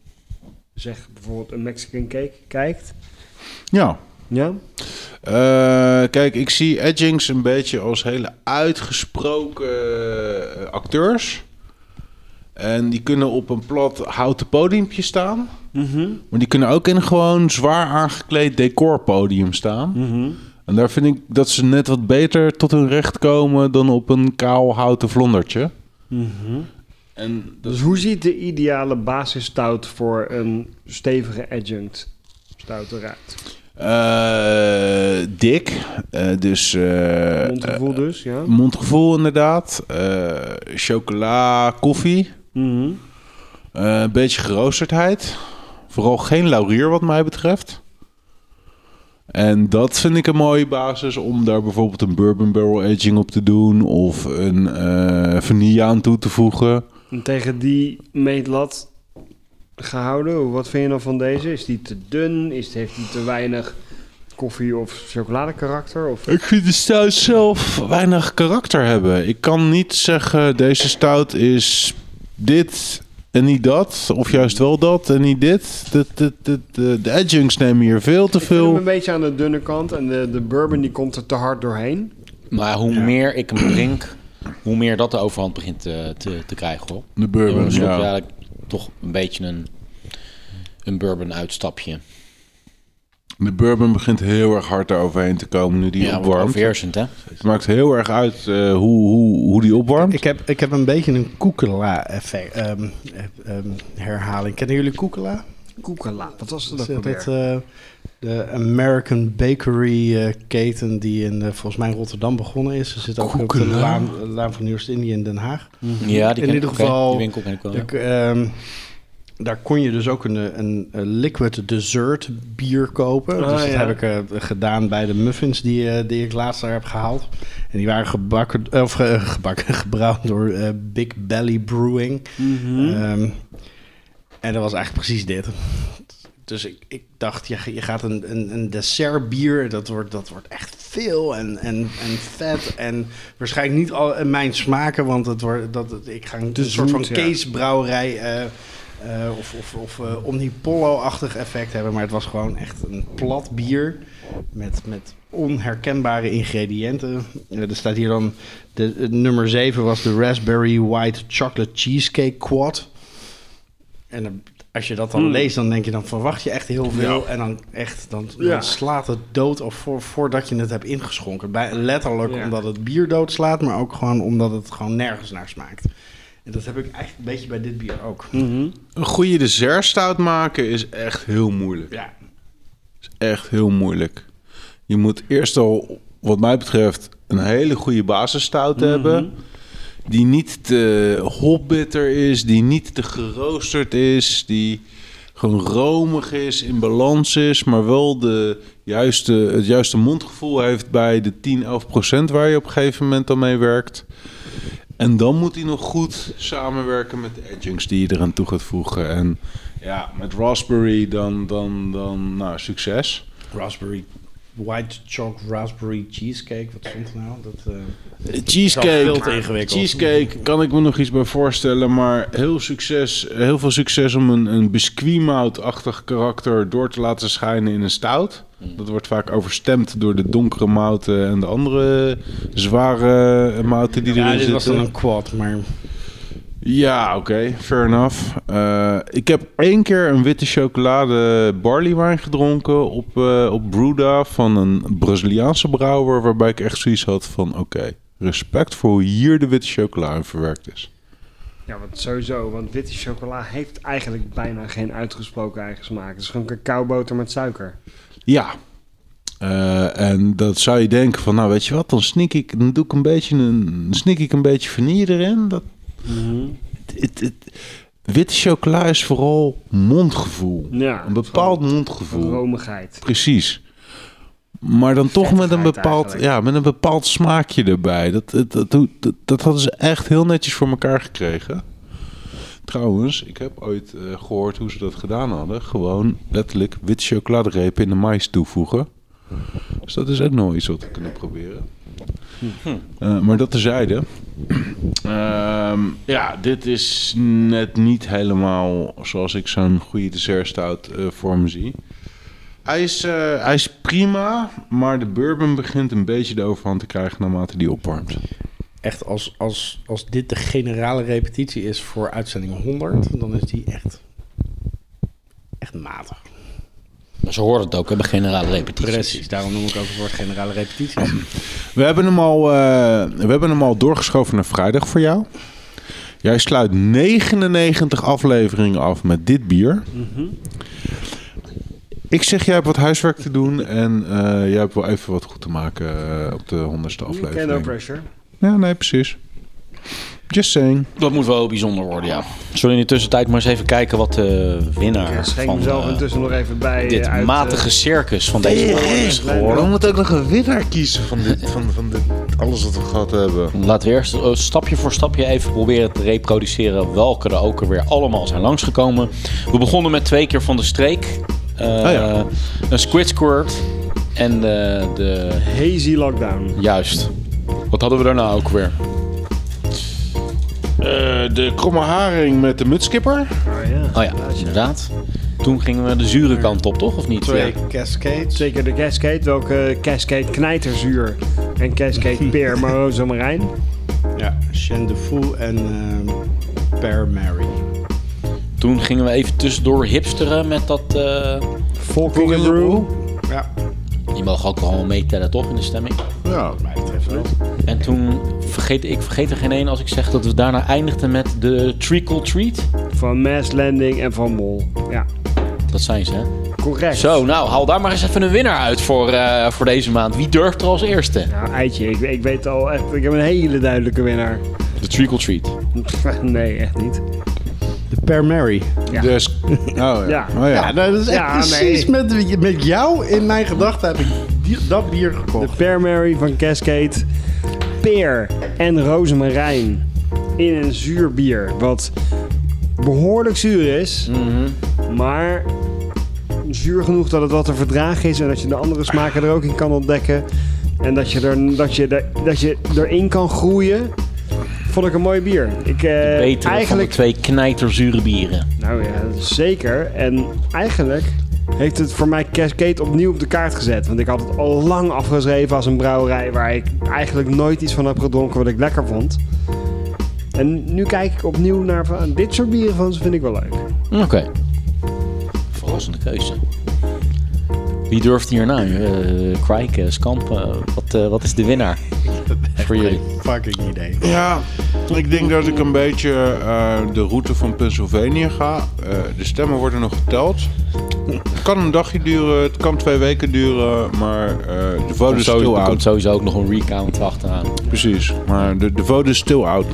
Speaker 2: zeg bijvoorbeeld een Mexican cake kijkt?
Speaker 3: Ja,
Speaker 2: Ja?
Speaker 3: Eh, kijk, ik zie Edgings een beetje als hele uitgesproken eh, acteurs. En die kunnen op een plat houten podiumpje staan. Maar die kunnen ook in een gewoon zwaar aangekleed decorpodium staan. En daar vind ik dat ze net wat beter tot hun recht komen dan op een kaal houten vlondertje. En dat
Speaker 2: Dus hoe ziet de ideale basisstout voor een stevige adjunct stout eruit?
Speaker 3: eh, dik. Eh, dus. eh,
Speaker 2: Mondgevoel dus, ja?
Speaker 3: Mondgevoel inderdaad. Eh, chocola, koffie.
Speaker 2: Mhm.
Speaker 3: Eh, een beetje geroosterdheid. Vooral geen laurier wat mij betreft. En dat vind ik een mooie basis om daar bijvoorbeeld een bourbon barrel aging op te doen. Of een eh vanille aan toe te voegen.
Speaker 2: En tegen die meetlat gehouden, hoe- wat vind je dan van deze? Is die te dun? Is, heeft die te weinig koffie- of chocoladekarakter? Of...
Speaker 3: Ik vind de stout zelf weinig karakter hebben. Ik kan niet zeggen deze stout is dit en niet dat. Of juist wel dat en niet dit. De, de, de, de, de adjuncts nemen hier veel te
Speaker 2: Ik vind hem
Speaker 3: veel.
Speaker 2: een beetje aan de dunne kant en de, de bourbon die komt er te hard doorheen.
Speaker 1: Maar hoe meer ik hem drink, hoe meer dat de overhand begint te, te, te krijgen, hoor.
Speaker 3: De
Speaker 1: Dan
Speaker 3: bourbon,
Speaker 1: wordt het
Speaker 3: ja.
Speaker 1: eigenlijk toch een beetje een, een bourbon-uitstapje.
Speaker 3: De bourbon begint heel erg hard eroverheen te komen nu die
Speaker 1: Ja, wordt
Speaker 3: opwarmt.
Speaker 1: overheersend, hè?
Speaker 3: Het maakt heel erg uit eh, hoe, hoe, hoe die opwarmt.
Speaker 4: Ik heb, ik heb een beetje een koekela-effect. ehm, ehm, herhaling. Kennen jullie koekela?
Speaker 2: Koekela, wat was dat
Speaker 4: Dat
Speaker 2: ook
Speaker 4: is dat,
Speaker 2: alweer?
Speaker 4: eh, de American Bakery eh, keten die in, eh, volgens mij in Rotterdam begonnen is. Ze zit ook op de
Speaker 3: Koekela?
Speaker 4: laan, laan van Nieuw-Indië in Den Haag.
Speaker 2: Mhm.
Speaker 1: Ja, die
Speaker 4: in
Speaker 1: ken ik,
Speaker 4: ieder
Speaker 1: oké,
Speaker 4: geval,
Speaker 1: die winkel ken ik wel. ja.
Speaker 4: de- ehm, daar kon je dus ook een, een, een liquid dessert bier kopen.
Speaker 2: Ah,
Speaker 4: dus dat
Speaker 2: ja.
Speaker 4: heb ik eh, gedaan bij de muffins die, eh, die ik laatst daar heb gehaald. En die waren gebakken, of ge- eh, gebakken, [LAUGHS] gebrouwd door eh, Big Belly Brewing.
Speaker 2: Mhm.
Speaker 4: Ehm, en dat was eigenlijk precies dit. Dus ik, ik dacht, je, je gaat een, een, een dessertbier, dat wordt, dat wordt echt veel en, en, en vet. En waarschijnlijk niet al in mijn smaken, want het wordt, dat, het- ik ga een,
Speaker 2: Te
Speaker 4: soort van
Speaker 2: zoet, ja.
Speaker 4: casebrouwerij eh, eh, of, of, of eh, Omnipollo-achtig effect hebben. Maar het was gewoon echt een plat bier met, met onherkenbare ingrediënten. Eh, er staat hier dan, de, het nummer 7 was de Raspberry White Chocolate Cheesecake Quad. En dan- als je dat dan leest, dan denk je, dan verwacht je echt heel veel. En dan echt, dan, dan
Speaker 2: Ja.
Speaker 4: slaat het dood al voor, voordat je het hebt ingeschonken. Bij, letterlijk
Speaker 2: Ja.
Speaker 4: omdat het bier dood slaat, maar ook gewoon omdat het gewoon nergens naar smaakt. En dat heb ik eigenlijk een beetje bij dit bier ook.
Speaker 3: Een goede dessertstout maken is echt heel moeilijk.
Speaker 4: Ja.
Speaker 3: Is echt heel moeilijk. Je moet eerst al, wat mij betreft, een hele goede basisstout hebben. Die niet te hopbitter is, die niet te geroosterd is, die gewoon romig is, in balans is, maar wel de juiste, het juiste mondgevoel heeft bij de 10, 11 procent waar je op een gegeven moment al mee werkt. En dan moet hij nog goed samenwerken met de adjuncts die je eraan toe gaat voegen. En ja, met Raspberry dan, dan, dan nou, succes.
Speaker 4: Raspberry, white chalk raspberry cheesecake, wat stond er nou? Dat, eh, Veel te
Speaker 3: Cheesecake,
Speaker 4: ingewikkeld.
Speaker 3: cheesecake kan ik me nog iets bij voorstellen, maar heel, succes, heel veel succes om een, een biscuitmoutachtig karakter door te laten schijnen in een stout.
Speaker 4: Hmm.
Speaker 3: Dat wordt vaak overstemd door de donkere mouten en de andere zware mouten die erin
Speaker 4: ja, dit
Speaker 3: zitten.
Speaker 4: was dan een quad, maar
Speaker 3: Ja, oké, fair enough. Eh, ik heb één keer een witte chocolade barleywijn gedronken op, eh op Bruda van een Braziliaanse brouwer, waarbij ik echt zoiets had van, oké, respect voor hoe hier de witte chocolade in verwerkt is.
Speaker 2: Ja, want sowieso, want witte chocola heeft eigenlijk bijna geen uitgesproken eigen smaak. Het is gewoon cacaoboter met suiker.
Speaker 3: Ja. Eh, en dat zou je denken van, nou weet je wat, dan sneak ik, dan doe ik een beetje een, sneak ik een beetje vanille erin. Dat, het, het, het- witte chocola is vooral mondgevoel.
Speaker 2: Ja,
Speaker 3: een bepaald
Speaker 2: Van
Speaker 3: mondgevoel.
Speaker 2: romigheid.
Speaker 3: Precies. Maar dan toch met een,
Speaker 2: Vettigheid
Speaker 3: bepaald,
Speaker 2: eigenlijk.
Speaker 3: ja, met een bepaald smaakje erbij. Dat, dat, dat, dat, dat hadden ze echt heel netjes voor elkaar gekregen. Trouwens, ik heb ooit eh, gehoord hoe ze dat gedaan hadden. Gewoon letterlijk witte chocoladerepen in de mais toevoegen. Dus dat is ook nog iets wat we kunnen proberen. Eh, maar dat terzijde. Ehm ja, dit is net niet helemaal zoals ik zo'n goede dessertstout eh voor me zie. Hij is, eh, hij is prima, maar de bourbon begint een beetje de overhand te krijgen naarmate die opwarmt.
Speaker 4: Echt, als, als, als dit de generale repetitie is voor uitzending 100, dan is die echt, echt matig.
Speaker 1: Maar ze horen het ook, we hebben generale repetities.
Speaker 4: Precies, daarom noem ik ook het woord generale repetitie.
Speaker 3: We hebben hem al, eh, we hebben hem al doorgeschoven naar vrijdag voor jou. Jij sluit 99 afleveringen af met dit bier. Ik zeg, jij hebt wat huiswerk te doen en eh, jij hebt wel even wat goed te maken eh, op de honderdste
Speaker 2: Okay, no
Speaker 3: aflevering.
Speaker 2: pressure.
Speaker 3: Ja, nee, precies. Just saying.
Speaker 1: Dat moet wel bijzonder worden, ja. Zullen we in de tussentijd maar eens even kijken wat de winnaar
Speaker 2: Ik schenk
Speaker 1: van
Speaker 2: mezelf
Speaker 1: eh,
Speaker 2: intussen nog even bij.
Speaker 1: dit
Speaker 2: eh, uit, eh,
Speaker 1: matige circus van deze oorlog is geworden?
Speaker 3: moet ook nog een winnaar kiezen van, dit, van, van dit, alles wat we gehad hebben?
Speaker 1: Laten we eerst eh, stapje voor stapje even proberen te reproduceren welke er ook weer allemaal zijn langsgekomen. We begonnen met twee keer van de streek. eh,
Speaker 3: ja.
Speaker 1: Een Squid Squirt en de, de...
Speaker 2: hazy lockdown.
Speaker 1: Juist. Wat hadden we daarna ook weer?
Speaker 3: Eh, de kromme haring met de mutskipper.
Speaker 2: Oh, ja.
Speaker 1: Oh ja, inderdaad. Toen gingen we de zure kant op, toch? Of niet?
Speaker 4: [CLEARS THROAT] Twee
Speaker 1: Ja.
Speaker 4: cascades.
Speaker 2: Zeker de Cascade, welke Cascade knijterzuur en Cascade peer marozamarijn.
Speaker 4: Ja, Shen de Fou en ehm Per Mary.
Speaker 1: Toen gingen we even tussendoor hipsteren met dat... eh,
Speaker 2: Volking Brew.
Speaker 4: Ja,
Speaker 1: Die mogen ook wel meetellen, toch? In de stemming.
Speaker 3: Ja,
Speaker 4: mij betreft wel.
Speaker 1: En toen vergeet ik vergeet er geen één als ik zeg dat we daarna eindigden met de Treacle Treat.
Speaker 2: Van Mass Landing en van Mol. Ja,
Speaker 1: Dat zijn ze, hè?
Speaker 2: correct.
Speaker 1: Zo, nou, haal daar maar eens even een winnaar uit voor, eh, voor deze maand. Wie durft er als eerste?
Speaker 2: Nou, eitje, ik, ik weet al echt, ik heb een hele duidelijke winnaar. [LAUGHS]
Speaker 1: De Treacle Treat.
Speaker 4: Eh,
Speaker 2: nee, echt niet.
Speaker 4: De Per Mary.
Speaker 2: Ja.
Speaker 3: Dus, oh ja.
Speaker 2: Ja.
Speaker 3: Oh, ja.
Speaker 4: dat is echt
Speaker 2: Ja,
Speaker 4: precies
Speaker 2: nee.
Speaker 4: met, met jou in mijn gedachten heb ik die- dat bier
Speaker 2: De
Speaker 4: gekocht.
Speaker 2: Pear Mary van Cascade. Peer en rozemarijn in een zuur bier. Wat behoorlijk zuur is,
Speaker 1: Mhm.
Speaker 2: maar zuur genoeg dat het wat te verdragen is. En dat je de andere smaken er ook in kan ontdekken. En dat je, er, dat je, er- dat je erin kan groeien. Vond ik een mooi bier. Ik, eh,
Speaker 1: Betere van de
Speaker 2: eigenlijk,
Speaker 1: twee knijterzure bieren.
Speaker 2: Nou ja, zeker. En eigenlijk heeft het voor mij Cascade opnieuw op de kaart gezet. Want ik had het al lang afgeschreven als een brouwerij waar ik eigenlijk nooit iets van heb gedronken wat ik lekker vond. En nu kijk ik opnieuw naar van, dit soort bieren van ze vind ik wel leuk.
Speaker 1: Oké.
Speaker 4: Mm.
Speaker 1: Verrassende keuze. Wie durft hierna? Eh Krijk, eh, Skamp, eh, wat, eh, wat is de
Speaker 4: [LAUGHS]
Speaker 1: winnaar? voor jullie.
Speaker 4: Fucking idee.
Speaker 3: Ja, ik denk dat ik een beetje eh, de route van Pennsylvania ga. Eh, de stemmen worden nog geteld. Het kan een dagje duren, het kan twee weken duren, maar eh, de vote
Speaker 4: dus
Speaker 1: Er
Speaker 3: is still
Speaker 1: komt
Speaker 3: out.
Speaker 1: sowieso ook nog een recount achteraan.
Speaker 3: Precies, maar de, de vote is still out.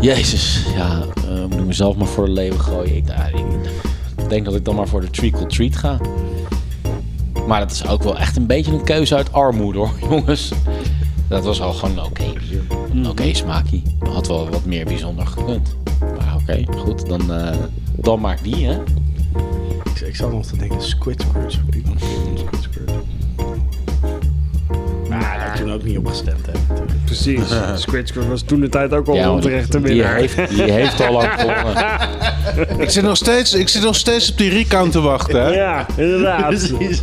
Speaker 1: Jezus, ja, eh, moet ik mezelf maar voor de leeuwen gooien. Ik, nou, ik- ik denk dat ik dan maar voor de treacle treat ga. Maar dat is ook wel echt een beetje een keuze uit armoede hoor, [LAUGHS] jongens. Dat was al gewoon een oké bier. Een oké
Speaker 2: Mhm.
Speaker 1: smaakie. Had wel wat meer bijzonder gekund. Maar oké, goed, dan, eh, dan maak die hè.
Speaker 4: Ik, ik zat nog te denken, Squid Squirt. zou ik die nog een keer doen, Squid Squirt. Maar daar heb ik toen ook niet op gestemd. Hè.
Speaker 2: Precies. [LAUGHS] Squid Squad was toen de tijd ook al
Speaker 1: Ja, want
Speaker 2: onterecht te
Speaker 1: die, die,
Speaker 2: winnaar.
Speaker 1: heeft, die heeft al lang
Speaker 2: [LAUGHS]
Speaker 1: gewonnen.
Speaker 3: Ik zit nog steeds, ik zit nog steeds op die recount te wachten. Hè?
Speaker 2: Ja,
Speaker 1: [LAUGHS]
Speaker 2: inderdaad.
Speaker 4: [LAUGHS] Precies.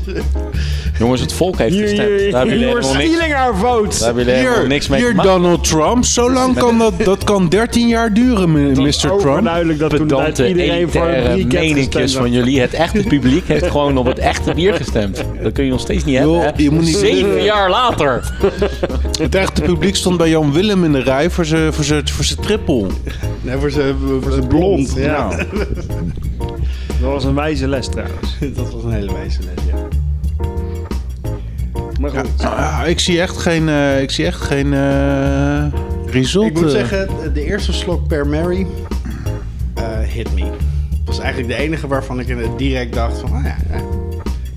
Speaker 1: Jongens, het volk heeft
Speaker 2: Hier,
Speaker 1: gestemd. Daar
Speaker 2: hier,
Speaker 1: hebben jullie
Speaker 2: you're
Speaker 1: helemaal niks,
Speaker 2: stealing our
Speaker 1: daar
Speaker 2: vote.
Speaker 1: hebben jullie helemaal
Speaker 3: Hier,
Speaker 1: niks mee te
Speaker 3: hier
Speaker 1: maken.
Speaker 3: Donald Trump. Zo lang kan dat, dat kan 13 jaar duren, mi- Mr. Trump.
Speaker 2: duidelijk dat toen de tijd
Speaker 1: pedante,
Speaker 2: iedereen voor een
Speaker 1: elitaire
Speaker 2: recap gestemd
Speaker 1: meninkjes
Speaker 2: had.
Speaker 1: van jullie. Het echte publiek heeft gewoon op het echte bier gestemd. Dat kun je nog steeds niet
Speaker 3: Joh,
Speaker 1: hebben. hè?
Speaker 3: je moet niet-
Speaker 1: Zeven jaar later.
Speaker 3: Het echte publiek stond bij Jan Willem in de rij voor zijn voor zijn- voor zijn triple.
Speaker 4: Nee, voor zijn voor zijn blond.
Speaker 2: Ja.
Speaker 3: Nou.
Speaker 2: [LAUGHS] Dat was een wijze les trouwens.
Speaker 4: [LAUGHS] Dat was een hele wijze les, ja.
Speaker 2: Maar goed.
Speaker 3: Ah, ik zie echt geen, eh, ik zie echt geen eh, result.
Speaker 4: Ik moet
Speaker 3: eh.
Speaker 4: zeggen, de eerste slok per Mary eh, hit me. Het was eigenlijk de enige waarvan ik in- direct dacht van, ah ja, ja.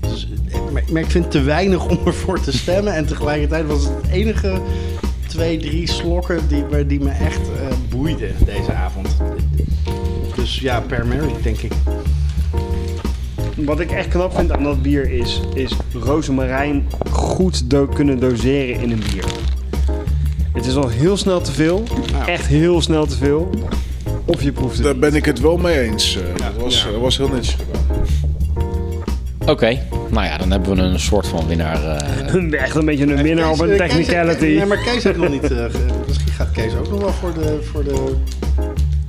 Speaker 4: Dus, eh, maar, maar ik vind het te weinig om ervoor te stemmen. En tegelijkertijd was het de enige twee, drie slokken die, me- die me echt eh, boeiden deze avond. Dus ja, per Mary denk ik.
Speaker 2: Wat ik echt knap vind aan dat bier is, is rozemarijn goed do- kunnen doseren in een bier. Het is al heel snel te veel. Echt heel snel te veel. Of je proeft het.
Speaker 4: eh,
Speaker 3: Daar ben ik het wel mee eens. Eh, dat, was, dat was heel netjes gedaan.
Speaker 1: Oké, Nou ja, dan hebben we een soort van winnaar. eh,
Speaker 2: Echt een beetje een winnaar Nou, op
Speaker 4: Kees,
Speaker 2: een
Speaker 4: eh, Kees-
Speaker 2: technicality.
Speaker 4: Nee, maar Kees heeft nog niet... eh, ge- misschien gaat Kees ook nog wel voor de... Voor de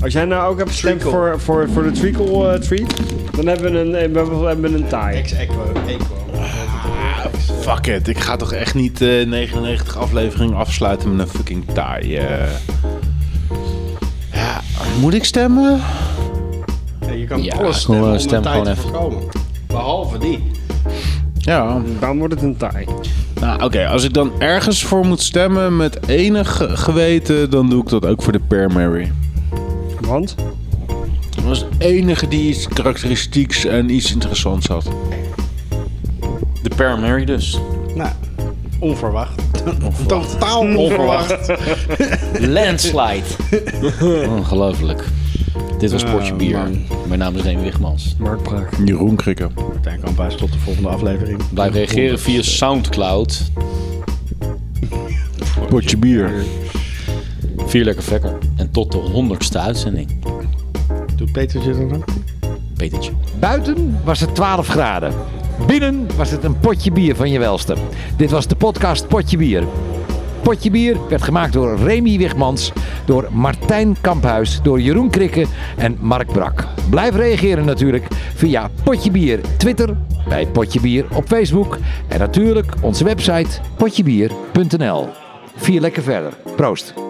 Speaker 2: Als jij nou ook hebt gestemd
Speaker 4: Treacle.
Speaker 2: voor, voor, voor de treacle eh, treat, dan hebben we een, eh, we hebben- we hebben een tie.
Speaker 4: ex-equo.
Speaker 3: Fuck it, ik ga toch echt niet eh, 99 afleveringen afsluiten met een fucking taai. eh. Ja, moet ik stemmen?
Speaker 4: je kan
Speaker 1: Ja,
Speaker 4: alles
Speaker 1: gewoon,
Speaker 4: stemmen
Speaker 1: eh,
Speaker 4: om
Speaker 1: stem
Speaker 4: een tijd
Speaker 1: gewoon
Speaker 4: te
Speaker 1: even.
Speaker 4: voorkomen. Behalve die.
Speaker 3: Ja.
Speaker 2: Dan wordt het een tie.
Speaker 3: Nou, oké, als ik dan ergens voor moet stemmen met enig geweten, dan doe ik dat ook voor de Per Mary.
Speaker 2: Want?
Speaker 3: Dat was de enige die iets karakteristieks en iets interessants had.
Speaker 1: De Per Mary dus.
Speaker 4: Nou, onverwacht. Totaal onverwacht.
Speaker 1: [LAUGHS] Landslide. Ongelooflijk. Dit was Portje Bier.
Speaker 4: man.
Speaker 1: Mijn naam is Reen Wigmans.
Speaker 2: Mark Braak.
Speaker 3: Jeroen Krikke.
Speaker 4: Martijn Kamphuis, tot de volgende aflevering.
Speaker 1: Blijf reageren via Soundcloud.
Speaker 3: Potje bier.
Speaker 1: Vier lekker vekker. En tot de honderdste uitzending.
Speaker 4: Doet Petertje dat dan?
Speaker 1: Petertje.
Speaker 7: Buiten was het 12 graden. Binnen was het een potje bier van je welste. Dit was de podcast Potje Bier. Potje Bier werd gemaakt door Remy Wigmans, door Martijn Kamphuis, door Jeroen Krikke en Mark Brak. Blijf reageren natuurlijk via Potje Bier Twitter, bij Potje Bier op Facebook en natuurlijk onze website potjebier.nl. Vier lekker verder. Proost.